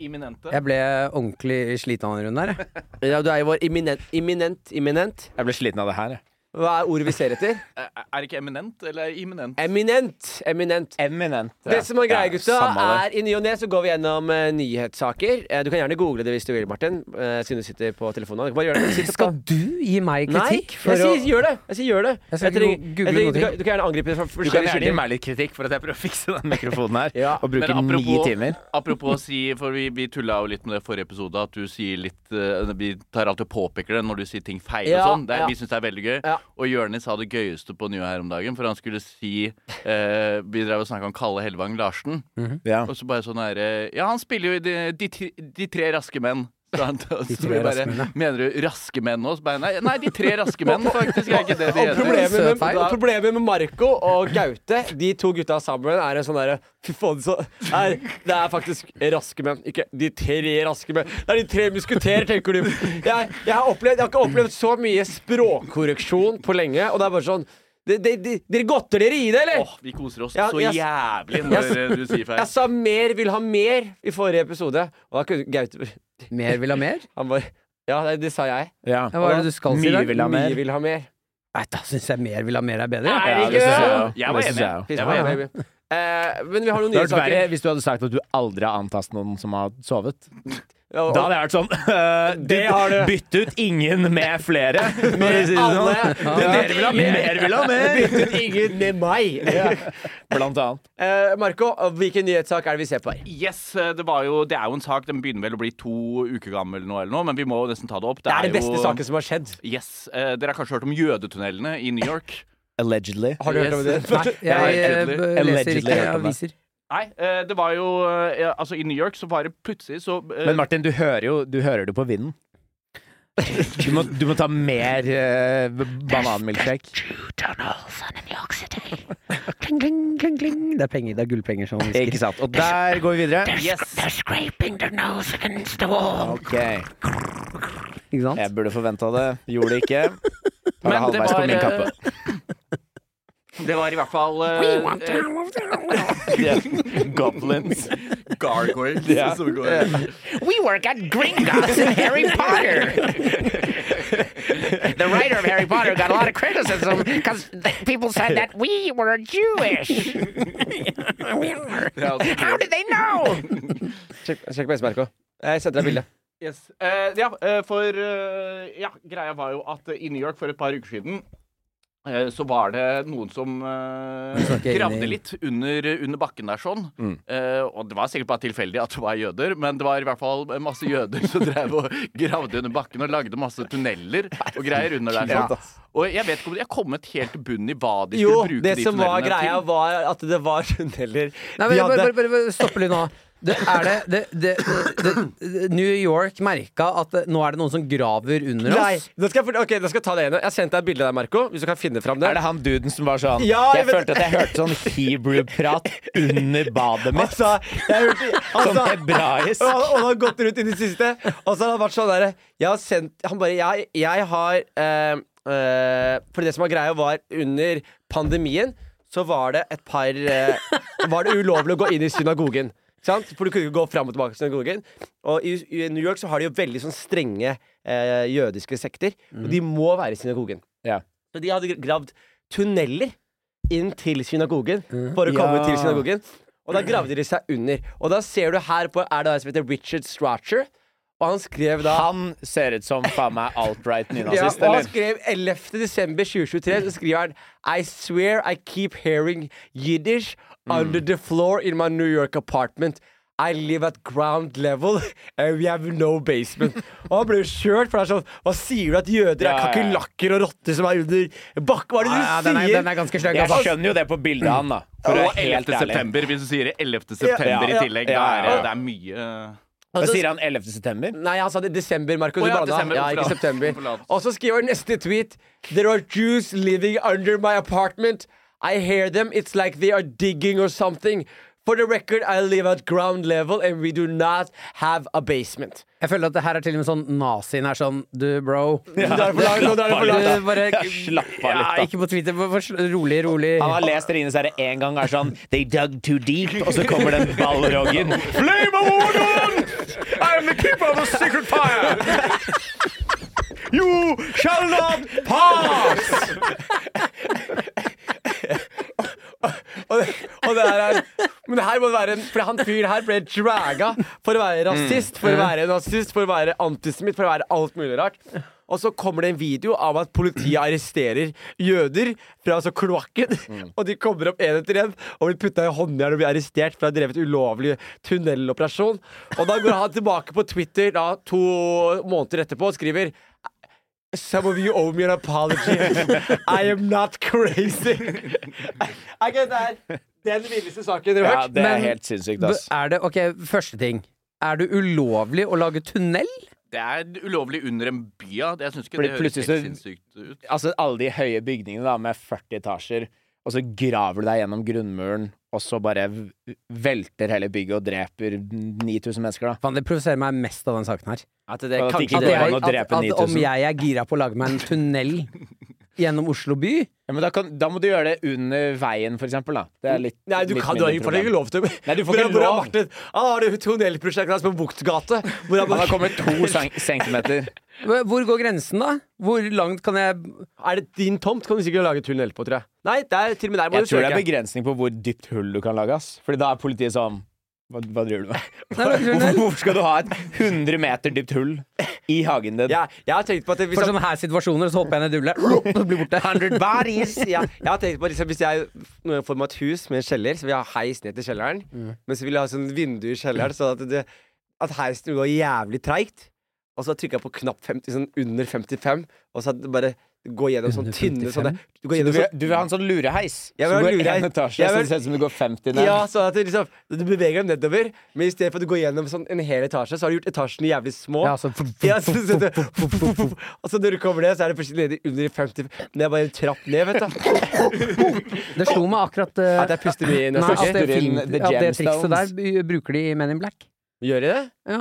S5: Imminente.
S2: Jeg ble ordentlig sliten av den runden her. jeg.
S3: Ja, du er jo vår eminent, eminent, eminent.
S4: Jeg ble sliten av det her, jeg.
S3: Hva er ordet vi ser etter?
S5: Er Eh, er det ikke eminent, eller imminent?
S3: Eminent. Eminent.
S4: Eminent.
S3: Det som er greia,
S4: Ja,
S3: gutta,
S4: samme det.
S3: er i ny og ne så går vi gjennom eh, nyhetssaker. Eh, du kan gjerne google det hvis du vil, Martin, eh, siden du sitter på telefonen. Du kan bare gjøre det. Sitt
S2: Skal
S3: på-
S2: du gi meg
S3: Nei,
S2: kritikk? for
S3: jeg
S2: å-
S3: sier gjør det! Jeg sier gjør det.
S2: Jeg skal
S3: Jeg trenger-
S2: ikke go- google
S3: jeg trenger-
S2: noe
S3: du, kan, du kan gjerne angripe det fra
S4: Du kan
S3: forskjellige
S4: gjerne gi
S3: kilder.
S4: meg litt kritikk for at jeg prøver å fikse den mikrofonen her.
S3: Ja.
S4: Og bruke
S5: Men
S4: ni
S5: apropos-
S4: timer.
S5: Apropos si, for vi, vi tulla jo litt med det i forrige episode, at du sier litt eh, Vi tar alltid og påpeker det når du sier ting feil
S3: Ja,
S5: og sånn. Det er-
S3: ja.
S5: Vi syns det er veldig gøy.
S3: Ja.
S5: Og Jørnis sa det gøyeste på Nyhet her om dagen, for han skulle si eh, Vi drev og snakka om Kalle Hellevang Larsen.
S3: Mhm.
S4: Ja.
S5: eh, Og så bare sånn herre Ja, han spiller jo i de, de, Tre- de tre raske menn. Så han- så
S2: tre
S5: blir det bare,
S2: raske mennene.
S5: Mener du raske menn nå? Så bare, Nei, nei, de tre raske menn, faktisk. Er ikke det de
S3: Og problemet, med,
S5: heter.
S2: Søt feil.
S3: og problemet med Marco og Gaute, de to gutta sammen, er en sånn derre Fy faen, så er, Det er faktisk raske menn. Ikke de tre raske menn. Det er de tre musketerer, tenker du. Jeg, jeg, har opplevd, jeg har ikke opplevd så mye språkkorreksjon på lenge, og det er bare sånn de, de, de, Dere godter dere i det, eller?
S5: Åh, vi koser oss
S3: Ja,
S5: så
S3: jeg-
S5: jævlig når eh, du sier feil.
S3: Jeg sa mer vil ha mer i forrige episode, og da kunne Gaute
S2: Mer vil ha mer?
S3: Han bare Ja, det, det sa jeg.
S4: Ja.
S2: Ja, Hva er det du skal si i
S4: Mye
S2: dag?
S4: vil ha mer.
S3: Mye vil ha mer.
S2: Nei, da syns jeg mer vil ha mer er bedre.
S3: Er det
S4: Ja,
S3: ikke
S4: det synes jeg
S3: det?
S4: også.
S5: Jeg var
S4: Det synes
S5: enig.
S4: jeg også.
S3: Piss meg, baby. Eh, men vi har noen
S4: Det
S3: nye
S4: hadde vært
S3: saker.
S4: verre hvis du hadde sagt at du aldri har antastet noen som har sovet.
S3: Ja, og-
S4: Da hadde jeg vært sånn øh, du,
S3: Det har du.
S4: Bytt ut ingen med flere. Når du sier
S3: Alle.
S4: sånn. Dere vil ha mer, vil ha mer!
S3: Byttet ingen med meg.
S4: Blant annet.
S3: Eh, Marco, hvilken nyhetssak er det vi ser på her?
S5: Yes, eh, det, var jo, det er jo en sak. Den begynner vel å bli to uker gammel nå, eller noe, men vi må jo nesten ta det opp.
S3: Det er den beste
S5: jo,
S3: saken som har skjedd.
S5: Yes, eh, Dere har kanskje hørt om jødetunnelene i New York?
S4: Allegedly.
S3: Har du hørt om det?
S2: Nei, jeg eh,
S5: Allegedly.
S2: b- leser
S4: Allegedly
S2: ikke
S4: hørt om det.
S2: aviser.
S5: Nei, eh, det var jo eh, ja, Altså, i New York så var det plutselig så eh,
S4: Men Martin, du hører jo du hører det på vinden. Du må, du må ta mer øh, bananmilkshake.
S2: Kling, kling, kling, kling. Det er penger, det er gullpenger som hvisker.
S4: Ikke sant. Og der går vi videre.
S5: Yes!
S4: Ok,
S2: Ikke
S4: Jeg
S2: sant?
S4: burde forventa det. Gjorde det ikke. Tar det
S5: Men det
S4: halvveis på
S5: var,
S4: min
S5: eh,
S4: kappe.
S5: Det var i hvert fall eh,
S4: Goblins.
S5: Gargoyles
S4: Ja.
S5: som går eh,
S6: We work at Gringotts and Harry Potter. the writer of Harry Potter got a lot of criticism because people said that we were Jewish. we were.
S5: det er altså-
S6: How did they know?
S3: Sjekk sjekk på S, Marco. Jeg sendte deg bilde.
S5: Yes. Eh, ja, eh, for eh, Ja, greia var jo at eh, i New York for et par uker siden eh, så var det noen som eh,
S2: snakker inn
S5: gravde
S2: i-
S5: litt under, under bakken der sånn.
S4: Mm.
S5: Eh, og det var sikkert bare tilfeldig at det var jøder, men det var i hvert fall masse jøder som drev og gravde under bakken og lagde masse tunneler og greier under der.
S4: Ja.
S5: Sånn. Og jeg vet ikke om de har kommet helt til bunnen i hva de skulle
S3: Jo,
S5: bruke
S3: det
S5: de
S3: som var
S5: tunnelene
S3: greia,
S5: til.
S3: var at det var
S2: Nei,
S3: tunneler. De
S2: men, bare,
S3: hadde
S2: bare, bare, bare stoppe litt nå. Det er det, det, det, det, det New York merka at eh, nå er det noen som graver under
S3: Nei,
S2: oss.
S3: da skal jeg, for- ok, da skal jeg ta det igjen. Jeg sendte deg et bilde der, Marco. Hvis du kan finne fram det.
S4: Er det han duden som var sånn
S3: Ja, jeg
S4: Jeg
S3: vet-
S4: følte at jeg hørte sånn hebrew-prat under badet mitt.
S3: Altså, jeg hørte
S4: Sånn
S3: altså,
S4: hebraisk.
S3: Og, og han har gått rundt i det siste. Og så har han vært sånn derre Jeg har sendt Han bare Jeg, jeg har eh, eh, For det som var greia, var under pandemien så var det et par eh, Var det ulovlig å gå inn i synagogen. Ikke sant? For du kunne ikke gå fram og tilbake i synagogen. Og i, i New York så har de jo veldig sånn strenge eh, jødiske sekter. Og de må være i synagogen.
S4: Mhm. Ja.
S3: Så de hadde gravd tunneler inn til synagogen for å komme
S4: Mhm. Ja.
S3: til synagogen. Og da gravde de seg under. Og da ser du her på Er det der som heter Richard Strotcher? Og han skrev da
S4: Han ser ut som faen meg alt-right
S3: ja,
S4: nynazist,
S3: og han
S4: eller?
S3: skrev 11. desember 2023 Så skriver han I swear I keep hearing Yiddish
S2: Mm.
S3: under the floor in my New York apartment I live at ground level And we have no basement Og han ble jo kjørt for det er sånn Hva sier du at jøder er
S4: Ja, ja, ja.
S3: kakelakker og rotter som er under bakken? Hva er det du
S2: Ja,
S3: sier?
S2: den, er, den er ganske sløg.
S4: Jeg
S2: Altså.
S4: skjønner jo det på bildet han, da. For å
S5: Og
S4: være helt
S5: 11.
S4: ærlig.
S5: september, hvis du sier det. 11. september
S4: Ja.
S5: i tillegg.
S4: Ja, ja, ja.
S5: Da er det- det er mye
S4: Hva sier han 11. september?
S3: Nei, han sa det i desember, Markus.
S5: Å
S3: Du
S5: ja,
S3: blanda.
S5: desember.
S3: ja, ikke
S5: Forlat.
S3: september.
S5: Forlat.
S3: Og så skriver han neste tweet There are Jews living under my apartment. I hear them. It's like they are digging or something. For the record, I live at ground level and we do not have a basement.
S2: Jeg føler at det her er til og med sånn nazien er sånn Du, bro.
S3: Nå er det for langt, nå er det for langt.
S2: Du, bare,
S4: Slapp av
S2: ja,
S4: litt, da.
S2: ikke på Twitter. Bare, bare, rolig, rolig.
S4: Han har lest Rines herre én gang og er sånn They dug too deep. Og så kommer den ballroggen. Flame of Ordon! I am the keeper of the secret fire! You shall not pass!
S3: Og det, og det her er, men det her må være en, For han fyren her ble draga for å være rasist, for å være nazist, for å være antisemitt, for å være alt mulig rart. Og så kommer det en video av at politiet arresterer jøder fra altså kloakken. Og de kommer opp én etter én og blir putta i håndjern og blir arrestert for å ha drevet ulovlig tunneloperasjon. Og da går han tilbake på Twitter da, to måneder etterpå og skriver Some of you owe me an apology. I am not crazy. Ok, det er den villeste saken dere har
S4: Ja,
S3: hørt.
S4: det er
S2: Men-
S4: helt sinnssykt,
S2: B-
S4: ass.
S2: Er det, ok, første ting Er det ulovlig å lage tunnel?
S5: Det er ulovlig under en by, ja. Det- Jeg syns ikke
S4: Fordi
S5: det
S4: plutselig
S5: høres
S4: så-
S5: helt sinnssykt ut.
S4: Altså alle de høye bygningene da med 40 etasjer, og så graver du deg gjennom grunnmuren, og så bare v- velter hele bygget og dreper 9000 mennesker, da.
S2: Faen, det provoserer meg mest av den saken her.
S3: At det
S4: At
S3: kanskje
S4: ikke
S2: At,
S4: det
S3: det
S2: jeg,
S4: går an å
S2: at,
S4: drepe
S2: at om
S4: 9000.
S2: jeg er gira på å lage meg en tunnel gjennom Oslo by
S4: Ja, men da, kan, da må du gjøre det under veien, for eksempel, da. Det er litt,
S3: Nei, du,
S4: litt
S3: kan, du har
S4: mindre
S3: ikke får ikke
S4: problem.
S3: lov til
S4: Nei, du får ikke
S3: Hvor har
S4: lov.
S3: Martin Han har det tunnelprosjektet hans på Buktgate. Hvor han
S4: Han
S3: bare,
S4: har kommet to cen- centimeter.
S2: Hvor går grensen, da? Hvor langt kan jeg
S3: er det din tomt? Kan du sikkert lage tunnel på, tror jeg. Nei, det er, til og med der må
S4: Jeg
S3: du
S4: tror det er
S3: søke.
S4: begrensning på hvor dypt hull du kan lage, ass. Fordi da er politiet sånn Hva, hva driver du med?
S2: Nei, det er
S4: Hvorfor,
S2: tunnel.
S4: hvorfor skal du ha et 100 meter dypt hull i hagen din?
S3: Jeg, jeg har tenkt på at det, hvis
S2: For
S3: jeg,
S2: sånne her situasjoner, så hopper jeg ned i hullet og blir borte.
S3: ja, jeg har tenkt på at liksom, Hvis jeg når jeg får meg et hus med en kjeller, så vil jeg ha heis ned til kjelleren. Men så vil jeg ha sånn vindu i kjelleren, sånn at, det- at heisen går jævlig treigt. Og så trykker jeg på knapp 50, sånn under 55, og så at det bare går gjennom sånn
S2: Under
S3: tynne
S2: 55?
S3: sånne Du går
S4: Du
S3: gjennom
S4: vil,
S3: sånn
S4: du vil ha en sånn lureheis
S3: Jeg vil
S4: som
S3: ha
S4: går
S3: lureheis.
S4: én etasje,
S3: Jeg
S4: så
S3: vil-
S4: det ser ut som du går 50 ned.
S3: Ja, sånn at det liksom, du beveger dem nedover, men i stedet for at du går gjennom sånn en hel etasje, så har du gjort etasjene jævlig små.
S2: Ja, så-
S3: Ja, så, så, det- og så når du kommer ned, så er det plutselig nede under 50 Men det er bare en trapp ned, vet du.
S2: Det slo meg akkurat eh,
S3: At jeg puster mye
S2: nei,
S3: neste
S2: at, det
S4: Puster inn
S2: film,
S4: The
S2: at det trikset der
S4: Gemstones.
S2: b- bruker de i Men in Black.
S3: Gjør de det?
S2: Ja.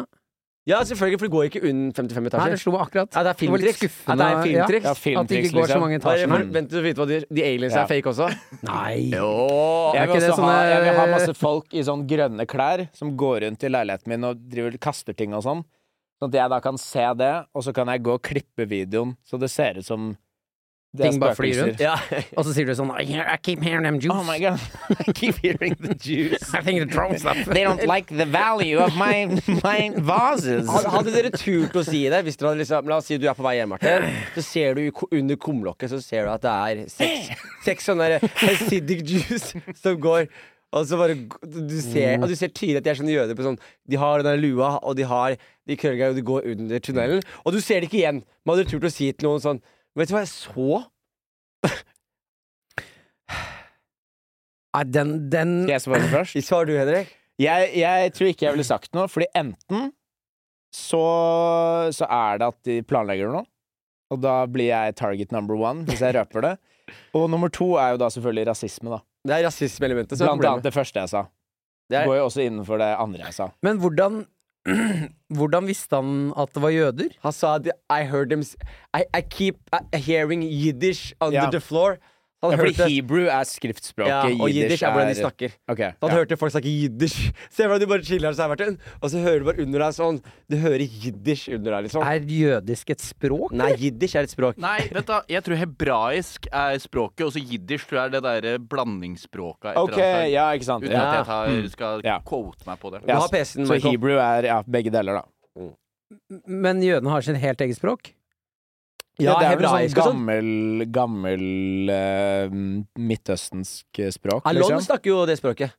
S3: Ja, selvfølgelig, for det går ikke under 55
S2: Nei, det
S3: etasjer.
S2: slo meg akkurat.
S3: Ja, det er
S2: Det var litt
S3: filmtriks. Ja,
S2: skuffende.
S3: det er filmtriks.
S4: Ja,
S2: Ja, at det
S4: filmtriks,
S2: ikke går så
S4: liksom.
S2: mange
S3: Bare
S2: etasjer.
S3: for- Vent til du får vite hva de, de aliens
S4: Ja.
S3: er fake også.
S2: Nei.
S4: Jeg
S2: Er
S4: vil,
S2: ikke det
S4: også ha,
S2: sånne-
S4: jeg vil ha masse folk i sånn grønne klær som går rundt i leiligheten min og driver kaster ting og sånn. Sånn at jeg da kan se det, og så kan jeg gå og klippe videoen så det ser ut som det er
S2: Ting bare flyr
S4: spøkelser.
S2: rundt? Og så sier du sånn I hear- I keep hearing them
S4: Oh my
S2: Jews.
S4: god, I keep hearing the Jews.
S2: I think the drones up.
S4: They don't like the value of my, my vases.
S3: Had- Hadde dere turt å si det? Hvis dere hadde liksom, la oss si du er på vei hjem, Martin. Så ser du i ko- under kumlokket Så ser du at det er seks, seks sånne der Hasidic Jews som går. Og så bare g- du
S2: Mm.
S3: ser, og du ser tydelig at de er sånne jøder. På sånn, de har den der lua, og de har de krøllgreiene, og de går under tunnelen. Og du ser det ikke igjen. Men hadde du turt å si til noen sånn Vet du hva jeg så?
S2: Nei, den, den
S4: Skal jeg svare først?
S3: Svarer du, Henrik?
S4: Jeg, jeg tror ikke jeg ville sagt noe, fordi enten så, så er det at de planlegger noe, og da blir jeg target number one hvis jeg røper det. Og nummer to er jo da selvfølgelig rasisme, da.
S3: Det er rasismeelementet som er
S4: Blant
S3: problemet.
S4: annet det første jeg sa.
S3: Det
S4: Det
S3: er-
S4: går jo også innenfor det andre jeg sa.
S2: Men hvordan Hvordan visste han at det var jøder?
S3: Han sa at I heard them s- I, I keep uh, hearing Yiddish under
S4: Ja.
S3: the floor. Han
S4: Ja,
S3: hørte-
S4: fordi hebrew er skriftspråket,
S3: Ja, og jiddish er hvordan de snakker.
S4: Ok,
S3: Så han
S4: ja.
S3: hørte folk snakke jiddish. Se hvordan du bare chiller her, Martin. Og så hører du bare under deg sånn Du hører jiddish under deg, liksom.
S2: Er jødisk et språk?
S3: Nei, jiddish er et språk.
S5: Nei, vent da. Jeg tror hebraisk er språket, og så jiddish tror jeg er det derre blandingsspråket. et eller
S4: Ok,
S5: annet der.
S4: ja, ikke sant.
S5: Uten
S4: Ja.
S5: at jeg tar, skal
S4: Ja.
S5: quote meg på det.
S3: Du
S4: Ja,
S3: har PC-en,
S4: Så
S3: Michael.
S4: hebrew er ja, begge deler, da.
S2: Men jødene har sitt helt eget språk?
S3: Ja,
S4: det er vel sånn
S3: hebraisk og sånn.
S4: gammel, gammel eh, midtøstensk språk,
S3: Alon
S4: liksom.
S3: snakker jo det språket.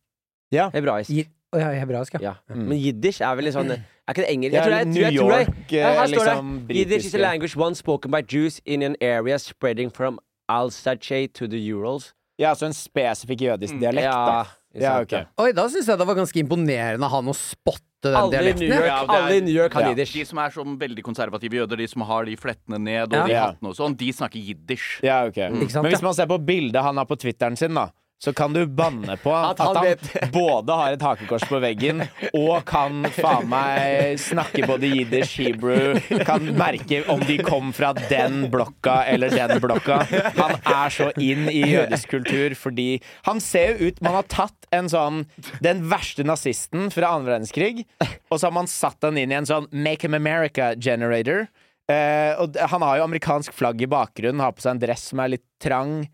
S4: Ja.
S3: Hebraisk.
S2: I- Å ja, hebraisk, ja.
S3: Ja. Men jiddish er vel litt sånn Er ikke det engelsk?
S4: Det er
S3: jeg tror det
S4: New
S3: jeg tror det-
S4: York,
S3: Ja, her
S4: eh,
S3: står det.
S4: liksom
S3: Yiddish is a
S4: britiske.
S3: language once spoken by Jews in an area spreading from Alsace to the Urals.
S4: Ja, altså en spesifikk jødisk dialekt,
S3: Mm, Ja,
S4: da.
S3: ikke
S4: Ja,
S3: sant,
S4: ok.
S3: ja.
S2: Oi, da syns jeg det var ganske imponerende av han å spotte den
S3: Alle i New
S2: dialekten.
S3: York,
S2: ja.
S5: Ja, det er-
S3: alle i New York har
S4: Ja.
S3: jiddish.
S5: De som er som veldig konservative jøder, de som har de flettene ned
S2: Ja.
S5: og de
S4: Ja.
S5: hattene og sånn, de snakker jiddish.
S4: Ja, ok.
S3: Mm.
S2: Ikke sant,
S4: Men hvis
S2: ja.
S4: man ser på bildet han har på Twitteren sin, da, så kan du banne på at
S3: han
S4: han,
S3: vet.
S4: både har et hakekors på veggen og kan faen meg snakke både jiddish, hebrew, kan merke om de kom fra den blokka eller den blokka. Han er så inn i jødisk kultur fordi Han ser jo ut Man har tatt en sånn Den verste nazisten fra annen verdenskrig, og så har man satt han inn i en sånn Make him America generator. Eh, og d- han har jo amerikansk flagg i bakgrunnen, har på seg en dress som er litt trang.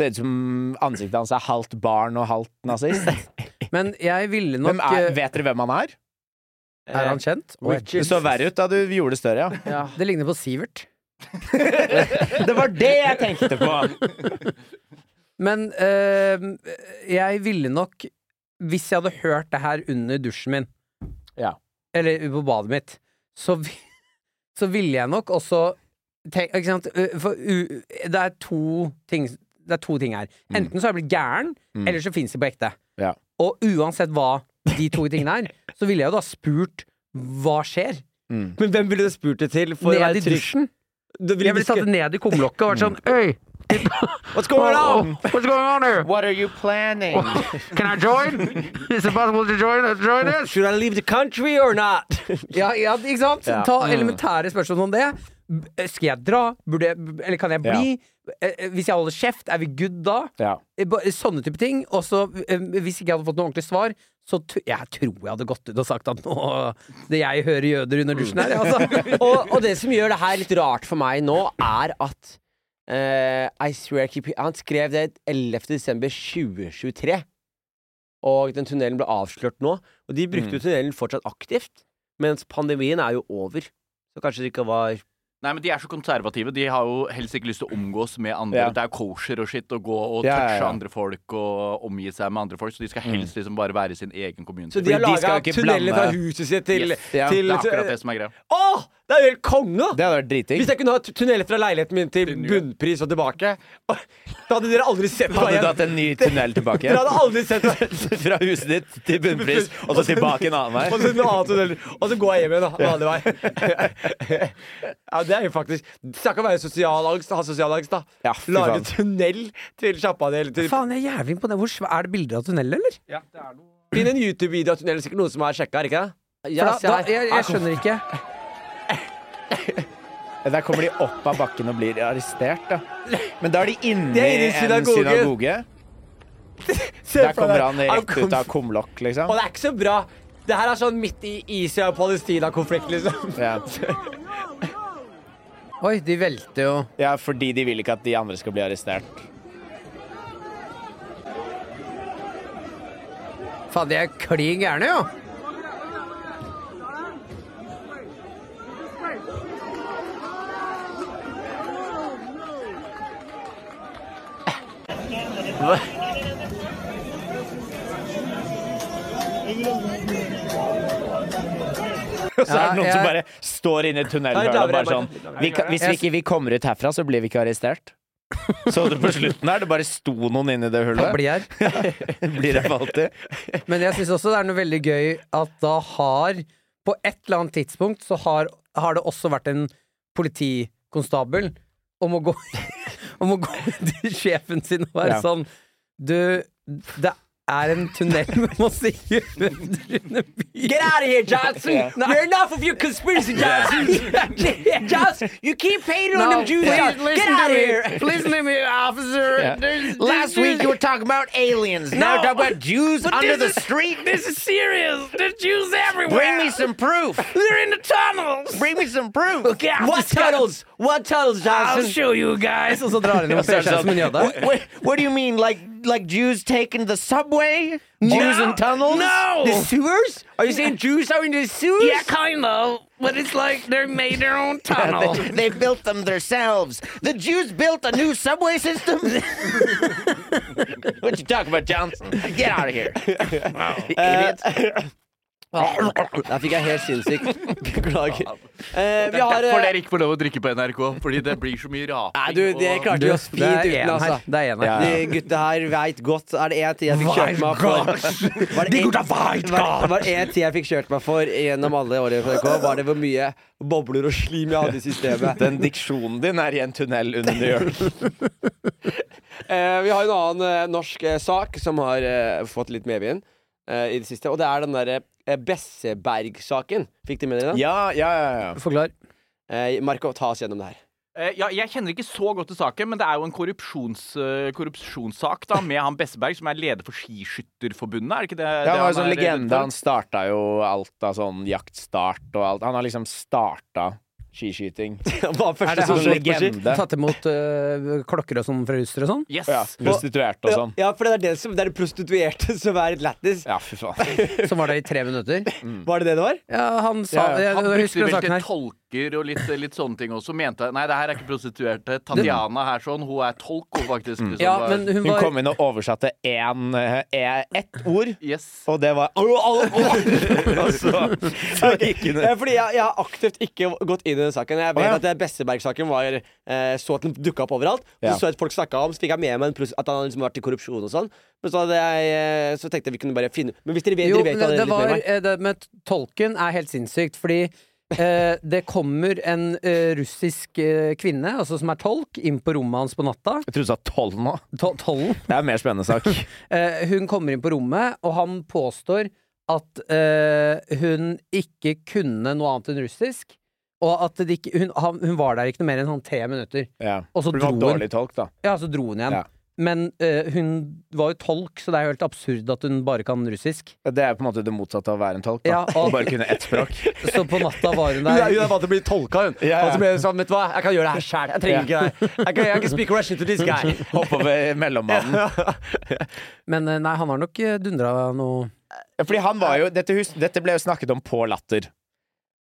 S4: Ser ut som ansiktet hans er halvt barn og halvt nazist.
S2: Men jeg ville nok
S4: Hvem er,
S2: eh,
S4: vet dere hvem han er?
S2: Er han kjent? Oi.
S4: Du så verre ut da du gjorde det større, ja.
S2: Det ligner på Sivert.
S4: Det var det jeg tenkte på!
S2: Men eh, jeg ville nok Hvis jeg hadde hørt det her under dusjen min,
S4: Ja.
S2: eller på badet mitt, så, vi- så ville jeg nok også tenk, ikke sant? eh, For, u, det, er to ting, det er to ting her. Enten så har jeg blitt gæren, eller så fins det på ekte.
S4: Ja.
S2: Og uansett hva de to tingene er, så ville jeg jo da spurt hva skjer?
S3: Men hvem ville du spurt det til? For å
S2: Ned
S3: være
S2: i
S3: trygg?
S2: dusjen.
S3: Du ville
S2: Jeg ville tatt det ned i kumlokket og vært sånn Øy!
S3: What's going on?
S2: What's going on here?
S4: What are you planning?
S2: Can I join? Is it possible to join, uh, join us?
S3: Should I leave the country or not?
S2: Ja, ja, ikke sant? Ta elementære spørsmål om det. B- Skal jeg dra? Burde jeg, eller kan jeg bli? Eh, Hvis jeg holder kjeft, er vi good da?
S4: Ja.
S2: Eh, ba- Sånne type ting. Og så, eh, hvis ikke jeg hadde fått noe ordentlig svar, så t jeg tror jeg hadde gått ut og sagt at nå Det jeg hører jøder under dusjen her, altså.
S3: og, og det som gjør det her litt rart for meg nå, er at eh, I swear I keep Han skrev det 11. desember 2023. Og den tunnelen ble avslørt nå. Og de brukte jo tunnelen fortsatt aktivt. Mens pandemien er jo over. Så kanskje det ikke var
S5: Nei, men De er så konservative. De har jo helst ikke lyst til å omgås med andre.
S4: Ja.
S5: Det er jo kosher og shit å gå og
S4: Ja, ja,
S5: touche
S4: ja.
S5: andre folk og omgi seg med andre folk. Så de skal helst liksom bare være i sin egen kommune.
S3: Så de har
S4: Fordi de skal
S3: laga
S4: jo ikke
S3: tunneler fra
S4: blande-
S3: huset sitt til,
S5: Yes.
S4: Ja,
S3: til
S5: det er akkurat det som er greia.
S3: Åh! Det er jo helt konge! da!
S4: Det hadde vært
S3: Hvis
S4: dritdigg.
S3: jeg kunne ha tu- tunneler fra leiligheten min til bunnpris og tilbake, da hadde dere aldri sett meg
S4: Hadde du
S3: igjen.
S4: hatt en ny tunnel tilbake
S3: Dere hadde
S4: igjen?
S3: aldri sett meg
S4: Fra huset ditt til bunnpris, og så tilbake en
S3: Og
S4: annen vei.
S3: så en annen tunnel. Og så går jeg hjem igjen, da. En annen vei. Ja, det er jo faktisk Snakk om å være sosial angst. Ha sosial angst, da.
S4: Ja, fy
S3: Lage
S4: faen.
S3: tunnel til sjappa di. eller til-
S2: Faen, jeg er jævlig imponert. Hvor svæ- Er det bilder av tunnel, eller?
S3: Finn en YouTube-video av tunnelen. Sikkert noen som har sjekka, er det ikke det?
S2: For
S3: Ja,
S2: da,
S3: se
S2: da,
S3: her.
S2: jeg, jeg skjønner ikke.
S4: Der kommer de opp av bakken og blir arrestert, da. Men da er de
S3: De
S4: inne
S3: er inne i
S4: i en
S3: synagoge.
S4: synagoge.
S3: Se
S4: Der
S3: for
S4: kommer
S3: deg.
S4: han rett
S3: kom-
S4: ut av kumlokk,
S3: Og
S4: liksom.
S3: det er ikke så bra. Det her er sånn midt i Israel-Palestina-konflikt, liksom.
S4: Ja.
S2: Oi, de velter jo.
S4: ja, fordi de vil ikke at de andre skal bli arrestert.
S2: Faen, de er klin gærne, jo.
S4: Og så er det
S2: Ja,
S4: noen
S2: jeg-
S4: som bare står inne i tunnelhullet
S3: Ja,
S4: og
S3: det er
S4: bare
S3: bare-
S4: sånn vi kan, Hvis vi ikke vi kommer ut herfra, så blir vi ikke arrestert. Så du på slutten her, det bare sto noen inni det
S2: Da
S4: hullet.
S2: blir jeg her.
S4: Blir det for alltid?
S2: Men jeg syns også det er noe veldig gøy at da har På et eller annet tidspunkt så har, har det også vært en politikonstabel om å gå Om å gå til sjefen sin og være
S4: Ja.
S2: sånn Du, det er en tunnel med masse jøder under byen.
S3: Get out of here, Johnson!
S4: Yeah.
S3: You're enough of your conspiracy, Johnson! Johnson, you keep hating
S2: No,
S3: on them Jews.
S2: please
S3: Johnson. Get
S2: listen to
S3: out of
S2: me.
S3: here!
S6: Listen to me, officer.
S4: Yeah.
S6: There's-
S4: Last
S6: there's-
S4: week you were talking about aliens. Now
S6: No.
S4: talk about Jews under the
S6: this is-
S4: street.
S6: This is serious. There's Jews everywhere.
S4: Bring me some proof.
S6: They're in the tunnels.
S4: Bring me some proof.
S6: Yeah,
S3: What tunnels? What tunnels,
S6: I'll
S3: Johnson?
S6: show you guys.
S2: Og så drar han inn og ser seg ut som en jøde.
S4: What, what, what do you mean? Like like Jews taking the subway? Jews in tunnels?
S6: No.
S3: The sewers? Are you saying Jews are in the sewers?
S6: yeah, kind of. But it's like they made their own tunnel.
S4: They, they built them themselves. The Jews built a new subway system.
S3: Eh,
S4: what you talking about, Johnson? Get out of here. Idiot.
S3: Der fikk jeg helt sinnssykt. Beklager. Eh, vi
S5: Det
S3: har
S5: er derfor
S3: eh,
S5: dere ikke får lov å drikke på NRK. Fordi det blir så mye raping.
S3: Nei, du, det
S5: og-
S3: klarte vi oss
S2: Det
S3: fint
S2: er
S3: uten,
S2: en
S3: altså.
S2: her. Det er en her.
S3: De gutta her veit godt Er det én ting jeg fikk kjørt meg for var det en- var- Var det én ting jeg fikk kjørt meg for gjennom alle årene i NRK, var det hvor mye bobler og slim jeg hadde i systemet.
S4: Den diksjonen din er i en tunnel under New York.
S3: Eh, vi har en annen eh, norsk eh, sak som har eh, fått litt medvind eh, i det siste. Og det er den derre eh, Besseberg-saken. Fikk de med dere den?
S4: Ja, ja, ja. ja.
S2: Forklar.
S3: Eh, Marco, ta oss gjennom det her.
S5: Eh, ja, jeg kjenner ikke så godt til saken, men det er jo en korrupsjons, eh, korrupsjonssak da, med han Besseberg, som er leder for Skiskytterforbundet. Er det ikke det?
S4: Ja,
S5: det
S4: han var jo sånn
S5: er leder
S4: legende.
S5: for?
S4: Han starta jo alt av sånn jaktstart og alt. Han har liksom starta skiskyting. sånn
S3: Han var
S2: Er det
S3: første
S4: som
S2: han
S4: slår
S2: som
S4: på ski?
S2: har tatt imot øh, klokker og sånn fra russere og sånn?
S5: Yes.
S4: Ja, prostituerte og
S3: ja,
S4: sånn.
S3: ja, for det er det som Det er de prostituerte som er litt lættis.
S4: Ja, fy faen.
S2: Som var der i tre minutter?
S3: Var det det det var?
S2: Ja, han sa
S4: Ja, ja.
S2: jeg,
S5: Han
S2: jeg
S5: brukte
S2: husker den
S5: vel
S2: saken
S5: til
S2: her.
S5: tolker og litt, litt sånne ting også. Mente Nei, det her er ikke prostituerte. Tatjana her sånn, hun er tolk, hun faktisk. Liksom,
S2: Ja,
S5: bare-
S2: men hun
S4: Hun
S2: var
S4: kom inn og oversatte én eh, eh, ett ord,
S5: Yes.
S4: og det var Og så, Altså, så gikk hun
S3: Eh, Fordi jeg, jeg har aktivt ikke gått inn i den saken. Jeg vet
S4: Å, ja.
S3: at det Besseberg-saken var eh, så at den dukka opp overalt.
S4: Ja.
S3: Så så jeg at folk snakka om Så fikk jeg med meg en pros- at han hadde liksom vært i korrupsjon og sånn. Men så, hadde jeg, eh, så tenkte jeg vi kunne bare finne Men hvis dere vet,
S2: Jo,
S3: dere vet
S2: det, eh, det
S3: allerede litt mer
S2: var
S3: om meg.
S2: eh, det med t- tolken er helt sinnssykt, fordi Eh, det kommer en eh, russisk eh, kvinne, altså som er tolk, inn på rommet hans på natta.
S4: Jeg trodde du sa tolv nå.
S2: To tollen.
S4: Det er en mer spennende sak.
S2: Eh, hun kommer inn på rommet, og han påstår at eh, hun ikke kunne noe annet enn russisk. Og at det ikke, hun, han, hun var der ikke noe mer enn sånn tre minutter.
S4: Ja.
S2: Og så
S4: For du var
S2: dro hun.
S4: dårlig tolk, da.
S2: Ja, så dro hun igjen.
S4: Ja.
S2: Men eh, hun var jo tolk, så det er jo helt absurd at hun bare kan russisk.
S4: Det er på en måte det motsatte av å være en tolk. Da.
S2: Ja, og-
S4: Å bare kunne ett språk.
S2: Så på natta var hun
S3: Hun er,
S2: der.
S3: hun er vant til å bli tolka, hun.
S4: Ja, ja.
S3: Og så ble hun sånn, vet du hva, jeg kan gjøre det her sjæl. Jeg trenger ikke deg. Jeg kan, jeg kan speak Russian to this guy.
S4: Hoppe over mellommannen.
S2: Men eh, nei, han har nok dundra noe
S4: Ja, Fordi han var jo dette, hus, dette ble jo snakket om på Latter.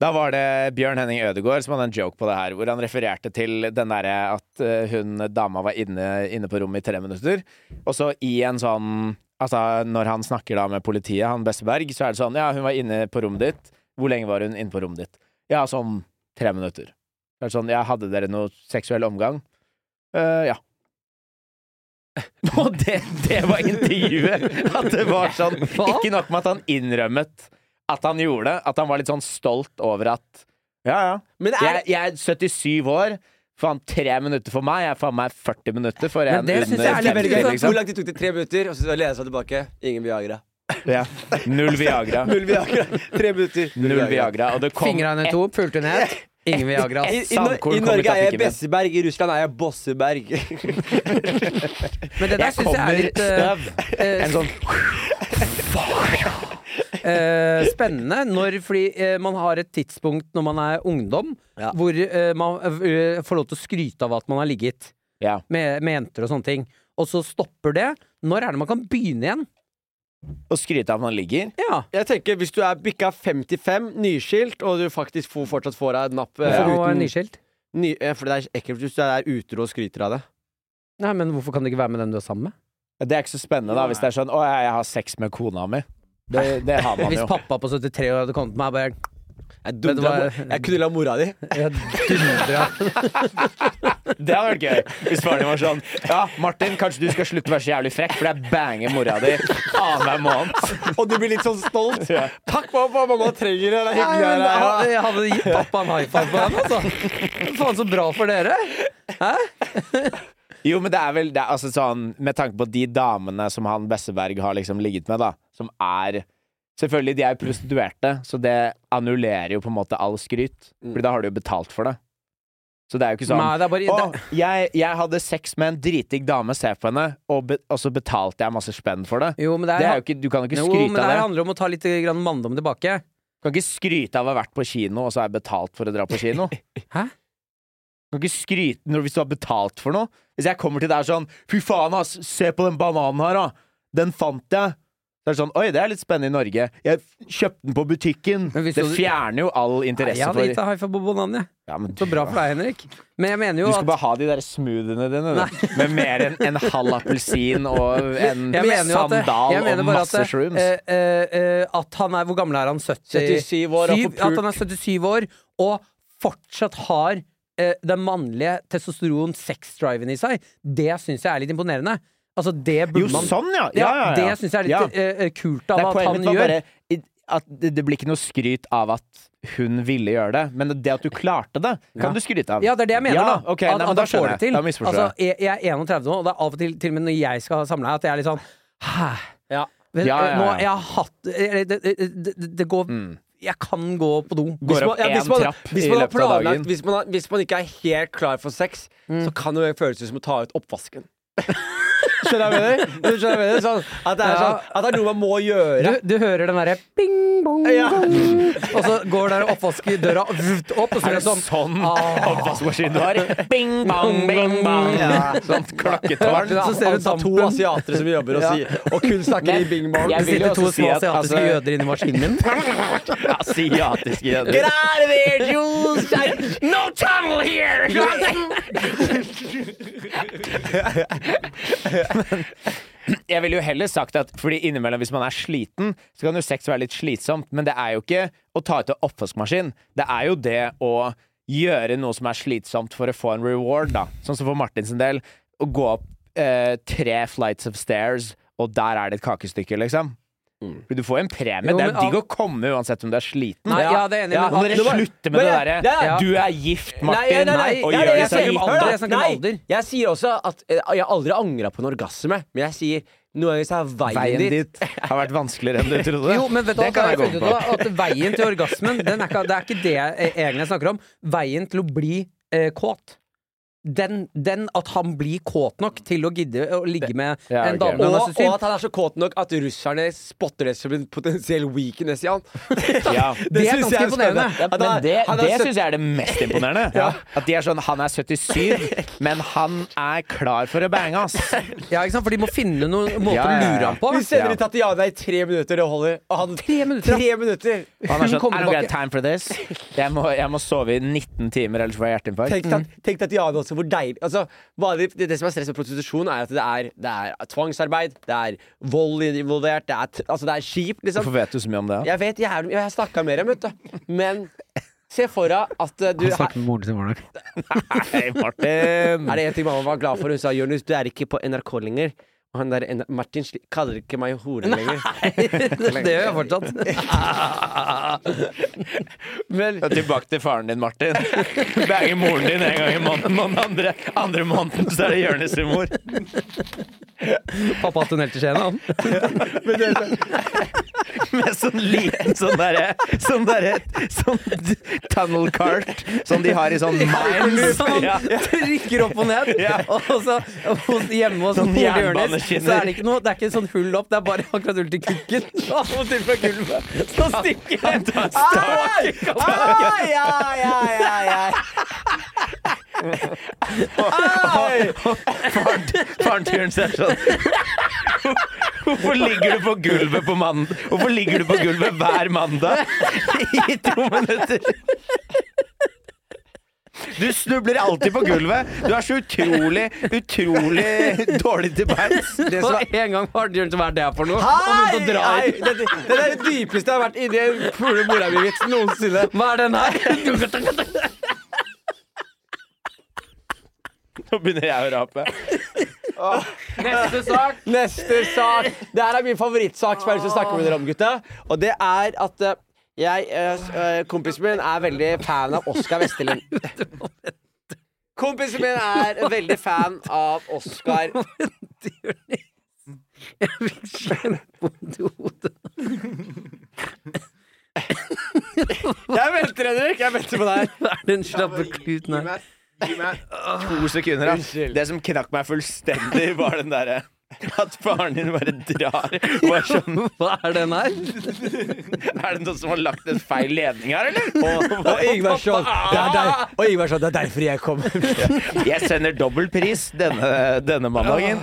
S4: Da var det Bjørn Henning Ødegaard som hadde en joke på det her, hvor han refererte til den derre at eh, hun dama var inne, inne på rommet i tre minutter, og så i en sånn Altså, når han snakker da med politiet, han Besseberg, så er det sånn Ja, hun var inne på rommet ditt. Hvor lenge var hun inne på rommet ditt? Ja, sånn tre minutter. Så er det sånn Ja, hadde dere noe seksuell omgang? «Eh, ja. Og det, det var intervjuet! At det var sånn Ikke nok med at han innrømmet at han gjorde det, at han var litt sånn stolt over at Ja, ja.
S3: Men det er,
S4: Jeg, jeg er 77 år. Faen, tre minutter for meg. Jeg er faen meg 40 minutter for en
S2: Men det synes
S4: under
S2: jeg er litt
S3: veldig gøy.
S4: 50,
S3: Hvor
S4: liksom.
S3: lang tid tok det? Tre minutter? Og så lener jeg seg tilbake. Ingen Viagra.
S4: Ja. Null Viagra.
S3: Null Viagra. Tre minutter.
S4: Null Viagra. Og det kom
S2: Fingra henne to, pulte hun ned. Ingen Viagra.
S3: I, i,
S4: Sandkorn
S3: Nor- I
S4: kommer
S3: Norge er jeg
S4: trafikken min.
S3: Besseberg, i Russland er jeg Bosseberg.
S2: Men det der
S4: Jeg
S2: syns jeg er
S4: kommer
S2: litt eh,
S4: støv.
S2: eh,
S4: En sånn
S2: eh, spennende. Når, fordi eh, man har et tidspunkt når man er ungdom,
S3: Ja.
S2: hvor eh, man eh, får lov til å skryte av at man har ligget
S4: Ja.
S2: med, med jenter og sånne ting. Og så stopper det. Når er det man kan begynne igjen?
S4: Å skryte av at man ligger.
S2: Ja.
S3: Jeg tenker Hvis du er bikka 55, nyskilt, og du faktisk får, fortsatt får deg et napp eh,
S2: Hvorfor
S3: uten-
S2: uten... nyskilt?
S3: ny, eh, For det er ekkelt hvis du er utro og skryter av det.
S2: Nei, men hvorfor kan det ikke være med den du er sammen med?
S4: Det er ikke så spennende da hvis det er sånn 'Å, jeg jeg har sex med kona mi'. Det, det har man
S2: Hvis
S4: jo.
S2: pappa på 73 år hadde kommet til meg og bare
S3: Jeg,
S2: Vet du
S3: dundra
S2: hva?
S3: mo- jeg knulla mora di.
S2: Jeg dundra
S4: Det hadde vært gøy hvis faren din var sånn Ja, Martin, kanskje du skal slutte å være så jævlig frekk, for jeg banger mora di annenhver måned.
S3: Og du blir litt sånn stolt. Takk, mamma. Mamma trenger det. Det er
S2: Nei,
S3: hyggelig.
S2: men
S3: her, ja.
S2: hadde- Jeg hadde gitt pappa en high five på den, altså. Faen, så bra for dere.
S4: Jo, men det er vel det er, altså sånn Med tanke på de damene som han Besseberg har liksom ligget med, da, som er Selvfølgelig, de er jo prostituerte, så det annullerer jo på en måte all skryt.
S3: Mm.
S4: Fordi da har du jo betalt for det. Så det er jo ikke sånn
S2: Nei, det er bare
S4: Å, jeg, jeg hadde sex med en dritdigg dame, se på henne, og, be, og så betalte jeg masse spenn for det.
S2: det- Jo, men det, er,
S4: Det er jo ikke, du kan jo ikke
S2: jo, men
S4: skryte
S2: det her
S4: av det.
S2: handler om å ta litt grann manndom tilbake.
S4: Du kan ikke skryte av å ha vært på kino, og så er jeg betalt for å dra på kino.
S2: Hæ?
S4: Du kan ikke skryte når, hvis du har betalt for noe. Hvis jeg kommer til deg og er sånn Fy faen, ass! Se på den bananen her, da! Den fant jeg! Så er det sånn Oi, det er litt spennende i Norge. Jeg f- kjøpte den på butikken.
S2: Men hvis
S4: Det
S2: du-
S4: fjerner jo all
S2: Nei, jeg
S4: interesse
S2: hadde
S4: for
S2: gitt deg high five på bananen, jeg.
S4: ja, men
S2: Så bra for deg, Henrik. Men jeg mener jo
S4: Du
S2: at
S4: skal bare ha de der smoothiene dine, du. Med mer enn en halv appelsin og en
S2: jeg mener jo at det-
S4: sandal
S2: jeg mener
S4: og
S2: bare at
S4: masse
S2: det-
S4: shrooms.
S2: eh, eh, eh, at han er Hvor gammel er han? 70,
S3: 77 år, og
S2: Syv-
S3: på pult.
S2: At han er 77 år og fortsatt har eh, den mannlige testosteron-sex-driven i seg, det syns jeg er litt imponerende. Altså, det burde
S4: jo,
S2: man
S4: sånn, ja!
S2: Ja,
S4: ja, ja, ja.
S2: Det syns jeg er litt
S4: Ja.
S2: eh, eh, kult
S4: Nei,
S2: av at
S4: poenget
S2: han
S4: mitt var
S2: gjør.
S4: bare i- at det, det blir ikke noe skryt av at hun ville gjøre det, men det at du klarte det, kan du skryte av.
S2: Ja, det er det jeg mener,
S4: Ja,
S2: da.
S4: ok, nei,
S2: at,
S4: men
S2: at
S4: da
S2: han får
S4: skjønner
S2: det
S4: jeg.
S2: til.
S4: Da misforstår
S2: altså, jeg, jeg er 31 nå, og det er av og til, til og med når jeg skal samle her, at jeg er litt sånn Hæ?
S3: Ja.
S2: Vet-
S4: Ja, ja, ja. Mm.
S2: Nå har jeg hatt eller, det, det, det, det går Jeg kan gå på do.
S4: Går opp
S3: ja,
S4: én
S3: hvis man-
S4: trapp
S3: hvis
S4: i
S3: man har
S4: løpet av
S3: planlagt-
S4: dagen. Mm.
S3: Hvis man, har- hvis man ikke er helt klar for sex, så kan det jo føles som å ta ut oppvasken. Skjønner jeg hva jeg mener? Du skjønner hva jeg mener? Sånn, at, det er
S2: Ja.
S3: sånn, at det er noe man må gjøre.
S2: Du, du hører den derre bing, bong,
S3: Ja.
S2: bong, og så går der oppvaskedøra vvt opp, og så
S4: Er
S2: blir
S4: det
S2: det sånn
S4: sånn
S2: ah.
S4: oppvaskmaskin du har? Bing, bang, bing, bang. Sånt klokketårn.
S2: Så ser du
S3: Altså, to
S2: dampen.
S3: asiater som jobber og, sier, og kun snakker i bing bong.
S2: Det
S4: Jeg vil jo
S2: sitter to
S4: også si
S2: små
S4: at,
S2: asiatiske
S4: altså-
S2: jøder inni maskinen min.
S4: Asiatiske
S6: Get
S4: jøder.
S6: out of there, Jules! I- no tunnel here!
S4: Jeg ville jo heller sagt at Fordi innimellom hvis man er sliten, så kan jo sex være litt slitsomt, men det er jo ikke å ta ut en oppvaskmaskin. Det er jo det å gjøre noe som er slitsomt for å få en reward, da. Sånn som for Martin sin del. Å gå opp eh, tre flights of stairs, og der er det et kakestykke, liksom. For du får jo en premie.
S2: Jo,
S4: det er
S2: men
S4: jo digg
S2: al-
S4: å komme uslutt uansett om du er sliten.
S2: Nei, ja, det er enig,
S4: Ja,
S2: men
S4: Nå må dere
S2: det var-
S4: slutte med
S3: Men
S4: det
S3: jeg-
S4: derre
S3: ja, ja.
S4: Du er gift, Martin.
S3: Nei, nei, nei,
S4: og
S3: nei,
S4: gjør
S3: nei,
S4: det
S3: jeg
S4: selv.
S3: snakker om alder.
S2: Nei, jeg snakker om
S3: Nei,
S2: alder.
S3: Jeg sier også at eh, jeg har aldri angra på en orgasme, men jeg sier noen ganger så er veien,
S4: Veien
S3: dit
S4: dit har vært vanskeligere enn du trodde.
S2: Jo, men vet du
S4: det
S2: hva,
S4: kan
S2: da
S4: jeg
S2: følte
S4: gå
S2: du
S4: på.
S2: at veien til orgasmen den er ikke, Det er ikke det jeg eh, egentlig snakker om. Veien til å bli eh, kåt. Den, den at han blir kåt nok til å gidde å ligge med
S4: Ja,
S2: en
S4: ok.
S2: dame
S3: Og,
S2: han er
S3: og
S2: så syk.
S3: at han er så kåt nok at russerne spotter det som en potensiell weekend neste gang.
S4: Ja.
S2: Det er ganske
S3: synes jeg er spennende.
S2: imponerende.
S3: At han-
S4: Men det,
S3: han er
S4: det
S3: søt-
S4: syns jeg er det mest imponerende. At de er sånn Han er 77, men han er klar for å bange, ass.
S2: Ja, ikke sant? For de må finne noen måter
S4: Ja,
S2: å
S4: ja, ja.
S2: lure ham på.
S3: Vi sender
S4: Ja.
S3: ut Tatiana i tre minutter, det holder. Og han,
S2: Tre minutter, ja.
S3: tre minutter.
S4: Han er
S2: Hun
S4: sånn
S2: kommer
S4: I don't
S2: tilbake.
S4: get time for this. Jeg må, jeg må sove i 19 timer, ellers får jeg
S3: Tenk,
S4: hjerteinfarkt.
S3: tat, tenk Tatiana også, hvor deilig altså, bare, det, det som er stress med prostitusjon, er at det er, det er tvangsarbeid, det er vold involvert, det er, t- altså, det er kjipt, liksom.
S4: Hvorfor vet du så mye om det?
S3: Jeg vet, jeg, er- jeg har snakka med dem, vet du. Men se for deg at eh, du er,
S2: med moren sin i morgen.
S4: Hei, Martin!
S3: er det en ting mamma var glad for? Hun sa 'Jonis, du er ikke på NRK lenger'. Og han der N- Martin sli- kaller ikke meg hore lenger.
S2: det gjør jeg fortsatt.
S4: Ja, Tilbake til faren din, Martin. Bange moren din en gang i måneden, og den andre, andre måneden så er det Jonis sin mor.
S2: Pappa har tunnel til Skien, han.
S4: Med sånn liten sånn derre Sånn derre Sånn d- tunnel cart som de har i sånn mines.
S2: Som
S4: Ja.
S2: liksom han trykker opp og ned.
S4: Ja.
S2: Og så hos- hjemme hos
S4: Sånn
S2: moren til Jonis,
S4: jernbaneskinner.
S2: så er det ikke noe Det er ikke sånn hull opp, det er bare akkurat hull til kukken. Og han må til fra gulvet. Så stikker han.
S4: Faren, faren til Jonis er sånn Hvorfor ligger du på gulvet på mann... Hvorfor ligger du på gulvet hver mandag i to minutter? Du snubler alltid på gulvet. Du er så utrolig, utrolig dårlig til beins. Det som er
S2: Og en gang var det Jonis hva er det her for noe? Og begynte å dra
S3: Nei,
S2: i.
S3: det, det, det er det dypeste jeg har vært inni en pule mora mi-vits noensinne.
S2: Hva er den her?
S4: Nå begynner jeg å rape.
S5: Neste sak.
S3: Neste sak. Det her er min favorittsak som jeg har lyst til å snakke med dere om, gutta. Og det er at eh, jeg, eh, s- eh, kompisen min er veldig fan av Oskar Vesterlund. Kompisen min er veldig fan av Oskar
S2: Jeg fikk kjempevondt i hodet.
S3: Jeg venter, Henrik. Jeg venter på deg.
S2: Hva er den slappe kluten her?
S4: to sekunder. da. Det som knakk meg fullstendig, var den derre at faren din bare drar og er sånn
S2: Hva er den her?
S4: Er det noen som har lagt en feil ledning her, eller?
S3: Og Ingvarsson. Det er, der, og Ingvarsson, det er derfor jeg kom.
S4: Jeg sender dobbel pris denne, denne mandagen.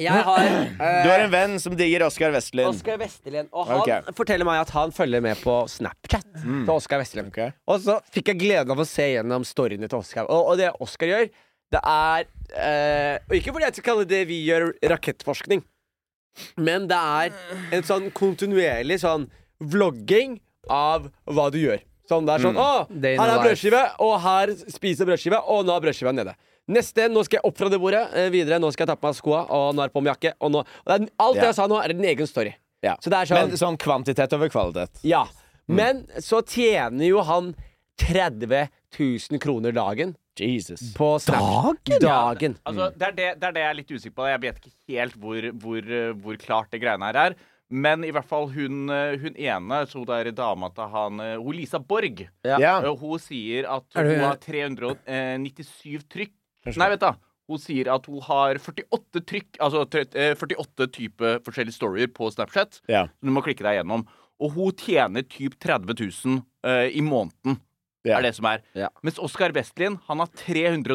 S3: Jeg har
S4: Du har en venn som digger Oskar Vestlund.
S3: Oskar Vesterlen. Og han
S4: Ok. Mm.
S3: forteller meg at han følger med på Snapchat til Oskar Vesterlen.
S4: Ok.
S3: Og så fikk jeg gleden av å se gjennom storyene til Oskar. Og, og det Oskar gjør, det er eh, Og ikke fordi jeg skal kalle det vi gjør rakettforskning, men det er en sånn kontinuerlig sånn vlogging av hva du gjør. Sånn det er
S4: Mm.
S3: sånn Å,
S2: Day in
S3: her
S2: the
S3: er
S2: life.
S3: brødskive, og her spiser jeg brødskive, og nå er brødskiva nede. Neste, nå skal jeg opp fra det bordet, eh, videre, nå skal jeg ta på meg skoa, og nå er det på med jakke, og nå og det er, Alt
S4: Ja.
S3: det jeg sa nå, er en egen story.
S4: Ja.
S3: Så det er sånn-
S4: Men sånn kvantitet over kvalitet.
S3: Ja. Men så tjener jo han 30 000 kroner dagen
S4: Jesus.
S3: på Snap. Dagen? Dagen.
S5: Altså, det, er det, det er det jeg er litt usikker på. Jeg vet ikke helt hvor, hvor, eh, hvor klart det greiene her er. Men i hvert fall hun, eh, hun ene, så hun der dama til han eh, Hun Lisa Borg.
S4: Ja.
S5: eh, Hun sier at
S2: Er det-
S5: hun har 397 eh, trykk Nei, vet da. Hun sier at hun har 48 trykk, altså tre- eh, 48 type forskjellige storyer på Snapchat.
S4: Ja.
S5: som Du må klikke deg gjennom. Og hun tjener typ 30 000 eh, i måneden.
S4: Ja.
S5: Er det som er.
S3: Ja.
S5: Mens Oskar Westlin, han har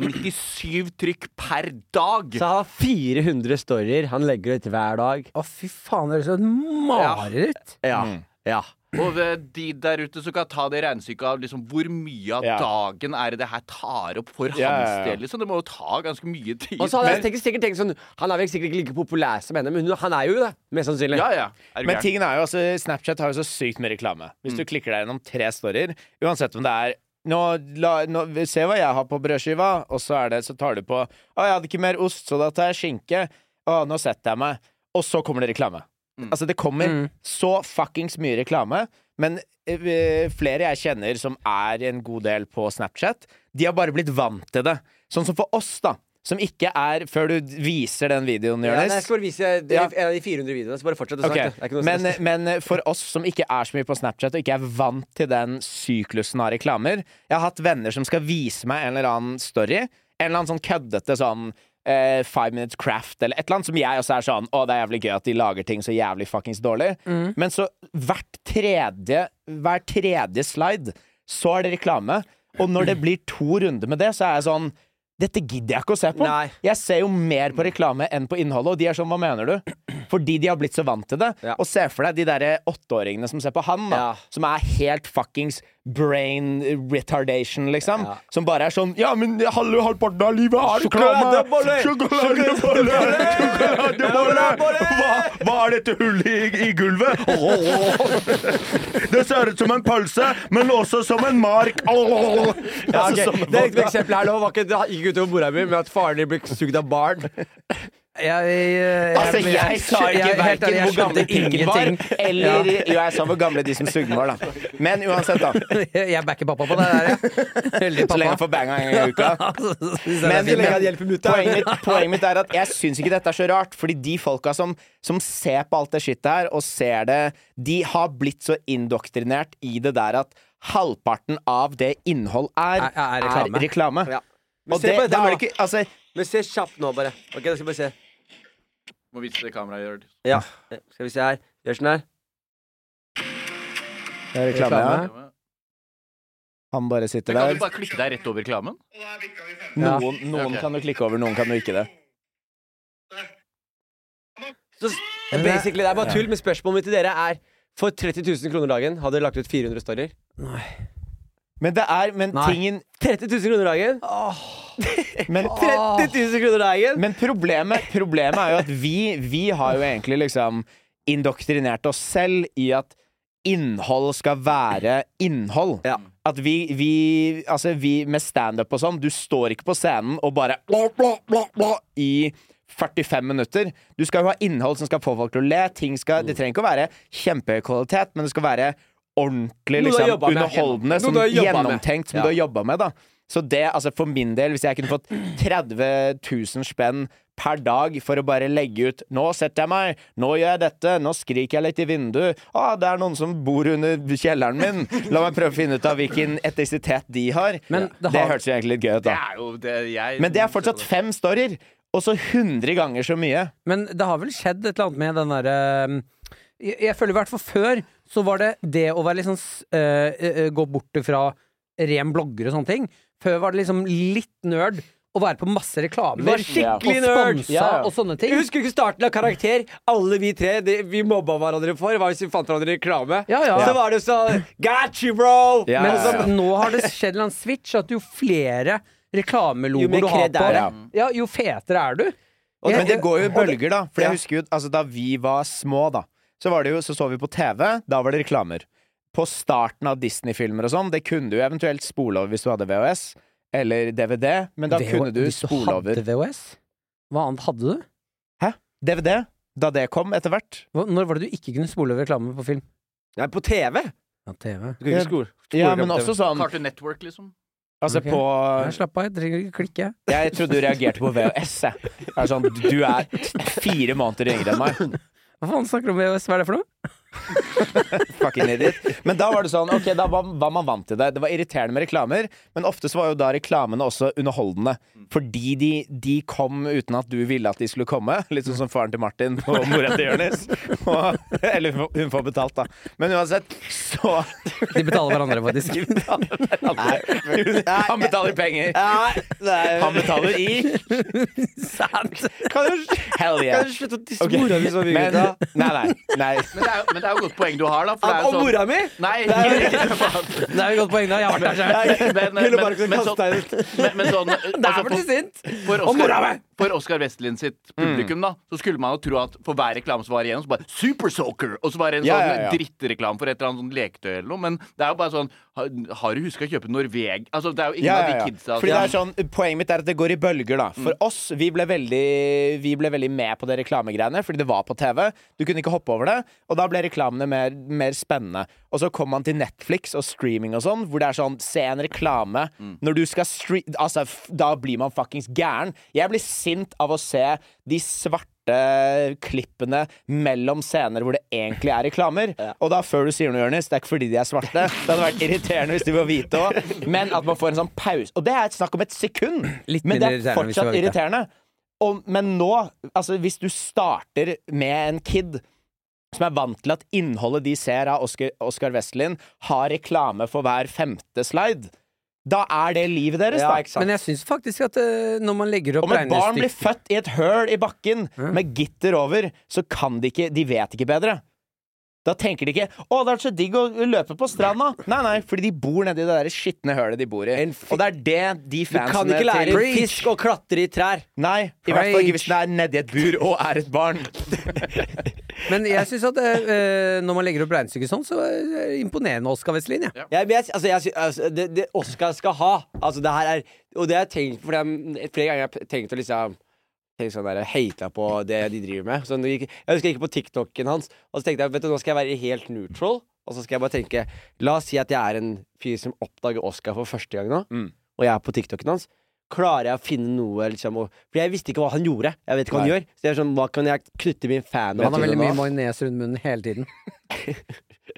S5: 397 trykk per dag.
S3: Så han har 400 storyer han legger ut hver dag.
S2: Å, fy faen, det høres ut som et mareritt.
S3: Ja. ja.
S5: Og eh, de der ute som kan ta det regnestykket av liksom hvor mye av
S4: Ja.
S5: dagen er det det her tar opp for
S4: ja, ja.
S5: hans del, liksom. Det må jo ta ganske mye tid.
S3: Og så hadde jeg tenkt, sikkert tenkt sånn Han er vel sikkert ikke like populær som henne, men hun, han er jo det. Mest sannsynlig.
S5: ja, ja. Er du
S4: Men
S5: gæren? Mm.
S4: tingen er jo altså, Snapchat har jo så sykt med reklame. Hvis du klikker deg gjennom tre storyer, uansett om det er nå, la, nå, Se hva jeg har på brødskiva, og så, er det, så tar du på Å, jeg hadde ikke mer ost, så da tar jeg skinke. Å, nå setter jeg meg. Og så kommer det reklame.
S5: Mm.
S4: Altså, det kommer
S3: Mm.
S4: så fuckings mye reklame, men eh, flere jeg kjenner som er en god del på Snapchat, de har bare blitt vant til det. Sånn som for oss, da. Som ikke er Før du viser den videoen,
S3: Ja, nei, jeg
S4: Jonis.
S3: skal bare vise
S4: Ja.
S3: en av de 400 videoene. Så bare fortsett å
S4: Ok,
S3: snakke. Det er ikke noe
S4: Men, eh,
S3: stress.
S4: men for oss som ikke er så mye på Snapchat og ikke er vant til den syklusen av reklamer Jeg har hatt venner som skal vise meg en eller annen story. En eller annen sånn køddete sånn eh, Five Minutes Craft eller et eller annet som jeg også er sånn Å, det er jævlig gøy at de lager ting så jævlig fuckings dårlig.
S3: Mm.
S4: Men så hvert tredje, hver tredje slide så er det reklame. Og når det blir to runder med det, så er jeg sånn dette gidder jeg ikke å se på.
S3: Nei.
S4: Jeg ser jo mer på reklame enn på innholdet, og de er sånn 'hva mener du?' Fordi de har blitt så vant til det.
S3: Ja.
S4: Og se for deg de derre åtteåringene som ser på han, da.
S3: Ja.
S4: Som er helt fuckings brain retardation, liksom. Som bare er sånn 'ja, men halve halvparten av livet er reklame'.
S3: Sjokoladeboller!
S4: Sjokoladebolle!
S3: Sjokoladebolle!
S4: Sjokoladebolle! Hva, hva er dette hullet i, i gulvet? Åh. Det ser ut som en pølse, men også som en mark. Åh.
S3: eh, Ja, ok.
S4: Altså,
S3: Det
S4: sånne folk, da.
S3: ekte eksempelet her nå var ikke, det gikk utover mora mi med at faren din ble sugd av barn.
S2: Jeg, jeg,
S4: Altså, jeg sa ikke verken hvor gamle pikken var, eller Jo, jeg sa hvor gamle de som sugde den var, da. Men uansett, da.
S2: Jeg backer pappa på det der, jeg. Heldig
S4: Så lenge han
S2: pappa.
S4: får banga en gang i uka.
S2: Men
S3: så lenge han hjelper mutter.
S4: poenget, mitt, poenget mitt er at jeg syns ikke dette er så rart, fordi de folka som, som ser på alt det skittet her, og ser det, de har blitt så indoktrinert i det der at halvparten av det innhold er,
S2: Er- er reklame.
S3: Ja. Men
S4: Og
S3: se
S4: det,
S3: på dette
S4: da må
S3: her,
S4: du ikke Altså,
S3: Men se kjapt nå, bare. Ok, da skal vi bare se.
S5: Må vise det kameraet gjør.
S3: Ja. Skal vi se her. Gjør sånn her.
S4: det er reklame, ja.
S5: Men
S4: Han bare sitter
S5: Kan
S4: der.
S5: du bare klikke deg rett over reklamen?
S4: Noen, noen
S5: Ok.
S4: kan du klikke over, noen kan du ikke det.
S3: Så s- basically, det er bare tull, men spørsmålet mitt til dere er For 30 000 kroner dagen hadde dere lagt ut 400 storyer?
S4: Men det er Men
S2: Nei.
S4: tingen
S3: 30 000 kroner dagen?
S4: Men
S3: 30 000 kroner dagen!
S4: Men problemet, problemet er jo at vi, vi har jo egentlig liksom indoktrinert oss selv i at innhold skal være innhold.
S3: Ja.
S4: At vi, vi, altså vi med standup og sånn, du står ikke på scenen og bare bla, bla, bla, bla, i 45 minutter. Du skal jo ha innhold som skal få folk til å le. Ting skal, det trenger ikke å være kjempehøy kvalitet, men det skal være ordentlig
S3: Noe du har
S4: liksom,
S3: jobbet med.
S4: underholdende,
S3: Noe
S4: som
S3: du har jobbet med.
S4: gjennomtenkt, som
S3: Ja.
S4: du har jobba med. da Så det, altså for min del, hvis jeg kunne fått 30 000 spenn per dag for å bare legge ut 'Nå setter jeg meg, nå gjør jeg dette, nå skriker jeg litt i vinduet' 'Å, det er noen som bor under kjelleren min', la meg prøve å finne ut av hvilken etnisitet de har.
S2: Men det
S4: det
S2: har-
S4: hørtes jo egentlig litt gøy ut,
S5: Det
S4: da.
S5: er jo det jeg
S4: Men det er fortsatt fem storyer, og så 100 ganger så mye.
S2: Men det har vel skjedd et eller annet med den derre um, jeg, jeg føler i hvert fall før så var det det å være liksom s- øh, øh, gå bort fra ren blogger og sånne ting. Før var det liksom litt nerd å være på masse reklamer.
S3: Var skikkelig nerd.
S2: Og sponsa
S4: Ja, ja.
S2: og sånne ting.
S3: Jeg husker ikke starten av Karakter. Alle vi tre det, vi mobba hverandre for. Hva hvis vi fant hverandre i reklame?
S2: Ja, ja.
S3: Så var det jo sånn Got you, bro!
S4: Ja,
S2: Men
S4: ja, ja.
S2: så, nå har det skjedd en eller annen switch at jo flere
S3: Jo mer
S2: reklamelogoer du har
S3: cred
S2: på,
S3: er
S4: det.
S2: ja, jo fetere er du. Jeg-
S4: Men det går jo i bølger, da. For
S2: Ja.
S4: jeg husker jo altså, Da vi var små, da, så, var det jo, så så vi på TV. Da var det reklamer. På starten av Disney-filmer og sånn, det kunne du jo eventuelt spole over hvis du hadde VHS eller DVD, men da
S2: Det-
S4: kunne du
S2: hvis
S4: spole over
S2: Hadde VHS? Hva annet hadde du?
S4: DVD, da det kom etter hvert.
S2: Hva- Når var det du ikke kunne spole over reklame på film?
S3: Nei, på TV!
S2: Ja, TV.
S3: Du kan ikke skole.
S4: Ja,
S3: Spole
S4: men
S3: over
S4: også sånn
S5: Cartoon Network, liksom.
S4: Altså
S2: Ok.
S4: på
S2: Nei, slapp av, jeg trenger ikke klikke.
S4: Jeg trodde du reagerte på VHS, jeg. jeg. er Sånn, du er fire måneder yngre enn meg.
S2: Hva faen snakker du om VHS? Hva er det for noe?
S4: Fucking idiot. Men da var det sånn, ok, da var, var man vant til det. Det var irriterende med reklamer, men ofte så var jo da reklamene også underholdende. Fordi de, de kom uten at du ville at de skulle komme. Litt sånn som faren til Martin og mora til Jonis. Og- Eller hun får- hun får betalt, da. Men uansett, så
S2: De betaler hverandre, faktisk.
S4: Han betaler penger. Han betaler i
S2: Sant!
S4: Hell yeah.
S3: Slutt å disse
S4: Ok.
S3: mora mi så mye,
S4: Men,
S3: gutta.
S4: nei, nei, nei.
S5: Men det er jo, men det er jo et godt poeng du har, da. for det er jo
S3: Og
S5: sånn-
S3: mora mi!
S5: Nei,
S2: Det er jo et godt poeng. da, Jeg har vært der selv.
S5: men, men,
S3: Kunne bare
S5: men, men,
S3: kastet
S5: sånn,
S3: deg ut.
S5: men, men sånn
S2: Der
S5: altså,
S2: ble du sint!
S5: For
S2: Og mora
S5: Oscar,
S2: mi!
S5: for Oscar Westlin sitt publikum, da, så skulle man jo tro at for hver reklame som var igjen, så bare Super Soaker! Og så bare en
S4: Ja,
S5: sånn
S4: ja, ja.
S5: drittreklame for et eller annet sånn leketøy eller noe. Men det er jo bare sånn ha- Har du huska å kjøpe Norveg... Altså, det er jo ingen
S4: Ja, ja,
S5: av de
S4: ja.
S5: kidsa altså. Mm.
S4: Fordi det er sånn, Poenget mitt er at det går i bølger. da For oss, vi ble, veldig, vi ble veldig med på det reklamegreiene fordi det var på TV. Du kunne ikke hoppe over det, og da ble reklamene mer, mer spennende. Og så kom man til Netflix og streaming og sånn, hvor det er sånn Se en reklame
S5: Mm.
S4: når du skal stre Altså, f da blir man fuckings gæren. Jeg blir sint av å se de svarte klippene mellom scener hvor det egentlig er reklamer. Og da, før du sier noe, Jonis, det er ikke fordi de er svarte. Det hadde vært irriterende hvis de var hvite òg, men at man får en sånn pause. Og det er et snakk om et sekund,
S2: Litt
S4: men
S2: mindre
S4: det er
S2: irriterende hvis de var
S4: fortsatt
S2: hvite.
S4: irriterende. Og, men nå, altså hvis du starter med en kid som er vant til at innholdet de ser av Oscar, Oscar Westlin, har reklame for hver femte slide, da er det livet deres, da.
S2: Men jeg syns faktisk at eh, når man legger opp
S4: Om et barn blir
S2: regnestykker
S4: født i et høl i bakken med gitter over, så kan de ikke De vet ikke bedre. Da tenker de ikke 'Å, det er så digg å løpe på stranda'. Nei, nei, fordi de bor nedi det der skitne hølet de bor i. Og det er det de
S3: Du
S4: fansene
S3: kan ikke lære en
S4: til-
S3: fisk å klatre i trær.
S4: Nei, i hvert fall ikke hvis
S2: Preach.
S4: den er nedi et bur og er et barn.
S2: Men jeg syns at eh, eh, når man legger opp regnestykket sånn, så er det imponerende Oskar Vestlin, jeg.
S3: Jeg, men jeg, altså, jeg, sy- altså, det, det Oscar skal ha Altså det her er Og det har jeg tenkt for dem, Flere ganger har jeg p- tenkt å liksom Tenkt sånn der Hata på det de driver med sånn, Jeg husker jeg gikk på TikToken hans Og så tenkte jeg Vet du, nå skal jeg være helt neutral Og så skal jeg bare tenke La oss si at jeg er en fyr som oppdager Oscar for første gang nå
S2: Mm.
S3: Og jeg er på TikToken hans Klarer jeg å finne noe liksom og, For jeg visste ikke hva han gjorde Jeg vet ikke hva han
S4: Nei.
S3: gjør Så jeg er sånn Hva kan jeg knytte min fan
S2: Han har
S3: til
S2: veldig
S3: nå?
S2: mye majones rundt munnen hele tiden.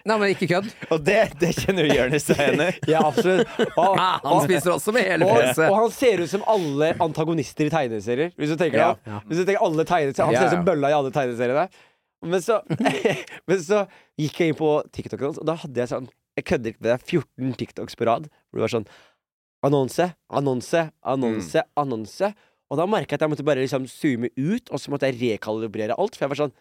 S2: Nei, men ikke kødd.
S4: Og det, det kjenner jo Jonis seg igjen i.
S3: Ja, absolutt og,
S2: Ah, han spiser også med hele
S3: Og, og
S2: fjeset.
S3: han ser ut som alle antagonister i tegneserier. Hvis du tenker
S4: Ja.
S3: deg om. Hvis du tenker alle tegneserier Han ser
S4: Ja, ja.
S3: ut som bølla i alle tegneseriene. Men så, men så gikk jeg inn på TikTok, hans, og da hadde jeg sånn Jeg kødder ikke med deg. 14 TikToks på rad hvor det var sånn Annonse, annonse,
S4: Mm.
S3: annonse, annonse. Og da merka jeg at jeg måtte bare liksom zoome ut, og så måtte jeg rekalibrere alt. For jeg var sånn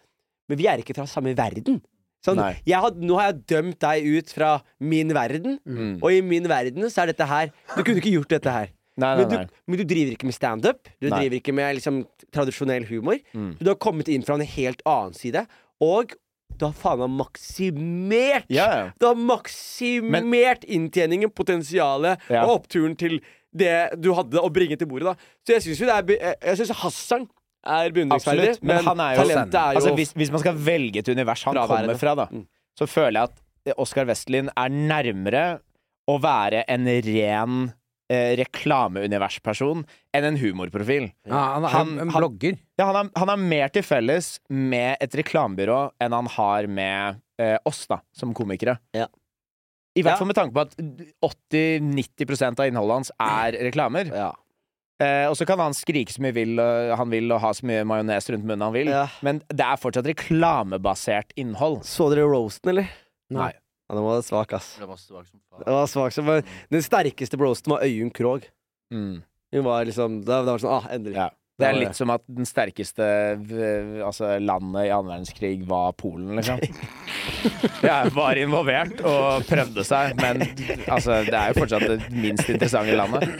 S3: Men vi er ikke fra samme verden. Sånn,
S4: Nei.
S3: jeg har, nå har jeg dømt deg ut fra min verden,
S4: Mm.
S3: og i min verden så er dette her Du kunne ikke gjort dette her.
S4: Nei, nei,
S3: Men
S4: nei.
S3: du, men du driver ikke med standup. Du
S4: Nei. Mm.
S3: driver ikke med liksom, tradisjonell humor. Du har kommet inn fra en helt annen side. Og du har faen meg maksimert
S4: Ja, ja.
S3: Du har maksimert inntjeningen, potensialet
S4: Ja.
S3: og oppturen til det du hadde å bringe til bordet. Da. Så jeg syns jo det er be- Jeg jeg synes Hassan er beundringsverdig,
S4: Absolutt, men han er jo-
S3: talentet er jo
S4: Altså, hvis, hvis man skal velge et univers han
S3: Fraværende. Mm.
S4: kommer fra, da, så føler jeg at Oskar Westlin er nærmere å være en ren eh, reklameuniversperson enn en humorprofil.
S2: Ja, han er
S4: Han-
S2: en
S4: han-
S2: blogger.
S4: Ja, han, har, han har mer til felles med et reklamebyrå enn han har med eh, oss, da, som komikere.
S3: Ja.
S4: I hvert
S3: Ja.
S4: fall med tanke på at 80-90 av innholdet hans er reklamer.
S3: ja.
S4: Eh, og så kan han skrike så mye vil, og han vil og ha så mye majones rundt munnen han vil,
S3: Ja.
S4: men det er fortsatt reklamebasert innhold.
S3: Så dere roasten, eller?
S2: Nei.
S3: Ja, den var svak, ass.
S5: Det var svak som faen.
S3: Den, var svak, som- men den sterkeste roasten var Øyunn Krogh.
S4: Mm.
S3: Hun var liksom Det var det var sånn Ah, endelig.
S4: Ja. Det er litt som at den sterkeste v- altså, landet i annen verdenskrig var Polen, liksom. Jeg var involvert og prøvde seg, men altså, det er jo fortsatt det minst interessante landet.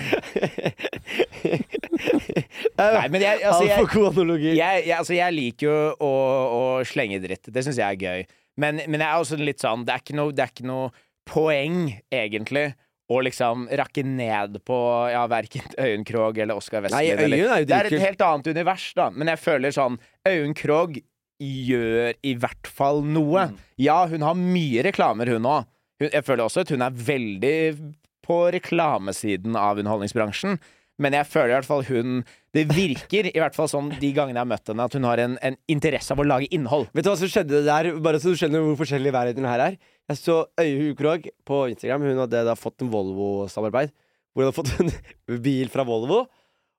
S4: Nei, men jeg, altså, jeg,
S3: Altfor god analogi.
S4: jeg, jeg, altså, jeg liker jo å, å slenge dritt. Det syns jeg er gøy. Men, men jeg er også litt sånn Det er ikke noe, det er ikke noe poeng, egentlig, å liksom rakke ned på ja, verken Øyunn Krogh eller Oskar
S3: Nei,
S4: Westlin.
S3: Øyunn
S4: eller-
S3: er jo
S4: det er
S3: dritkul.
S4: et helt annet univers, da. Men jeg føler sånn Øyunn Krogh gjør i hvert fall noe.
S3: Mm.
S4: Ja, hun har mye reklamer, hun òg. Jeg føler også at hun er veldig på reklamesiden av underholdningsbransjen. Men jeg føler i hvert fall hun Det virker i hvert fall sånn de gangene jeg har møtt henne, at hun har en, en interesse av å lage innhold.
S3: Vet du hva som skjedde der? Bare så du skjønner hvor forskjellig verden her er. Jeg så Øye Ukrog på Instagram. Hun hadde da fått en Volvo-samarbeid. Hvor hun hadde fått en bil fra Volvo.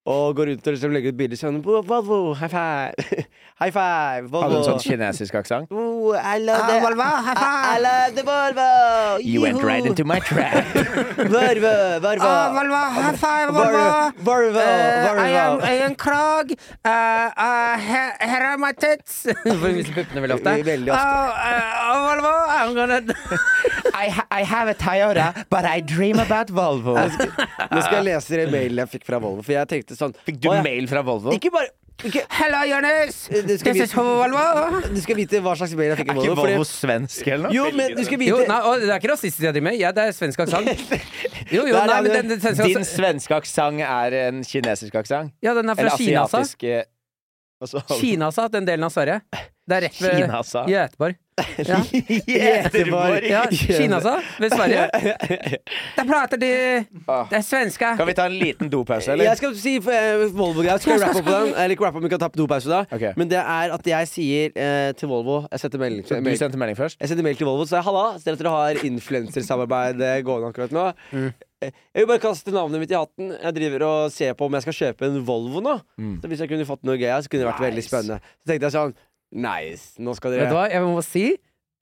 S3: Og går rundt og liksom legger ut bilder sånn Volvo, high five! High five!
S4: Hadde
S3: Volvo.
S4: en sånn kinesisk aksent.
S3: Volvo,
S7: Ooh, I love the Volvo. I, I love the Volvo.
S4: You went right
S7: Yeehoo.
S4: into my trap.
S7: Volvo, Volvo.
S2: Ah, high five,
S7: Volvo,
S4: Eh,
S7: Volvo,
S2: Eh,
S7: Volvo.
S2: en krog.
S4: eh,
S2: her, er my tits. For vi viser puppene veldig ofte. Eh,
S7: Veldig ofte.
S4: Eh,
S2: Volvo, I'm gonna
S4: I, ha- I have a Toyota, but I dream about Volvo.
S3: Nå skal jeg lese dere mailen jeg fikk fra Volvo, for jeg tenkte sånn
S4: Fikk du
S3: «Å, ja,
S4: mail fra Volvo?
S3: Ikke bare ikke,
S2: Hello, Jonas!
S3: du, skal
S2: This is
S3: vite,
S2: Volvo.
S3: du skal vite hva slags mail jeg fikk
S4: Er
S3: av
S4: ikke
S3: Volvo.
S4: Volvo
S3: Fordi,
S4: svensk eller noe?
S3: jo, men du skal
S2: Jo,
S3: vite
S2: nei, å, det er ikke rasistisk jeg driver med. Ja, det er svensk aksent. Jo, jo,
S4: Der
S2: nei,
S4: er
S2: men
S4: du.
S2: den, den svenske
S4: Din
S2: aksent-
S4: svenske aksent er en kinesisk aksent?
S2: Ja, den er fra
S4: Eller
S2: Kina, altså? sa.
S4: asiatisk eh, hva så?
S2: Kina, sa, den delen av Sverige. Det er rett ved
S4: Kina, sa.
S2: Göteborg. Ja.
S4: Göteborg.
S2: Ja, Kina, altså. sa, ved Sverige. Der prater de
S4: Åh.
S2: Det er svenska.
S4: Ah. Kan vi ta en liten dopause, eller?
S3: Jeg skal si eh, Volvo-greier. Skal jeg rappe på den? Eller ikke rappe, men vi kan ta på dopause da.
S4: Ok.
S3: Men det er at jeg sier eh, til Volvo Jeg sendte melding
S4: Så Du sendte melding først?
S3: Jeg sendte mail til Volvo og sa halla, ser at dere har influensersamarbeid eh, gående akkurat nå.
S4: Mm.
S3: Eh, Jeg vil bare kaste navnet mitt i hatten. Jeg driver og ser på om jeg skal kjøpe en Volvo nå.
S4: Mm.
S3: Så hvis jeg kunne fått noe gøy her, så kunne det vært veldig spennende. Så tenkte jeg sånn Nice, nå skal
S2: Vet du
S3: dere
S2: hva, jeg må si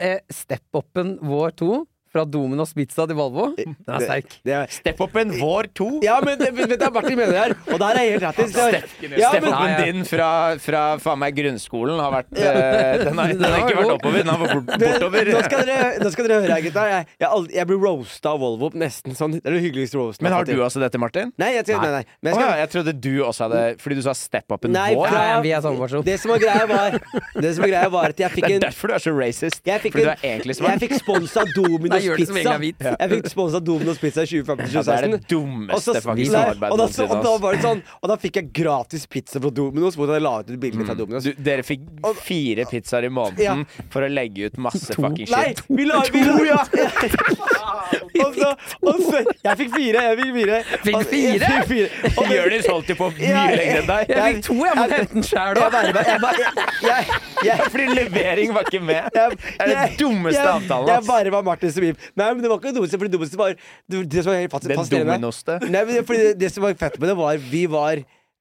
S2: eh, step-upen vår to fra Dominos Pizza til Volvo, den er sterk.
S3: det,
S4: Step up en vår to.
S3: Ja, men det, men det er Martin mener her, og der er jeg helt rett i. Ja,
S4: Step
S3: men-
S4: upen
S2: Nei, ja.
S4: din fra, fra faen meg grunnskolen har vært eh, Den har, den har ikke vært oppover, den har vært bort- bortover.
S3: Nå skal dere, nå skal dere høre her, gutta. Jeg, jeg, aldri- jeg blir roasta av Volvo nesten sånn. Det er det hyggeligste roasten.
S4: Men
S3: jeg
S4: har
S3: fått
S4: du
S3: til.
S4: også dette, Martin?
S3: Nei, jeg, skal- nei, nei. Men jeg
S4: Å
S3: skal,
S4: ja, jeg trodde du også hadde Fordi du sa step up en
S3: Nei,
S4: vår.
S3: fra-
S2: Nei, vi er samme person.
S3: det som var greia, var Det som var greia var at jeg fikk
S4: Det er
S3: en
S4: derfor du er så racist.
S3: Jeg fikk,
S4: fordi du
S3: en-
S4: er egentlig
S3: jeg
S4: svart.
S3: fikk sponsa Dominos
S2: Nei, gjør det som
S3: Pizza.
S2: egentlig er hvit.
S3: Ja. Jeg fikk sponsa Dominos Pizza i
S4: Ja, det er
S3: 2015-2016.
S4: det dummeste faktisk samarbeidet
S3: og, da, så-
S4: noensinne,
S3: og da
S4: ass.
S3: var det sånn Og da fikk jeg gratis pizza fra Dominos. Hvor jeg la ut et bilde fra Dominos.
S4: du, dere fikk fire pizzaer i måneden for å legge ut masse fucking
S3: Nei,
S4: shit.
S3: vi la vi la- og så, og så, jeg fikk fire. Jeg fikk fire.
S2: Fikk
S3: Og-
S2: fire?
S3: Jeg fikk fire. Og-
S4: Jonis holdt jo på mye
S3: Ja,
S4: lenger enn deg.
S2: Jeg fikk to, jeg måtte hente den sjæl
S3: Jeg
S2: òg.
S3: verva- jeg var- jeg- jeg- jeg-
S4: Fordi levering var ikke med. Det
S3: jeg-
S4: er den
S3: jeg-
S4: dummeste
S3: jeg-
S4: avtalen.
S3: Jeg
S4: ass.
S3: bare var Martin Semim. Nei, men det var ikke det dummeste, for det dummeste var det, det som var helt fast,
S4: Den
S3: fascinerende.
S4: dominoste.
S3: Nei, men det, fordi det, det som var fett med det, var vi var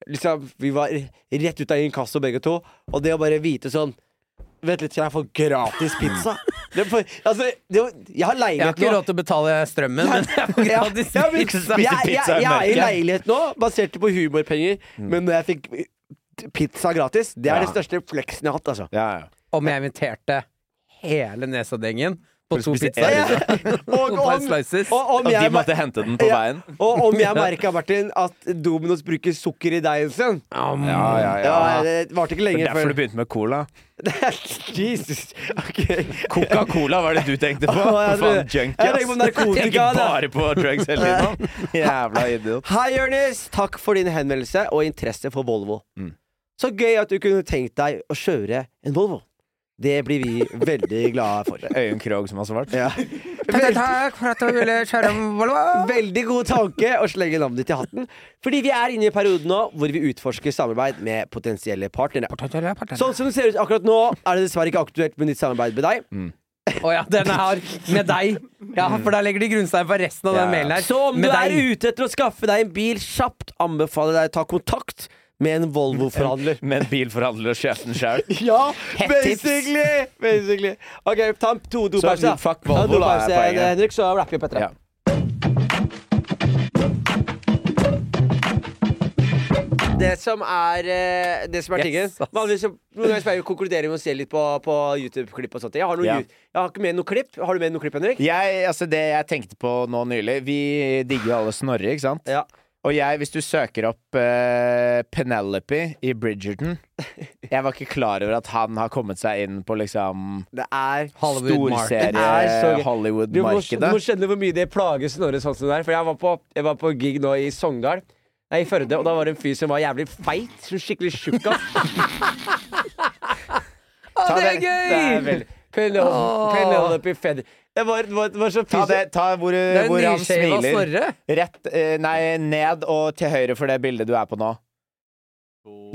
S3: liksom Vi var rett ut av inkasso begge to, og det å bare vite sånn Vent litt, jeg får gratis pizza. Det, er for, altså, det, var- jeg har
S2: Jeg har
S3: leilighet
S2: ikke
S3: nå.
S2: råd til å betale strømmen, men jeg får gratis
S3: Ja, men-
S2: pizza.
S3: jeg, jeg,
S4: pizza i
S3: jeg er i
S4: mørket.
S3: leilighet nå, basert på humorpenger, men når jeg fikk pizza gratis, det er
S4: Ja.
S3: det største fleksen jeg har hatt, altså.
S4: Ja, ja.
S2: Om jeg inviterte hele Nesoddgjengen på to
S4: spise
S2: pizzaer.
S3: Ja, ja. Og,
S2: Five
S3: om,
S2: slices.
S3: og om
S4: Og de
S3: jeg
S4: måtte hente den på
S3: Ja.
S4: veien.
S3: Og om jeg merka, Martin, at Dominos bruker sukker i deigen sin
S4: Ja, ja, ja.
S3: ja, Det varte ikke
S4: Det
S3: lenge
S4: er derfor
S3: før
S4: du begynte med cola.
S3: Jesus. Ok.
S4: Coca-Cola var det du tenkte på?
S3: Å, jeg
S4: For faen,
S3: tror- jeg
S4: junkie,
S3: tenker på
S4: ass.
S3: narkotika,
S4: Tenker
S3: da.
S4: bare på drugs hele tiden. mann. Jævla idiot.
S3: Hei, Jonis. Takk for din henvendelse og interesse for Volvo.
S4: Mm.
S3: Så gøy at du kunne tenkt deg å kjøre en Volvo. Det blir vi veldig glade for.
S4: Øyunn Krogh som har svart.
S3: Ja.
S2: Takk, takk for at du ville kjøre Volvo.
S3: Veldig god tanke å slenge navnet ditt i hatten. Fordi vi er inne i perioden nå hvor vi utforsker samarbeid med potensielle partnere. Sånn som det ser ut akkurat nå, er det dessverre ikke aktuelt med nytt samarbeid med deg.
S2: Å ja, den er hard. Med deg. Ja, for der legger de grunnstein for resten av den mailen her.
S3: Så om
S2: Med
S3: du er
S2: deg.
S3: ute etter å skaffe deg en bil kjapt, anbefaler jeg deg å ta kontakt med en Volvo-forhandler.
S4: Med en bilforhandler og sjefen sjøl.
S3: Ja, basically! basically. Ok, ta en to dopause. da.
S4: fuck
S3: Ta en
S4: Volvo, da, er
S3: dopause,
S4: poenget.
S3: Henrik, så rapper vi opp etter det.
S4: Ja.
S3: Det som er, eh, det som er tingen
S2: Yes, ass.
S3: vanligvis så- Noen ganger så pleier vi å konkludere med å se litt på, på YouTube-klipp og sånt. Jeg har, noen,
S4: Ja.
S3: ju- jeg har ikke med noe klipp. Har du med noe klipp, Henrik?
S4: Jeg, altså det jeg tenkte på nå nylig Vi digger jo alle Snorre, ikke sant?
S3: Ja.
S4: Og jeg, hvis du søker opp eh, Penelope i Bridgerton Jeg var ikke klar over at han har kommet seg inn på liksom
S3: Det er
S2: Hollywood Mark.
S3: Det er så gøy. Du må, du
S4: Hollywood-markedet.
S3: må skjønne hvor mye det plager Snorre sånn som det er. For jeg var på, jeg var på gig nå i Sogndal. Nei, i Førde, og da var det en fyr som var jævlig feit. som Skikkelig tjukk. ass.
S2: Å, det
S4: den.
S2: er gøy!
S3: Det er veldig- Penel- Penelope Feather. Det var, det var, det var så
S4: Ta, det,
S3: pyse.
S4: ta hvor,
S2: Det er
S4: hvor han
S2: nyskjeva
S4: smiler.
S2: Snorre.
S4: Rett, eh, nei, ned og til høyre for det bildet du er på nå.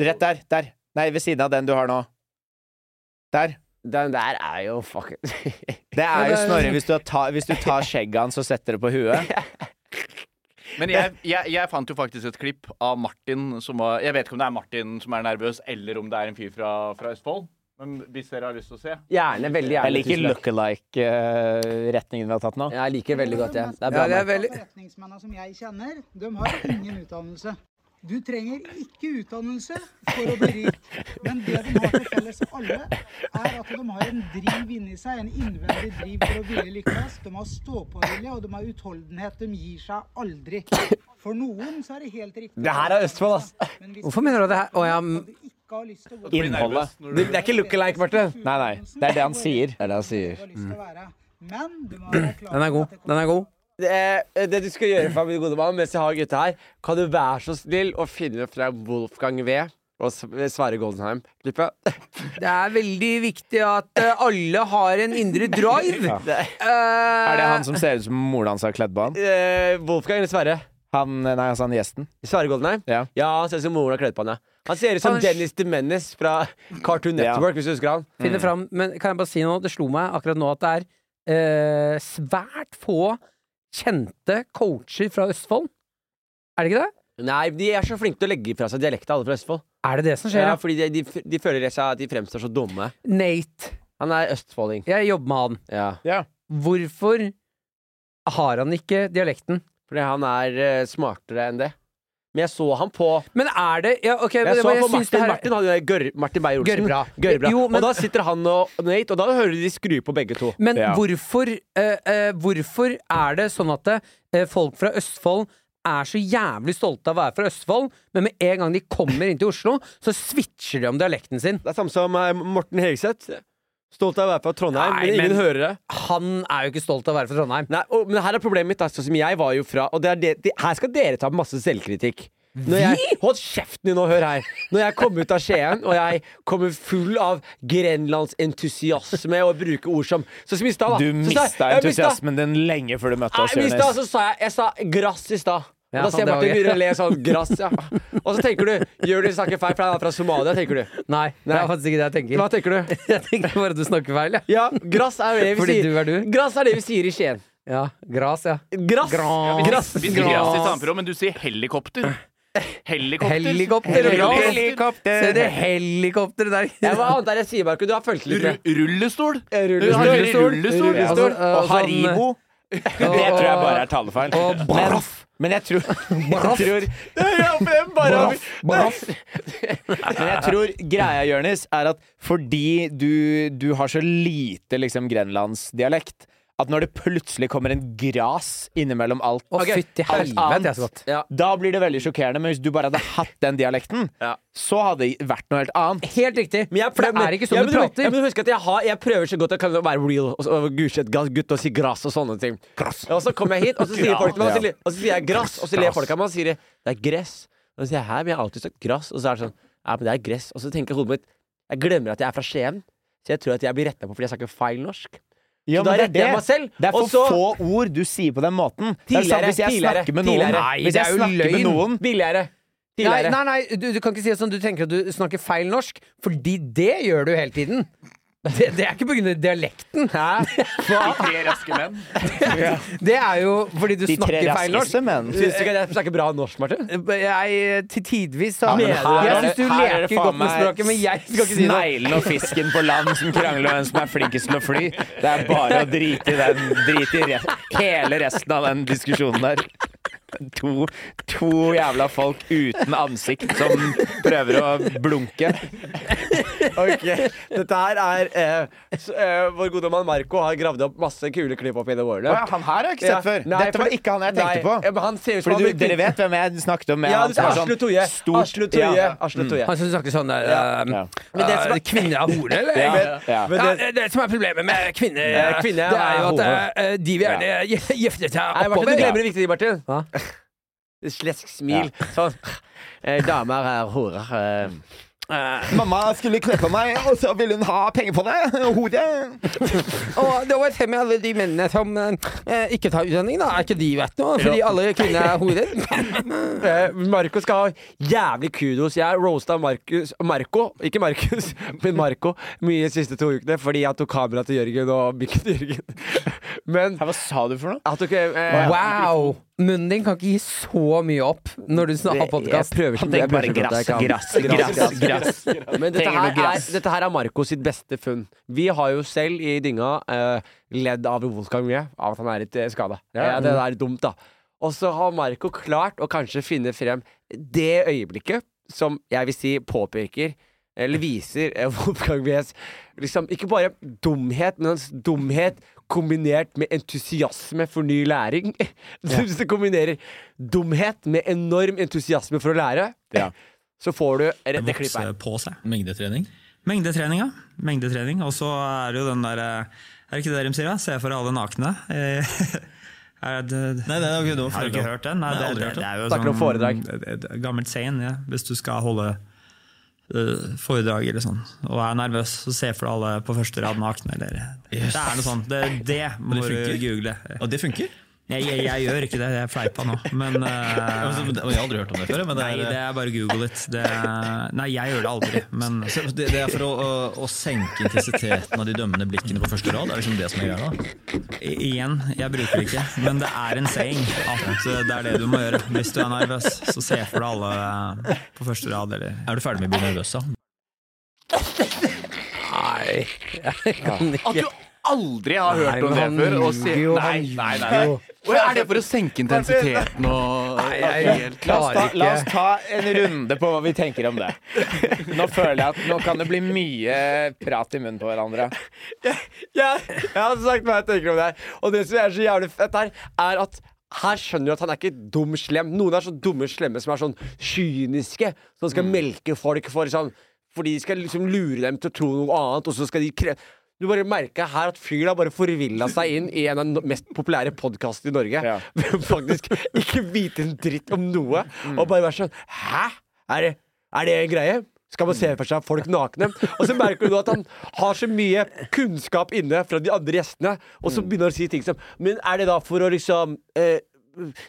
S4: Rett der. Der. Nei, ved siden av den du har nå. Der.
S3: Den der er jo fucking
S4: Det er jo
S2: det er-
S4: Snorre. Hvis du, tar, hvis du tar skjegget hans og setter det på huet.
S5: Men jeg, jeg, jeg fant jo faktisk et klipp av Martin som var Jeg vet ikke om det er Martin som er nervøs, eller om det er en fyr fra, fra Østfold. Men hvis dere har lyst til å se
S3: Gjerne. Veldig gjerne.
S4: Jeg liker
S3: tusen takk.
S4: look-alike-retningen eh, vi har tatt nå.
S3: Jeg liker veldig godt, jeg. Det er bra.
S2: Ja, det er veldig
S8: Forretningsmennene som jeg kjenner, de har ingen utdannelse. Du trenger ikke utdannelse for å bli rik, men det de har til felles alle, er at de har en driv inni seg, en innvendig driv for å ville lykkes. De har ståpåvilje, og de har utholdenhet. De gir seg aldri. For noen så er det helt riktig.
S3: Det her er Østfold, ass.
S8: Men hvis
S2: Hvorfor mener du det her? Å ja,
S8: du
S2: m-
S8: ikke har lyst til å gå
S4: Innholdet.
S3: Det, det er ikke look-alike, Marte.
S4: Nei, nei. Det er det han sier.
S3: Det er det han sier.
S8: har lyst til å være. Men du må være klar
S2: den er
S8: over at
S2: god.
S8: det kommer
S2: Den er god.
S3: Det, eh, det du skal gjøre for min gode mann mens jeg har gutta her, kan du være så snill å finne frem Wolfgang V og S- Sverre Goldenheim-klippet?
S2: Det er veldig viktig at eh, alle har en indre drive. Eh,
S3: Mm.
S4: Er det han som ser ut som moren hans har kledd på han?
S3: Eh, Wolfgang eller Sverre?
S4: Han, nei, altså han gjesten.
S3: Sverre Goldenheim?
S4: Ja.
S3: han ser ut som moren har kledd på han, ja. Han ser ut som
S2: Han er-
S3: Dennis de Menace fra Cartoon
S4: Ja. Mm.
S3: Network, hvis du husker han.
S2: Finne fram, men kan jeg bare si noe? Det slo meg akkurat nå at det er eh, svært få kjente coacher fra Østfold. Er det ikke det?
S3: Nei, de er så flinke til å legge fra seg dialekta, alle fra Østfold.
S2: Er det det som skjer?
S3: Ja,
S2: Ja,
S3: fordi de, de, f- de føler seg at de fremstår så dumme.
S2: Nate.
S3: Han er østfolding.
S2: Jeg jobber med han.
S3: Ja.
S2: Hvorfor har han ikke dialekten?
S3: Fordi han er eh, smartere enn det. Men jeg så han på
S2: Men er det ja, ok, men
S3: Jeg
S2: det
S3: så
S2: var-
S3: han på
S2: syns
S3: Martin,
S2: det her-
S3: Martin, han, der Gør, Martin Beyer-Olsen.
S2: Gørrbra.
S3: Gørrbra.
S2: Jo, men-
S3: Og da sitter han og Nate, og da hører du de skru på begge to.
S2: Men
S4: Ja.
S2: hvorfor, eh, eh, hvorfor er det sånn at eh, folk fra Østfold er så jævlig stolte av å være fra Østfold, men med en gang de kommer inn til Oslo, så switcher de om dialekten sin?
S3: Det er samme som eh, Morten Hegseth. Stolt av å være fra Trondheim,
S2: Nei,
S3: men ingen
S2: men-
S3: hører det.
S2: Han er jo ikke stolt av å være fra Trondheim.
S3: Nei, og, men her er problemet mitt, da, sånn som jeg var jo fra Og det er det, det, her skal dere ta masse selvkritikk. Når jeg, hold kjeften din og hør her! Når jeg kom ut av Skien, og jeg kommer full av grenlandsentusiasme og bruker ord som Sånn som i stad, da.
S4: Du
S3: Så sa jeg-
S4: mista
S3: jeg mistet-
S4: entusiasmen din lenge før du møtte oss,
S3: Nei, men i stad
S4: Jonis.
S3: så sa jeg altså- Jeg sa grass i stad. Og
S2: Ja,
S3: da ser
S2: det
S3: jeg Martin
S2: var gøy.
S3: begynner å le sånn. Grass, ja. Og så tenker du gjør du snakker feil, for han er fra Somalia, tenker du.
S2: Nei, det
S3: Nei.
S2: er faktisk ikke det jeg tenker.
S3: Hva tenker du?
S2: Jeg tenker bare at du snakker feil, jeg.
S3: Ja, grass er det vi
S2: Fordi
S3: sier.
S2: du er du.
S3: Grass er det vi sier i Skien.
S2: Ja. Gras, ja.
S3: Grass.
S2: Grass.
S3: grass.
S5: Vi sier grass i Tampro, men du sier helikopter. Helikopter.
S2: Helikopter og gras.
S4: Helikopter.
S2: Se det helikopteret der.
S3: Ja, hva annet er det jeg sier, Marco? Du har fulgt litt
S5: Ru-
S3: med.
S5: Rullestol.
S3: Rullestol.
S5: Han sier Rullestol.
S4: Ja,
S2: Altså, eh,
S4: og
S2: sånn- eh,
S4: Haribo. Det tror jeg bare er talefeil.
S2: Og
S4: Men,
S2: braff.
S4: men jeg tror, jeg
S2: Braff.
S4: tror
S2: Braff. Braff.
S4: Men jeg tror greia, Jørnis, er at fordi du, du har så lite liksom, grenlandsdialekt at når det plutselig kommer en gras innimellom alt
S2: Å,
S4: Ok,
S2: fytti helvete, jeg
S4: alt
S2: er så
S4: annet,
S2: godt.
S4: Da blir det veldig sjokkerende, men hvis du bare hadde hatt den dialekten, så hadde det vært noe helt annet.
S2: Helt riktig.
S3: Men jeg
S2: For
S3: prøver-
S2: det er ikke sånn
S3: Ja,
S2: du
S3: men
S2: prater.
S3: Ja, men husk at jeg, har, jeg prøver så godt jeg kan å være real og, så- og gudskjelov ga- gutt og si grass og sånne ting. Og så kommer jeg hit, og så sier folk til meg, og så, li- og så sier jeg grass, og så ler folk av meg og sier de, det er gress. Og så sier jeg hæ, men jeg har alltid sagt grass, og så er det sånn ja, men det er gress. Og så tenker hodet mitt jeg glemmer at jeg er fra Skien, så jeg tror at jeg blir retta på fordi jeg snakker feil norsk.
S4: Ja,
S3: Så da
S4: men
S3: retter jeg meg selv.
S4: det er for
S3: og så,
S4: få ord du sier på den måten. Det er det samme
S3: Tidligere,
S4: hvis jeg
S3: tidligere,
S4: snakker med noen.
S3: tidligere.
S4: hvis jeg
S2: Nei, det er
S4: snakker
S2: jo
S4: med noen
S3: Billigere.
S2: Nei,
S3: Tidligere.
S2: nei, nei du, du kan ikke si det sånn. Du tenker at du snakker feil norsk, fordi det gjør du hele tiden. Det, det er ikke pga. dialekten.
S5: Tre raske menn.
S2: Det er jo fordi du
S4: De tre
S2: snakker feil norsk.
S4: raskeste, men
S3: Syns du ikke at jeg snakker bra norsk, Martin?
S2: Jeg, til tidvis så
S4: Ja, men her
S2: Jeg
S4: er det-
S2: syns du
S4: her er det
S2: leker
S4: faen
S2: godt med
S4: meg
S2: språket, men jeg skal ikke si det.
S4: Sneglen og fisken på land som krangler om hvem som er flinkest til å fly. Det er bare å drite i den Drite i re hele resten av den diskusjonen der. To, to jævla folk uten ansikt som prøver å blunke.
S3: Ok, Dette her er eh, s- eh, Vår gode mann Marco har gravd opp masse kule klipp opp gjennom årene.
S4: han her har jeg
S3: Ja, nei, fordi- nei, ja, men han ser ut som han
S4: Fordi
S3: blir-
S4: du, dere vet hvem jeg snakket om? jeg,
S3: Ja,
S4: han
S3: du
S4: som
S3: sa
S4: er sånn
S3: Asle Toje.
S4: stort-
S3: Asle Toje.
S4: Ja.
S3: Asle Toje.
S2: Han syns du snakker sånn der eh,
S4: Ja.
S2: Men det som er, kvinner er hore, eller?
S4: Ja, ja.
S3: Men
S2: Ja,
S3: det-
S2: det som er problemet med kvinner,
S3: Ja, kvinner
S2: det er jo
S3: er
S2: at eh, de vil gjerne gif- gifte seg
S3: Nei, Martin, du
S2: oppover.
S3: glemmer det viktige, Martin.
S2: Hva?
S3: Slesk smil. Sånn. Eh, damer er horer. Eh.
S4: Mamma skulle kneppe meg, og så ville hun ha penger på det. Hodet.
S2: Og det var fem av alle de mennene som eh, ikke tar utdanning, da. Er ikke de verdt noe? Fordi alle kvinner er horer.
S3: Eh, Marco skal ha jævlig kudos. Jeg roasta Marcus Marco, ikke Markus, men Marco mye de siste to ukene fordi jeg tok kameraet til Jørgen og mikken til Jørgen. Men
S4: Hva sa du for noe?
S3: jeg tok eh,
S2: Wow! Munnen din kan ikke gi så mye opp når du har podkast.
S3: prøver
S9: Han
S3: så-
S9: tenker
S3: jeg prøver
S9: bare
S3: så godt jeg
S9: grass,
S3: kan.
S9: grass, grass, grass.
S3: Men dette
S9: Trenger noe
S3: her, er,
S9: grass.
S3: dette her er Marco sitt beste funn. Vi har jo selv i dynga eh, ledd av Wolfgang Mye av at han er litt eh, skada. Eh, det er dumt, da. Og så har Marco klart å kanskje finne frem det øyeblikket som jeg vil si påpeker eller viser eh, Wolfgang Mies liksom, Ikke bare dumhet, men hans dumhet kombinert med entusiasme for ny læring. Hvis du kombinerer dumhet med enorm entusiasme for å lære, så får du det klippet her.
S10: vokse på seg. Mengdetrening? Mengdetrening, ja. Mengdetrening. Og så er det jo den derre Er det ikke det de sier? da? Se for alle nakne. Eh, Er det, nei, det er ikke Har du ikke hørt den? Nei, det, det, det er jo
S3: Snakker om foredrag.
S10: et- Et gammelt saying, ja. Hvis du skal holde eh, foredrag eller sånn, og er nervøs, så se for deg alle på første rad nakne. Eller. Det er noe sånt. Det, det må du google.
S11: Og det funker?
S10: Jeg, jeg, jeg gjør ikke det, jeg fleipa nå, men eh,
S11: Altså, men det- Jeg har aldri hørt om det før. Men det
S10: Nei, det
S11: er,
S10: er bare google it. Det, nei, jeg gjør det aldri, men
S11: så det, det er for å, å, å senke intensiteten av de dømmende blikkene på første rad? Er liksom det som er greia? da?
S10: I- Igjen, jeg bruker det ikke, men det er en saying at eh, det er det du må gjøre hvis du er nervøs. Så se for deg alle eh, på første rad, eller
S11: Er du ferdig med å bli nervøs, da?
S2: Nei, jeg kan ikke.
S5: At du aldri har
S2: Nei,
S5: hørt om det
S2: men
S5: før?
S2: han
S5: Og si,
S2: ljuger jo,
S5: nei,
S2: han
S5: nei, nei.
S2: ljuger jo.
S5: Å, Er det for å senke intensiteten og
S2: Jeg
S5: helt-
S4: La oss, ta,
S2: klarer
S4: la oss
S2: ikke.
S4: ta en runde på hva vi tenker om det. Nå føler jeg at nå kan det bli mye prat i munnen på hverandre.
S3: jeg, jeg har sagt hva jeg tenker om det her. Og det som er så jævlig fett her, er at her skjønner du at han er ikke dum slem. Noen er så dumme slemme som er sånn kyniske, som skal melke folk for sånn Fordi de skal liksom lure dem til å tro noe annet, og så skal de kre... Du bare merka her at fyren har bare forvilla seg inn i en av de mest populære podkastene i Norge.
S4: Ja.
S3: Ved å faktisk ikke vite en dritt om noe, og bare være sånn Hæ? Er det, er det en greie? Skal man se for seg folk nakne? Og så merker du nå at han har så mye kunnskap inne fra de andre gjestene, og så begynner han å si ting som Men er det da for å liksom eh,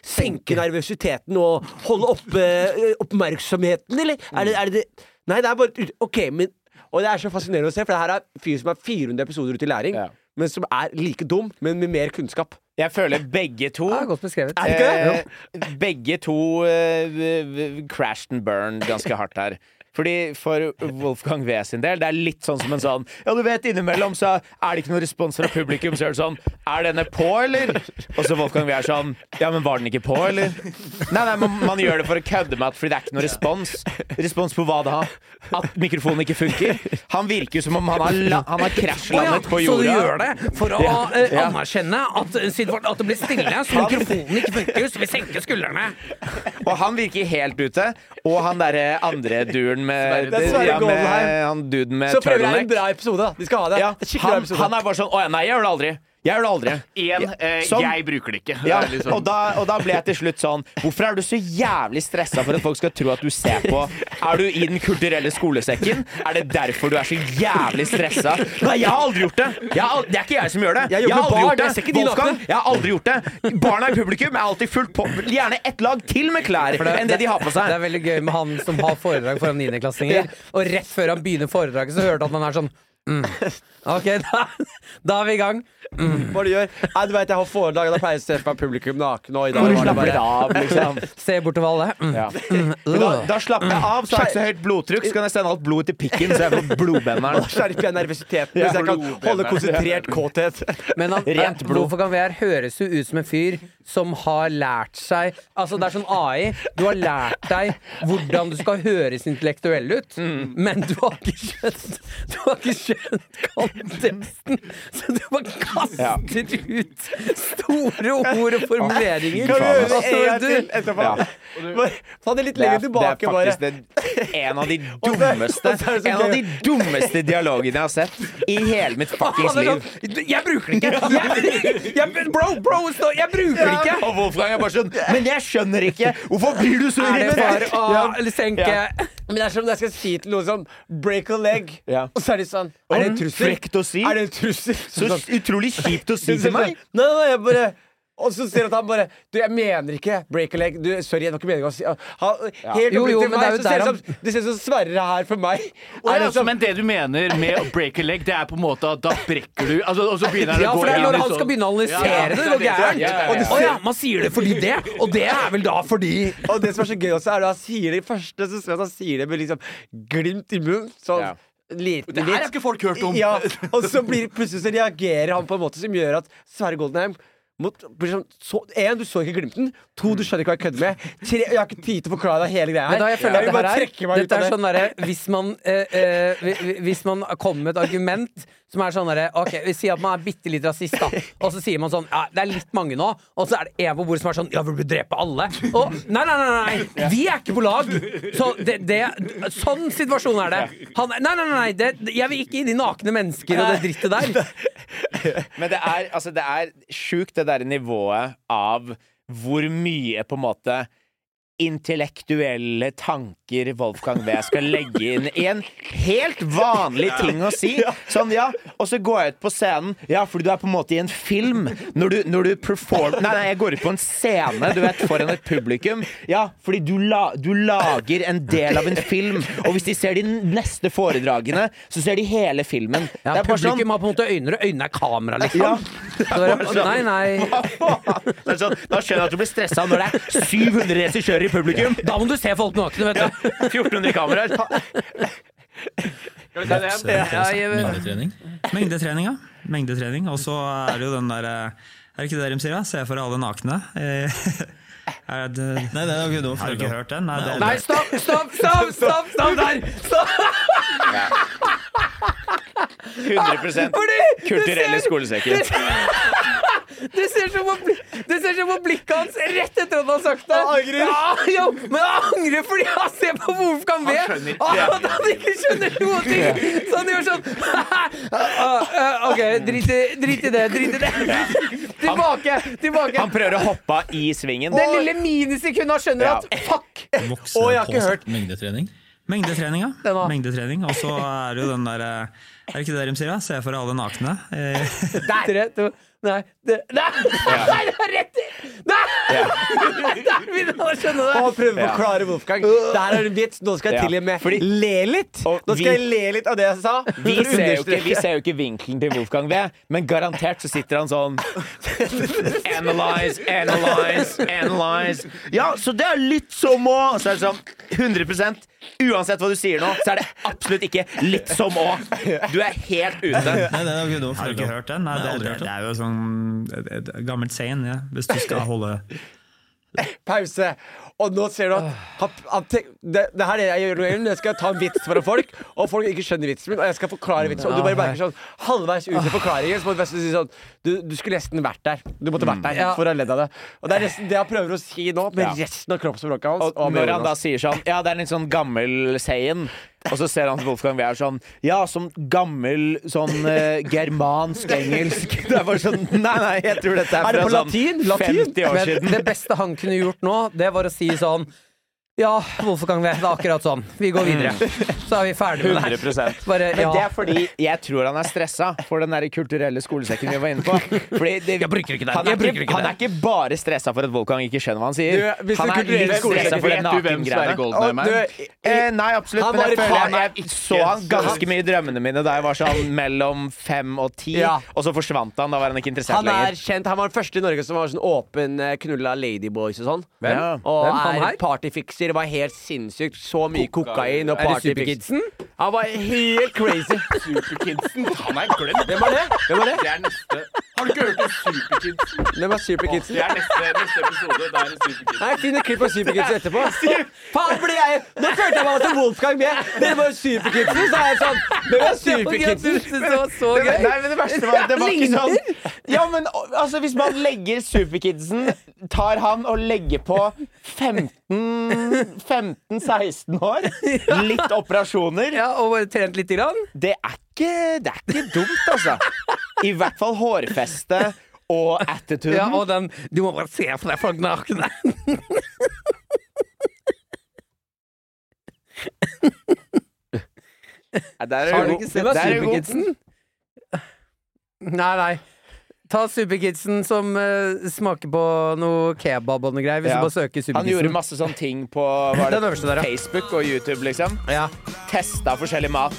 S3: senke nervøsiteten og holde oppe eh, oppmerksomheten, eller? Er det, er det det Nei, det er bare et ut- OK, men Og det er så fascinerende å se, for det her er en fyr som er 400 episoder ute i læring,
S4: Ja.
S3: men som er like dum, men med mer kunnskap.
S4: Jeg føler begge to
S2: Det er godt beskrevet.
S4: eh, Begge to eh, v- v- crashed and burned ganske hardt her. Fordi For Wolfgang V sin del, det er litt sånn som en sånn Ja, du vet, innimellom så er det ikke noen respons fra publikum. Så er det sånn Er denne på, eller? Og så Wolfgang V er sånn Ja, men var den ikke på, eller? Nei, nei, man, man gjør det for å kødde med at Fordi det er ikke noen respons. Respons på hva da? At mikrofonen ikke funker? Han virker jo som om han har, la- han har krasjlandet på
S2: Så du
S4: jorda.
S2: gjør det for å eh,
S4: Ja.
S2: anerkjenne at, eh, siden vårt- at det blir stille, så mikrofonen ikke funker, så vi senker skuldrene.
S4: Og han virker helt ute. Og han derre andre duren med,
S3: Det er Sverre
S4: ja, med
S3: Goldenheim.
S4: Han duden med
S3: Så prøver jeg en
S4: turtleneck.
S3: bra episode, da. De skal ha det.
S4: Ja,
S3: det er skikkelig bra
S4: han,
S3: episode.
S4: han er bare sånn Å ja, nei, jeg gjør det aldri. Jeg gjør det aldri.
S5: Igjen, eh,
S4: Som-
S5: jeg bruker det ikke.
S4: Ja,
S5: Det er liksom-
S4: og, da, og da ble jeg til slutt sånn Hvorfor er du så jævlig stressa for at folk skal tro at du ser på? Er du i Den kulturelle skolesekken? Er det derfor du er så jævlig stressa? Nei, jeg har aldri gjort det! Jeg har, al- det er ikke jeg som gjør det.
S3: Jeg jobber
S4: har aldri
S3: med barn,
S4: gjort det.
S3: jeg ser ikke de
S4: Wolfgang,
S3: nakne.
S4: jeg har aldri gjort det. Barna i publikum er alltid fullt på. Gjerne ett lag til med klær enn det de har på
S2: Det
S4: seg.
S2: er veldig gøy med han som har foredrag foran niendeklassinger, og rett før han begynner foredraget, så hører du at man er sånn mm. Ok, da, da er vi i gang.
S3: Hva du gjør? Nei, du vet, jeg har foredrag, og da pleier jeg å se på publikum naken, og i dag var det
S4: Slapper
S3: bare
S4: av, liksom.
S2: Se bortover alle. Mm.
S4: Men Da, da slapper jeg av, så har jeg ikke så høyt blodtrykk. Så kan jeg sende alt blodet til pikken, så jeg får blodbenderen.
S3: Skjerper jeg nervøsiteten hvis jeg kan holde konsentrert kåthet?
S2: Men han,
S4: Rent blod.
S2: Hvorfor kan VR høres jo ut som en fyr som har lært seg Altså Det er sånn AI. Du har lært deg hvordan du skal høres intellektuell ut,
S4: Mm.
S2: men du har ikke skjønt Du har ikke skjønt konteksten, så du bare kaster ut store ord og formuleringer.
S3: Kan du gjøre det en gang
S2: Altså,
S3: til
S2: du,
S3: etterpå? Bare Ta det litt
S4: Det er,
S3: lenger
S4: det
S3: tilbake,
S4: er
S3: bare.
S4: faktisk det, en av de
S3: Og det-
S4: dummeste
S3: og så er det så
S4: En
S3: gøy.
S4: av de dummeste dialogene jeg har sett i hele mitt fuckings
S3: sånn,
S4: liv.
S2: jeg bruker det ikke! Jeg, jeg, bro, bro, stå, jeg bruker det ikke!
S4: Og Wolfgang er bare sånn Men jeg skjønner ikke! Hvorfor blir du så
S2: Er det
S4: irritert?
S2: for å senke
S3: Men det er som om jeg skal si til noen sånn break a leg,
S4: Ja.
S3: og så er de sånn Er det en trussel?
S4: Frekt å si.
S3: Er det en trussel?
S4: Så utrolig kjipt å si
S3: Sånn,
S4: til
S3: sånn,
S4: meg.
S3: Nei, nei, jeg bare Og så ser du at han bare Du, jeg mener ikke break a leg. Du, sorry, det var ikke meningen å si han, Helt
S2: Jo, jo,
S3: oppriktig
S2: men
S3: meg,
S2: det
S3: så
S2: er
S3: ser
S2: jo
S3: det som Det ser ut som Sverre her for meg.
S5: Å,
S3: er liksom
S5: ja,
S3: det som-
S5: men det du mener med å break a leg, det er på en måte at da brekker du altså, Og så begynner han
S2: Ja,
S5: å gå
S2: for det er
S5: inn
S2: når
S5: i
S2: han
S5: sånn-
S2: skal begynne å
S5: Ja, ja,
S2: analysere det, det går
S5: ja, ja,
S2: gærent.
S5: ja, ja,
S2: Og du
S5: ja.
S2: ser- man sier det fordi det, og det er vel da fordi
S3: Og det som er så gøy også, er at han sier det i første, så ser jeg at han sier det med liksom glimt i munnen. Sånn
S5: Ja.
S3: liten
S5: Det her har ikke folk hørt om.
S3: Ja, og så blir, plutselig så reagerer han på en måte som gjør at Sverre Goldenheim mot, blir sånn, så, en, du så ikke glimten. To, du skjønner ikke hva jeg kødder med. Tre, jeg har ikke tid til å forklare deg hele greia her.
S2: Men da jeg føler at
S3: vil
S2: det her
S3: bare
S2: er,
S3: trekke meg ut
S2: Dette
S3: av
S2: er
S3: det.
S2: sånn derre hvis, man, eh, eh, hvi- hvi- hvis man kommer med et argument som er sånn derre Ok, vi sier at man er bitte litt rasist, da. Og så sier man sånn Ja, det er litt mange nå. Og så er det en på bordet som er sånn Ja, vil du drepe alle? Og nei, nei, nei, nei, nei. Vi er ikke på lag! Så det, det Sånn situasjon er det. Han, nei, nei, nei, nei. Det, jeg vil ikke inn i nakne mennesker og det drittet der.
S4: Men det er, altså, det er sjukt det derre nivået av hvor mye på en måte intellektuelle tanker Wolfgang V skal legge inn i en helt vanlig ting å si. Sånn, ja, og så går jeg ut på scenen Ja, fordi du er på en måte i en film. Når du, når du perform... Nei, nei, jeg går ut på en scene, du vet, foran et publikum. Ja, fordi du, la, du lager en del av en film, og hvis de ser de neste foredragene, så ser de hele filmen.
S2: Ja,
S4: Det er bare sånn-
S2: publikum har på en måte øyne, og øynene er kamera, liksom.
S4: Ja.
S2: Så det er, nei, nei.
S4: Det er sånn, da skjønner jeg at du blir stressa når det er 700 regissører i publikum.
S2: Da må du se folk nakne, vet du.
S4: 1400 kameraer.
S5: Skal vi se det?
S12: Mengdetrening.
S10: Mengdetrening, ja. Mengdetrening. Og så er det jo den derre Er det ikke det de sier, da? Se for alle nakne. Eh, Er det,
S12: Nei, det er jo ikke noe å
S10: har du
S12: følge
S10: ikke
S12: opp.
S10: hørt den? Nei, det,
S2: Nei, stopp, stopp, stopp, stopp, stopp der! Stopp.
S3: «Ah,
S4: 100
S2: Fordi
S4: kulturelle
S2: det ser-
S4: skolesekken.
S2: Det ser som på, bli- det ser som på blikket hans rett etter at han har sagt det. Han angrer. Ja, jo, men han angrer fordi han ser på Wolfgang V.
S5: skjønner ikke.
S2: Ah, At han ikke skjønner noen ting! Så han gjør sånn ah, ah, OK, drit i, drit i det. Drit i det. Tilbake. tilbake.
S4: Han prøver å hoppe av i svingen.
S2: Det lille minisekundet han skjønner
S4: Ja.
S2: at fuck!
S12: Vokse
S3: Å, jeg har ikke
S12: påsatt mengdetrening.
S10: Mengdetrening, ja.
S2: Den var-
S10: Mengdetrening. Og så er det jo den derre Er det ikke det de sier, da? Se for alle nakne. Eh,
S2: Tre, to, nei, det, nei, nei, det er rett i Nei! Der begynner han å skjønne det.
S3: Og han prøver å forklare Wolfgang. Det her er en vits. Nå skal jeg
S4: Ja,
S3: til og med
S4: fordi-
S3: le litt.
S4: Og
S3: Nå skal
S4: vi-
S3: jeg le litt av det jeg sa.
S4: Vi ser, jo ikke, vi ser jo ikke vinkelen til Wolfgang V, men garantert så sitter han sånn Analyze, analyze, analyze. Ja, så det er litt som å Så er det sånn 100 Uansett hva du sier nå, så er det absolutt ikke litt som å. Du er helt ute.
S12: Nei, det er jo ikke noe å
S10: har du
S12: følge
S10: ikke
S12: opp.
S10: hørt den? Nei,
S12: Nei,
S10: det,
S12: aldri
S10: det,
S12: hørt
S10: det er jo sånn et, et gammelt saying, ja. Hvis du skal holde
S3: pause. Og nå ser du at han, han tenk, det, det her er det jeg gjør noe gjennom. Jeg skal ta en vits fra folk, og folk ikke skjønner vitsen min. Og jeg skal forklare vitsen. Og du bare merker sånn halvveis ut i forklaringen. Så må du nesten si sånn du, du skulle nesten vært der. Du måtte vært der for å ha ledd av det. Og det er nesten det han prøver å si nå, med
S4: Mm. Ja.
S3: resten av kroppsspråket hans.
S4: Og
S3: og med
S4: når
S3: ordene
S4: han da
S3: hans.
S4: sier sånn Ja, det er en litt sånn gammel seien. Og så ser han til Wolfgang Wehr sånn Ja, som gammel sånn eh, germansk-engelsk. Det er bare sånn Nei, nei, jeg tror dette er
S3: Er det
S4: fra
S3: på
S4: sånn
S3: latin? Latin?
S4: 50 år
S2: Men
S4: siden.
S2: det beste han kunne gjort nå, det var å si sånn Ja, Wolfgang V, det er akkurat sånn. Vi går videre. Så er vi ferdig med det her.
S4: 100
S2: Bare,
S4: Mm. Men det
S2: ja.
S4: er fordi jeg tror han er stressa for den der kulturelle skolesekken vi var inne på. Fordi det,
S2: Jeg bruker ikke den.
S4: Han er
S2: Jeg bruker ikke
S4: han
S2: den.
S4: er ikke bare stressa for at Wolfgang ikke skjønner hva han sier.
S3: Du, hvis den
S4: han er
S3: kulturelle
S4: litt stressa
S3: skolesekken-
S4: for den
S5: Vet du hvem
S4: nakengreiene.
S5: Sverre
S3: Å,
S5: Goldenheim er?
S3: du,
S4: Eh, nei, absolutt,
S3: Han
S4: men
S3: var
S4: jeg
S3: i
S4: føler
S3: faren,
S4: jeg, jeg så han ganske mye i drømmene mine da jeg var sånn mellom fem og ti,
S3: Ja.
S4: og så forsvant han. Da var han ikke interessert
S3: han er
S4: lenger.
S3: kjent, han var den første i Norge som var sånn åpen eh, knulla ladyboys og sånn.
S4: Ja.
S3: Og
S2: Hvem? Han her?
S3: er partyfikser. Var helt sinnssykt. Så mye kokain og
S2: Er det
S3: partyfiks.
S2: Superkidsen?
S3: Han var helt crazy.
S5: Superkidsen. Han er glemt.
S3: Hvem var det? Hvem var det?
S5: Det er neste. Har du ikke hørt om Superkidsen?
S3: Det var Superkidsen.
S5: Det er neste, neste episode. Da er det Superkidsen.
S3: Nei, Finn et klipp av Superkidsen etterpå. Faen, ble jeg Nå følte jeg meg som Wolfgang med. Dere var jo Superkidsen, så er jeg sånn. Dere var Superkidsen.
S2: Det var så
S4: Det var-
S2: gøy.
S4: Nei, men det verste var at det var ikke sånn Ja, men altså, hvis man legger Superkidsen, tar han og legger på 15 15-16 år, litt operasjoner,
S2: Ja, og bare trent lite grann.
S4: det er ikke, det er ikke dumt, altså. I hvert fall hårfeste og attituden.
S2: Ja, og den Du må bare se på deg folk nakne.
S4: Ja, der er
S2: Har
S4: du
S2: du
S4: god.
S2: ikke sett
S4: Der er du god.
S2: Superkidsen? Nei, nei. Ta Superkidsen som eh, smaker på noe kebab og noe greier, hvis
S4: Ja.
S2: du bare søker
S4: Han gjorde
S2: Superkidsen.
S4: masse sånne ting på hva er det,
S2: Den øverste der, ja.
S4: Facebook og YouTube, liksom.
S2: Ja.
S4: Testa forskjellig mat.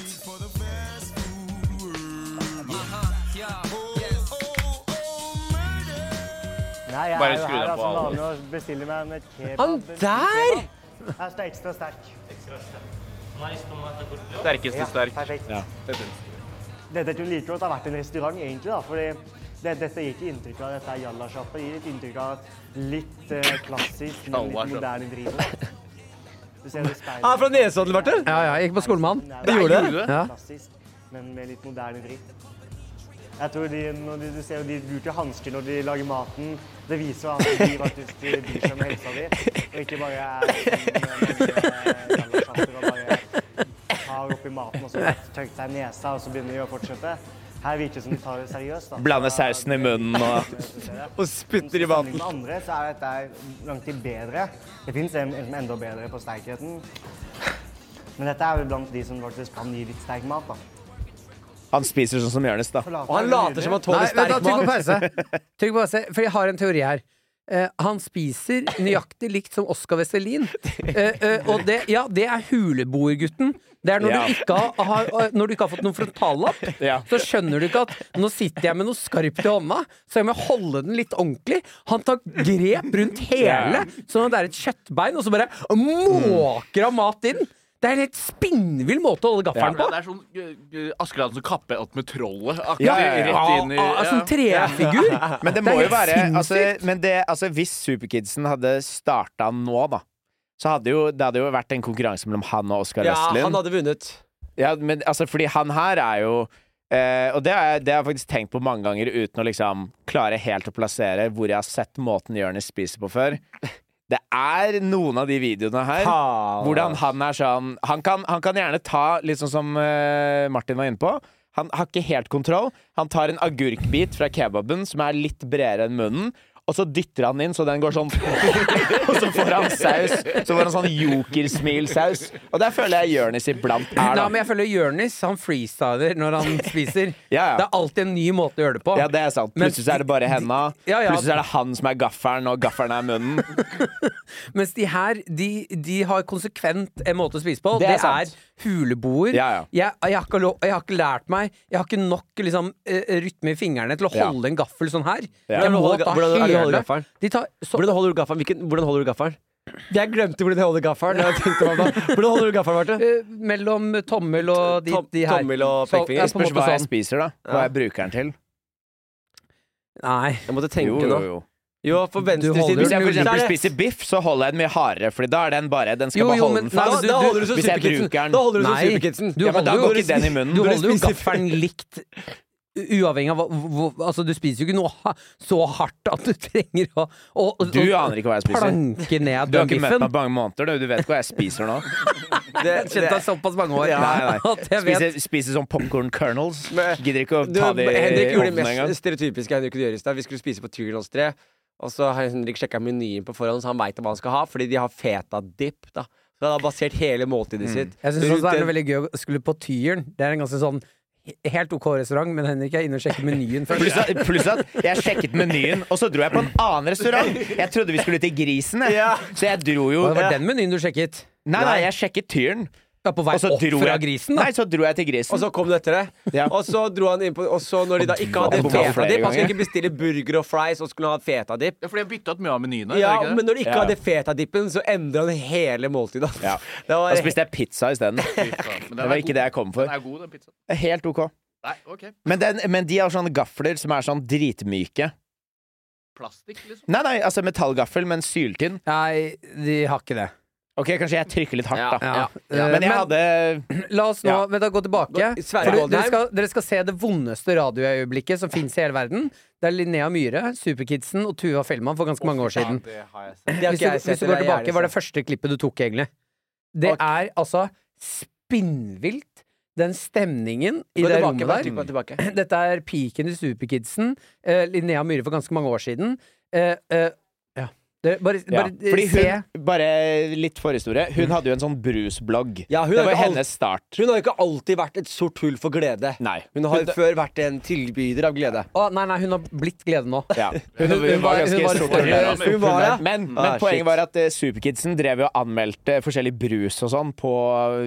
S11: Nei, jeg
S5: Bare
S11: er jo
S5: skru
S11: her
S5: den
S11: da,
S5: på,
S11: som
S5: Alex.
S11: vanlig og bestiller meg en kebab.
S2: Han der!
S11: Her står ekstra sterk.
S5: Sterkeste sterk.
S11: Perfekt. Dette kunne like godt ha vært en restaurant, egentlig, da, fordi det, dette gir ikke inntrykk av at dette er jallasjappa. Det gir et inntrykk av et litt eh, klassisk, men litt
S5: Jallasjappa.
S11: moderne driv. Du ser det i speilet.
S3: Han er fra Nesodden, Barte.
S2: Ja, ja, jeg gikk på skolen med han.
S11: Det
S3: gjorde du?
S11: det?
S2: Ja.
S11: Klassisk, men med litt moderne vri. Jeg tror de, når de, du ser jo de bruker hansker når de lager maten. Det viser jo at de faktisk de bryr seg om helsa di, og ikke bare er sånn og bare tar oppi maten og så tørker seg i nesa, og så begynner de å fortsette. Her virker det som de tar det seriøst. da.
S4: Blande
S11: Så-
S4: sausen i munnen og
S3: Og spytter i
S11: Sammenlignet
S3: maten.
S11: med andre så er dette langt til bedre. Det fins en en som er enda bedre på sterkheten. Men dette er jo blant de som faktisk kan gi litt sterk mat. da.
S4: Han spiser sånn som Jonis, da.
S3: Og han later som han
S2: Nei,
S3: tåler
S2: vent da,
S3: sterk
S2: trykk på
S3: mat.
S2: pause. Trykk på pause, for jeg har en teori her. Eh, han spiser nøyaktig likt som Oskar Westerlin. Eh, eh, og det, ja, det er huleboergutten. Det er når,
S4: Ja.
S2: du ikke har, har, eh, når du ikke har fått noen frontallapp,
S4: Ja.
S2: så skjønner du ikke at nå sitter jeg med noe skarpt i hånda, så jeg må holde den litt ordentlig. Han tar grep rundt hele, sånn at det er et kjøttbein, og så bare måker han mat inn. Det er en helt spinnvill måte å holde gaffelen på.
S5: Det er sånn uh, Askeladden som kapper opp med trollet. Akkurat,
S4: Ja, ja, ja.
S5: Rett inn i
S2: Ah, ah, Sånn trefigur.
S4: Men det
S2: er
S4: må jo
S2: helt
S4: være altså,
S2: sinnssykt.
S4: men det, altså, Hvis Superkidsen hadde starta nå, da, så hadde jo, det hadde jo vært en konkurranse mellom han og Oskar
S3: Ja,
S4: Westlin.
S3: han hadde vunnet.
S4: Ja, men altså, fordi han her er jo eh, Og det har, jeg, det har jeg faktisk tenkt på mange ganger uten å liksom klare helt å plassere hvor jeg har sett måten Jonis spiser på før. Det er noen av de videoene her hvordan han er sånn Han kan, han kan gjerne ta, litt sånn som eh, Martin var inne på Han har ikke helt kontroll. Han tar en agurkbit fra kebaben som er litt bredere enn munnen. Og så dytter han inn, så den går sånn Og så får han saus. Så får han sånn jokersmilsaus. Og der føler jeg Jonis iblant er,
S2: Nei,
S4: da.
S2: men jeg føler Jørnis, han freestyler når han spiser.
S4: Ja, ja.
S2: Det er alltid en ny måte å gjøre det på.
S4: Ja, det er sant.
S2: Men-
S4: Plutselig så er det bare henda.
S2: Ja, ja.
S4: Plutselig så er det han som er gaffelen, og gaffelen er munnen.
S2: Mens de her, de, de har konsekvent en måte å spise på.
S4: Det
S2: Det
S4: er
S2: er,
S4: sant.
S2: huleboer.
S4: Ja, ja.
S2: Jeg, jeg, har ikke lov, jeg har ikke lært meg Jeg har ikke nok liksom, eh, rytme i fingrene til å
S4: Ja.
S2: holde en gaffel sånn her.
S4: Ja.
S2: Jeg må
S3: Hvordan holder-
S2: ta
S3: hvordan er det du holder
S2: hele-
S3: gaffelen?
S2: De tar, så,
S3: Hvordan holder du gaffelen? Hvilken, hvordan holder du gaffelen? Jeg glemte hvordan jeg holder gaffelen. da jeg tenkte meg om da. Hvordan holder du gaffelen, Marte?
S2: eh, mellom tommel og de,
S3: Tom-
S2: de her.
S3: tommel og
S2: Så-
S3: pekefinger.
S2: ja, på en
S4: Spørs
S2: måte
S4: hva jeg
S2: sånn.
S4: spiser, da. Hva jeg bruker den til.
S2: Nei.
S3: Jeg måtte
S4: Jo,
S3: tenke
S4: jo,
S3: nå.
S4: jo.
S3: Jo, for
S2: holder
S3: venstresiden
S4: Hvis jeg
S3: så
S4: for
S3: er
S4: eksempel
S3: det-
S4: spiser biff, så holder jeg den mye hardere, Fordi da er den bare Den skal
S2: Jo,
S4: bare
S2: jo,
S4: holde
S2: men-
S4: den
S3: Da,
S4: fast.
S2: Nei, men
S3: da holder du som
S4: Hvis jeg
S3: superkidsen.
S4: bruker den.
S3: Da holder du som
S2: Nei.
S3: superkidsen.
S2: Du
S4: Ja, men da
S2: holder jo,
S4: går ikke den i munnen.
S2: Du
S3: Når du
S2: holder jo
S3: spiser-
S2: gaffelen likt u- uavhengig av hva, hvor- Altså, du spiser jo ikke noe ha- så hardt at du trenger å, å, å
S4: Du
S2: å
S4: aner ikke hva jeg spiser.
S2: planke ned
S4: Du har ikke møtt
S2: biffen.
S4: meg på mange måneder, du. Du vet ikke hva jeg spiser nå.
S2: Jeg kjente deg såpass mange år
S4: Ja, nei, nei.
S2: at jeg vet
S4: Spiser, spiser sånn popcorn kernels.
S3: Men-
S4: Gidder ikke å
S3: Du,
S4: ta det i
S3: Henrik gjorde det
S4: ovnen engang.
S3: mest stereotypiske Henrik kunne gjøre i stad. Vi skulle spise på Tyrlandstre, og så har Henrik sjekka menyen på forhånd, så han veit hva han skal ha, fordi de har feta-dip. da Så han har basert hele
S4: Mm.
S3: måltidet sitt
S2: Jeg syns
S3: rundt
S2: også det er
S3: den-
S2: veldig gøy å skulle på Tyren. Det er en ganske sånn he- helt ok restaurant, men Henrik er inne og sjekker menyen først.
S4: Pluss at, pluss at jeg sjekket menyen, og så dro jeg på en annen restaurant. Jeg trodde vi skulle til Grisen, jeg. så jeg dro jo
S2: Og det var den menyen du sjekket?
S4: Nei, nei, jeg sjekket Tyren.
S2: Ja, på vei
S4: Og så
S2: opp
S4: dro
S2: fra
S4: jeg-
S2: grisen, da?
S4: Nei, så dro jeg til grisen.
S3: Og så kom du etter det.
S4: Ja.
S3: Og så dro han inn på Og så når de da ikke hadde
S4: Jeg bomma flere
S3: fetadip Han skulle
S4: ganger.
S3: ikke bestille burger og fries, og skulle ha fetadip.
S5: Ja, fordi jeg bytta ut mye av
S3: Ja,
S5: menyene. gjør jeg ikke det?
S3: men når de ikke
S4: Ja.
S3: hadde fetadippen, så endra han hele måltidet.
S4: Ja.
S3: Det var
S4: da spiste jeg pizza isteden. Det
S5: Fy faen, men den
S4: var
S5: er
S4: ikke
S5: god.
S4: det jeg kom for.
S5: Den er god, den pizzaen.
S4: Helt ok.
S5: Nei, OK.
S4: Men, den, men de har sånne gafler som er sånn dritmyke.
S5: Plastikk, liksom.
S4: Nei, nei, altså metallgaffel, men syltynn.
S2: Nei, de har ikke det.
S4: Ok, kanskje jeg trykker litt hardt, da.
S2: Ja.
S4: Ja,
S2: Eh,
S4: Men jeg hadde
S2: La oss nå
S4: Ja.
S2: vent da, gå tilbake.
S3: Gå- Sverre
S2: For du, dere,
S3: Oldheim.
S2: skal, dere skal se det vondeste radioøyeblikket som fins i hele verden. Det er Linnea Myhre, Superkidsen og Tuva Fellmann for ganske mange år siden.
S5: Ja, det har jeg sett.
S3: Det har
S2: Hvis du,
S3: ikke jeg
S2: hvis
S3: sett.
S2: du går tilbake, var det første klippet du tok, egentlig. Det
S3: Ok.
S2: er altså spinnvilt, den stemningen i
S3: Gå
S2: det
S3: tilbake,
S2: rommet
S3: bare
S2: der.
S3: trykk på tilbake.
S2: Dette er piken i Superkidsen. eh, Linnea Myhre for ganske mange år siden. Eh, eh, ja. Det, bare
S4: Ja.
S2: bare
S4: Fordi
S2: se.
S4: hun, bare litt forhistorie, hun hadde jo en sånn brusblogg.
S3: Ja, hun
S4: det
S3: har
S4: var
S3: ikke alt-
S4: hennes start.
S3: Hun har jo ikke alltid vært et sort hull for glede.
S4: Nei.
S3: Hun har jo før vært en tilbyder av glede.
S2: Å, nei, nei, hun har blitt glede nå.
S4: Ja. Hun,
S2: Hun-
S4: hun,
S2: hun
S4: var
S2: var-
S4: ganske
S2: hun var
S4: stort
S2: for-
S4: under.
S3: Hun var, ja.
S4: Men, men
S3: Ah,
S4: poenget
S3: shit.
S4: var at eh, Superkidsen drev jo og anmeldte forskjellig brus og sånn på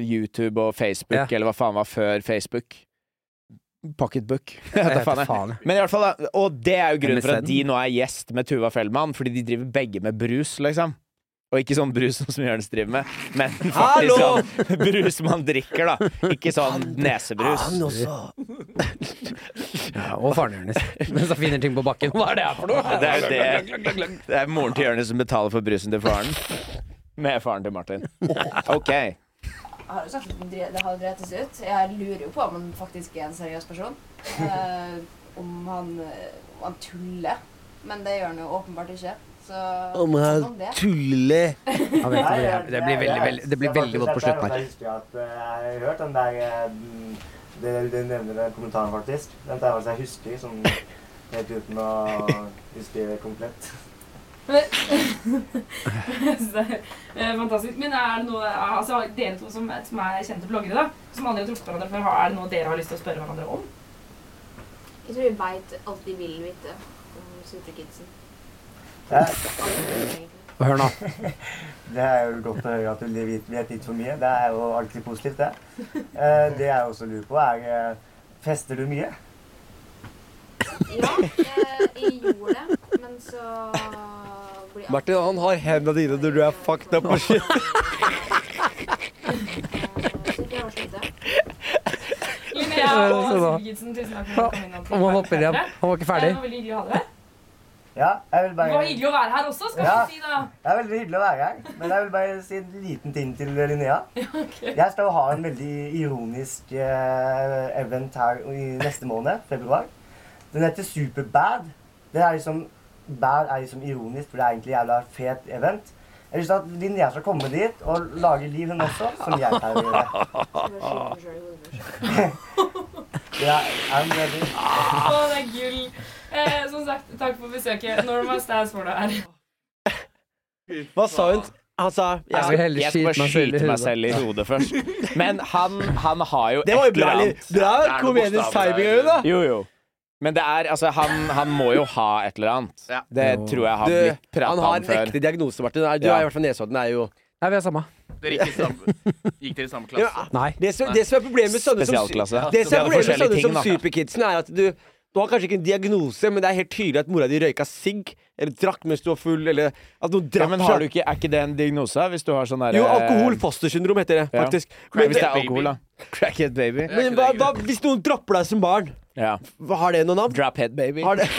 S4: YouTube og Facebook,
S2: Ja.
S4: eller hva faen var før Facebook. Pocketbook. Jeg
S2: Jeg
S4: vet da faen,
S2: vet
S4: jeg.
S2: faen.
S4: Men i hvert fall, da, og det er jo grunnen for at
S2: MSN.
S4: de nå er gjest med Tuva Fellmann, fordi de driver begge med brus, liksom. Og ikke sånn brus som Jonis driver med, men faktisk
S3: Hallo!
S4: sånn brus man drikker, da. Ikke sånn nesebrus.
S2: Ja, og faren hennes. Mens han finner ting på bakken. Hva er det her for noe?
S4: Det er jo det Det er moren til Jonis som betaler for brusen til faren. Med faren til Martin. OK.
S13: Jeg Ah, har jo sagt at den dre- det har drevet seg ut. Jeg lurer jo på om han faktisk er en seriøs person. Eh, om, han, eh, om han tuller. Men det gjør han jo åpenbart ikke. Så sånn om det.
S3: tuller
S2: Ja, vet du, det- det blir veldig, veldig, det blir veldig godt på slutten her.
S11: Jeg husker at eh, jeg har hørt den der eh, den- det- Du nevner den kommentaren, faktisk. Den tar jeg altså jeg husker sånn helt uten å huske det komplett.
S14: Så det er Fantastisk. Men er det noe altså, Dere to som, som er kjente bloggere, da, som aldri har truffet hverandre før, har- er det noe dere har lyst til å spørre hverandre om?
S13: Jeg tror vi veit alt vi vil vite om Superkidsen.
S2: Hør nå.
S11: Det er jo godt å høre at du vet, vet litt for mye. Det er jo alltid positivt, det. Eh, Det jeg også lurer på, er eh, Fester du mye?
S13: Ja, jeg, jeg gjorde det, men så blir alt
S3: Martin han har hendene dine når du er fucked up og shit.
S13: Så jeg har sluttet.
S14: Linnea og Sigurd Gidsen, tusen takk for at dere kom innom.
S2: Om han hopper igjen. Han var ikke
S14: Det
S2: ferdig.
S14: var veldig hyggelig å ha dere her.
S11: Ja, jeg vil
S14: Det
S11: bare
S14: var hyggelig å være her også, skal vi
S11: Ja.
S14: si da.
S11: Det er veldig hyggelig å være her, men jeg vil bare si en liten ting til Linnea. Jeg skal jo ha en veldig ironisk eh, event her i neste måned, februar. Den heter Superbad. Det er liksom, bad er liksom ironisk, for det er egentlig jævla fet event. Jeg har lyst til at Linnea skal komme dit og lage liv, hun også, som jeg pleier å gjøre. Ja, I'm ready.
S14: Å, det er gull. Eh, som sagt, takk for besøket. Norma Stas var det her.
S3: Hva sa hun? Han sa
S2: Jeg
S4: Jeg
S2: vil
S4: skal,
S2: heller
S4: jeg skal
S2: skyte
S4: bare
S2: meg selv i
S4: skyte meg
S2: hodet.
S4: selv i hodet først. Men han, han har jo
S3: Det var jo
S4: et
S3: bra,
S4: eller annet.
S3: litt- bra
S4: Det er noe
S3: komedisk
S4: bokstav
S3: timing,
S4: der.
S3: Øyvind, da.
S4: Jo, jo. Men det er Altså, han, han må jo ha et eller annet. Det tror jeg har
S3: Du,
S4: blitt
S3: han
S4: prata
S3: har
S4: om
S3: en
S4: før.
S3: ekte diagnose, Martin. Nei, Du
S4: Ja.
S3: er i hvert fall Nesodden er jo
S2: Nei, vi er samme.
S5: Dere gikk i samme, gikk dere i samme klasse?
S2: Nei.
S3: Det som, det som er problemet med sånne som,
S4: Spesialklasse.
S3: det som,
S4: Ja,
S3: er problemet med
S4: forskjellige
S3: sånne
S4: ting,
S3: som
S4: da.
S3: superkidsen, er at du Du har kanskje ikke en diagnose, men det er helt tydelig at mora di røyka sigg, eller drakk mens du var full, eller at noen
S4: Ja,
S3: drakk
S4: men har du ikke, er ikke det en diagnose? Hvis du har sånn derre
S3: Jo, alkoholfostersyndrom heter det,
S4: Ja.
S3: faktisk.
S4: Men
S3: Men,
S4: Hvis det
S3: det,
S4: er alkohol, da. Crackhead baby.
S3: men hva, hva, hvis noen dropper deg som barn,
S4: Ja.
S3: hva- har det noe navn?
S4: Drophead baby.
S3: Har det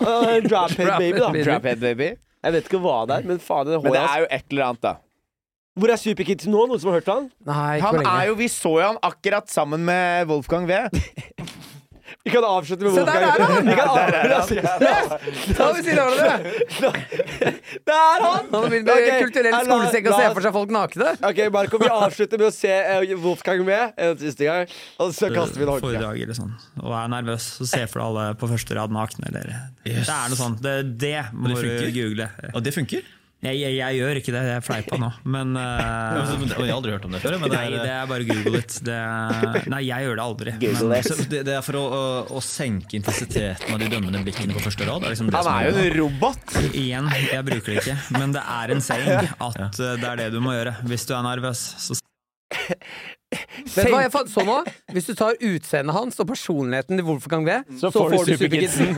S3: Ah, Drophead baby, da.
S4: Drophead baby.
S3: Jeg vet ikke hva det er, men faen, det er
S4: Men det
S3: håret
S4: er
S3: hans.
S4: jo et eller annet, da.
S3: Hvor er superkidsen nå? Noen som har hørt han?
S2: Nei, ikke
S4: Han
S2: på
S4: er
S2: lenge.
S4: jo, Vi så jo han akkurat sammen med Wolfgang V.
S3: Vi kan avslutte med
S2: Se, der
S3: Wolfgang.
S2: er han!
S3: Vi kan avslutte-
S2: Ta ved siden av hverandre!
S3: Der er han!
S2: Han har begynt med
S3: Ok,
S2: kulturell
S3: la-
S2: skolesekk og
S3: la
S2: se
S3: oss-
S2: for seg folk nakne.
S3: Ok, Marco, vi avslutter med å se eh, Wolfgang med en siste gang. Og så kaster vi en håndkle.
S10: foredrag eller sånn, og er nervøs, så ser for deg alle på første rad nakne. Eller. Det er noe sånt. Det, det må
S12: det
S10: du
S12: funker?
S10: google.
S12: Og det funker?
S10: Jeg, jeg, jeg gjør ikke det, jeg fleipa nå, men eh,
S12: Ja, men det- Jeg har aldri hørt om det før. Men det
S10: Nei, det
S12: er,
S10: er bare google it. Det, nei, jeg gjør det aldri.
S4: Google it.
S10: Men,
S12: så det, det er for å, å, å senke intensiteten av de dømmende blikkene på første rad. Det er liksom det
S4: Han
S12: som
S4: er jo en robot.
S10: igjen, jeg bruker det ikke, men det er en saying at eh, det er det du må gjøre hvis du er nervøs. Så
S2: Vet du hva jeg fant så nå? Hvis du tar utseendet hans og personligheten til Wolfgang V, så,
S4: får du
S2: Superkidsen.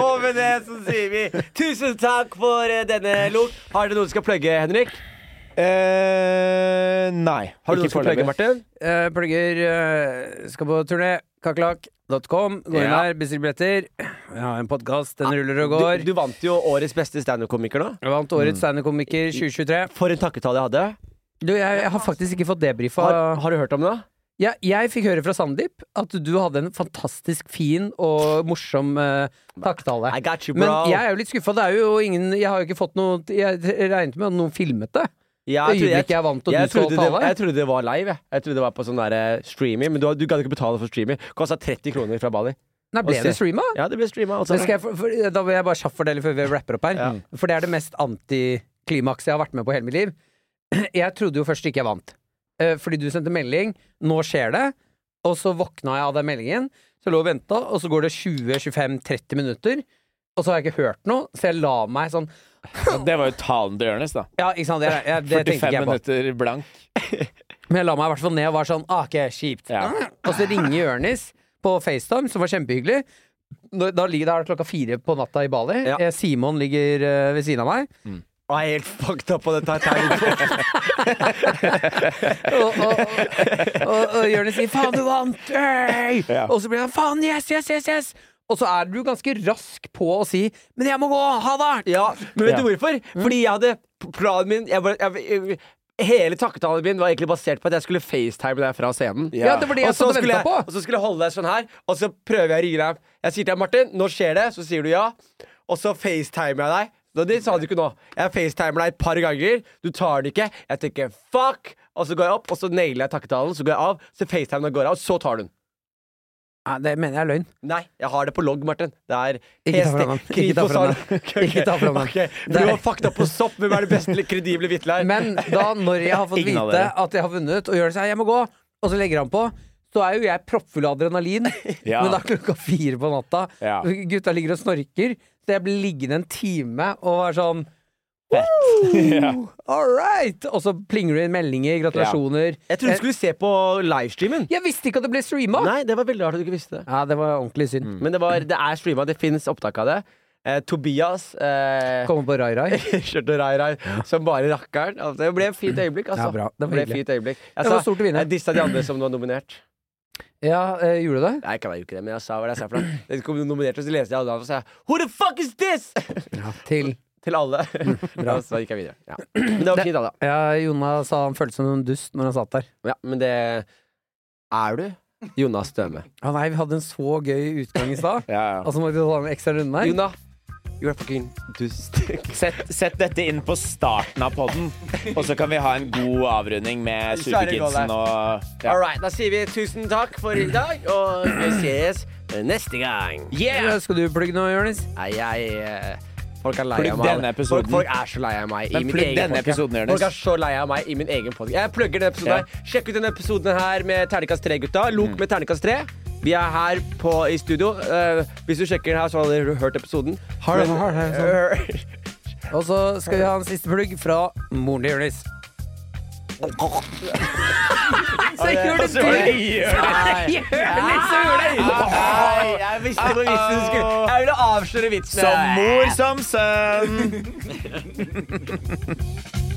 S3: Og med det så sier vi tusen takk for eh, denne lok. Har dere noe du skal plugge, Henrik?
S4: Eh, nei.
S3: Har du noe du skal plugge, Martin?
S2: Eh, Plugger eh, skal på turné. Kakerlakk.com. Gå inn der, bestill billetter. Jeg har en podkast, den ruller og
S3: Du,
S2: går.
S3: Ah, du vant jo årets beste standup-komiker nå.
S2: Jeg vant
S3: Mm.
S2: Årets standup-komiker 2023.
S3: For en takketale jeg hadde.
S2: Du, jeg, jeg har faktisk ikke fått debrifa.
S3: Har, har du hørt om det?
S2: Ja, jeg fikk høre fra Sandeep at du hadde en fantastisk fin og morsom uh, takketale.
S3: I got you, bro.
S2: Men jeg er jo litt skuffa. Det er jo ingen Jeg har jo ikke fått noe Jeg regnet med at noen filmet det.
S3: Ja,
S2: Det
S3: jeg trodde-
S2: øyeblikket jeg vant og
S3: jeg
S2: du skal
S3: trodde det-
S2: tale.
S3: Jeg trodde det var live. Jeg, jeg trodde det var på sånn der, eh, streaming, men du, du gadd ikke betale for streaming. Kosta 30 kroner fra Bali.
S2: Nei,
S15: Og
S2: ble det
S15: se-
S2: streama?
S15: Ja, det ble streama. altså.
S2: Men skal jeg for, for, da vil jeg bare kjapt fordele før vi rapper opp her. Mm. For det er det mest antiklimakset jeg har vært med på hele mitt liv. Jeg trodde jo først ikke jeg vant. Eh, Fordi du sendte melding 'nå skjer det', og så våkna jeg av den meldingen. Så lå og venta, og så går det 20-25-30 minutter, og så har jeg ikke hørt noe, så jeg la meg sånn
S4: Det var jo talen til Jonis, da.
S2: Ja, ikke sant. Jeg, jeg, det tenker
S4: 45
S2: ikke jeg på.
S4: minutter blank.
S2: Men jeg la meg i hvert fall ned og var sånn ah, ok, kjipt. Og så ringer Jonis på FaceTime, som var kjempehyggelig. Da, da ligger det her klokka fire på natta i Bali. Eh, Simon ligger eh, ved siden av meg.
S3: Og jeg er helt fucked up på det Titanic.
S2: og, og, og, og Jonis sier 'faen, du vant'! Øy!
S3: Ja.
S2: Og så blir han 'faen, yes, yes, yes'. yes Og så er du ganske rask på å si 'men jeg må gå, ha det'!
S3: Ja, men vet du hvorfor? Fordi jeg hadde planen min jeg bare, jeg, Hele takketalen min var egentlig basert på at jeg skulle facetime deg fra scenen.
S2: Ja, det var det jeg
S3: og, så
S2: satt og
S3: skulle
S2: ventet
S3: jeg,
S2: på.
S3: og så skulle jeg holde deg sånn her, og så prøver jeg å ringe deg. Jeg sier til deg, Martin, nå skjer det, så sier du ja. Og så facetimer jeg deg. Nå, Det sa du ikke nå. Jeg facetimer deg et par ganger. Du tar det ikke. Jeg tenker fuck, og så går jeg opp, og så nailer jeg takketalen. Så går jeg av, så facetimer jeg går av, og så tar du den.
S2: Nei, det mener jeg er løgn.
S3: Nei, jeg har det på logg, Martin. Det er
S2: Ikke ta fra
S3: PST.
S2: meg. Ikke ta
S3: Kripos
S2: fra
S3: har-
S2: meg.
S3: Ok, ok.
S2: Ikke ta fra meg.
S3: Ok,
S2: Det
S3: Du
S2: er-
S3: har fakta på sopp. Hvem er det beste eller kredible vitlet her?
S2: Men da, når jeg har fått
S3: Ingen av
S2: vite
S3: dere.
S2: at jeg har vunnet, og Jonis sier 'jeg må gå', og så legger han på, så er jo jeg proppfull av adrenalin.
S3: Ja.
S2: Men det er klokka fire på natta.
S3: Ja.
S2: Gutta ligger og snorker. Så jeg blir liggende en time og være sånn
S3: Ja.
S2: «Woo, All right! Og så plinger det inn meldinger. Gratulasjoner. Eh,
S3: Jeg trodde du skulle se på livestreamen.
S2: Jeg visste ikke at det ble streama!
S3: Nei, Mm. det var veldig rart at du ikke visste det.
S2: Ja, det var ordentlig synd.
S3: Men det, var, det er streama, det fins opptak av det. Eh, Tobias eh,
S2: Kommer på Rai Rai.
S3: kjørte Rai Rai som bare rakkeren. Altså, det ble et fint øyeblikk, altså.
S2: Ja, bra. Det var
S3: ble et
S2: hyggelig.
S3: fint øyeblikk. Jeg,
S2: Det var
S3: sa-
S2: stort å vinne.
S3: jeg dissa de andre som var nominert.
S2: Ja, eh, gjorde du det?
S3: Nei, kan jeg jo ikke det, men jeg sa hva det jeg sa for noe. De kom nominert, og så leste jeg alle navn, og så sa jeg, Who the fuck is this?!
S2: Til
S3: Til alle. Og så gikk jeg videre. Ja. Men det var fint, da.
S2: ja, Jonna sa han følte som en dust når han satt der.
S3: Ja, men det er du. Jonas Støme.
S2: Å nei, vi hadde en så gøy utgang i stad. Og så måtte vi ta en ekstra runde her.
S3: Jonna, you're a fucking dust.
S4: Sett, sett dette inn på starten av podden, og så kan vi ha en god avrunding med
S3: Kjære
S4: Superkidsen og ja.
S3: All right, da sier vi tusen takk for i dag, og vi ses neste gang.
S2: Ja, Skal du plugge noe, Jonis?
S3: Nei, jeg eh, Folk er lei
S4: Plugg
S3: av meg.
S4: denne episoden.
S3: folk, folk er så lei av meg i
S4: Men
S3: min
S4: plugg
S3: egen
S4: denne
S3: podcast.
S4: episoden, Jonas.
S3: Folk er så lei av meg i min egen podcast. Jeg plugger denne episoden
S4: Ja.
S3: her. Sjekk ut denne episoden her med terningkast 3-gutta. Lok med terningkast 3. Vi er her på, i studio. Eh, hvis du sjekker den her, så har du hørt episoden.
S2: Har du-
S3: Men-
S2: har du-
S3: Eh,
S2: Og så skal vi ha en siste plugg fra moren til Jonis. Så gjør det
S3: så var det
S2: til!
S3: Jonis.
S2: Jonis som gjorde det!
S3: Nei, jeg visste det var vitsen du skulle Jeg ville avsløre vitsen.
S4: Som mor som sønn.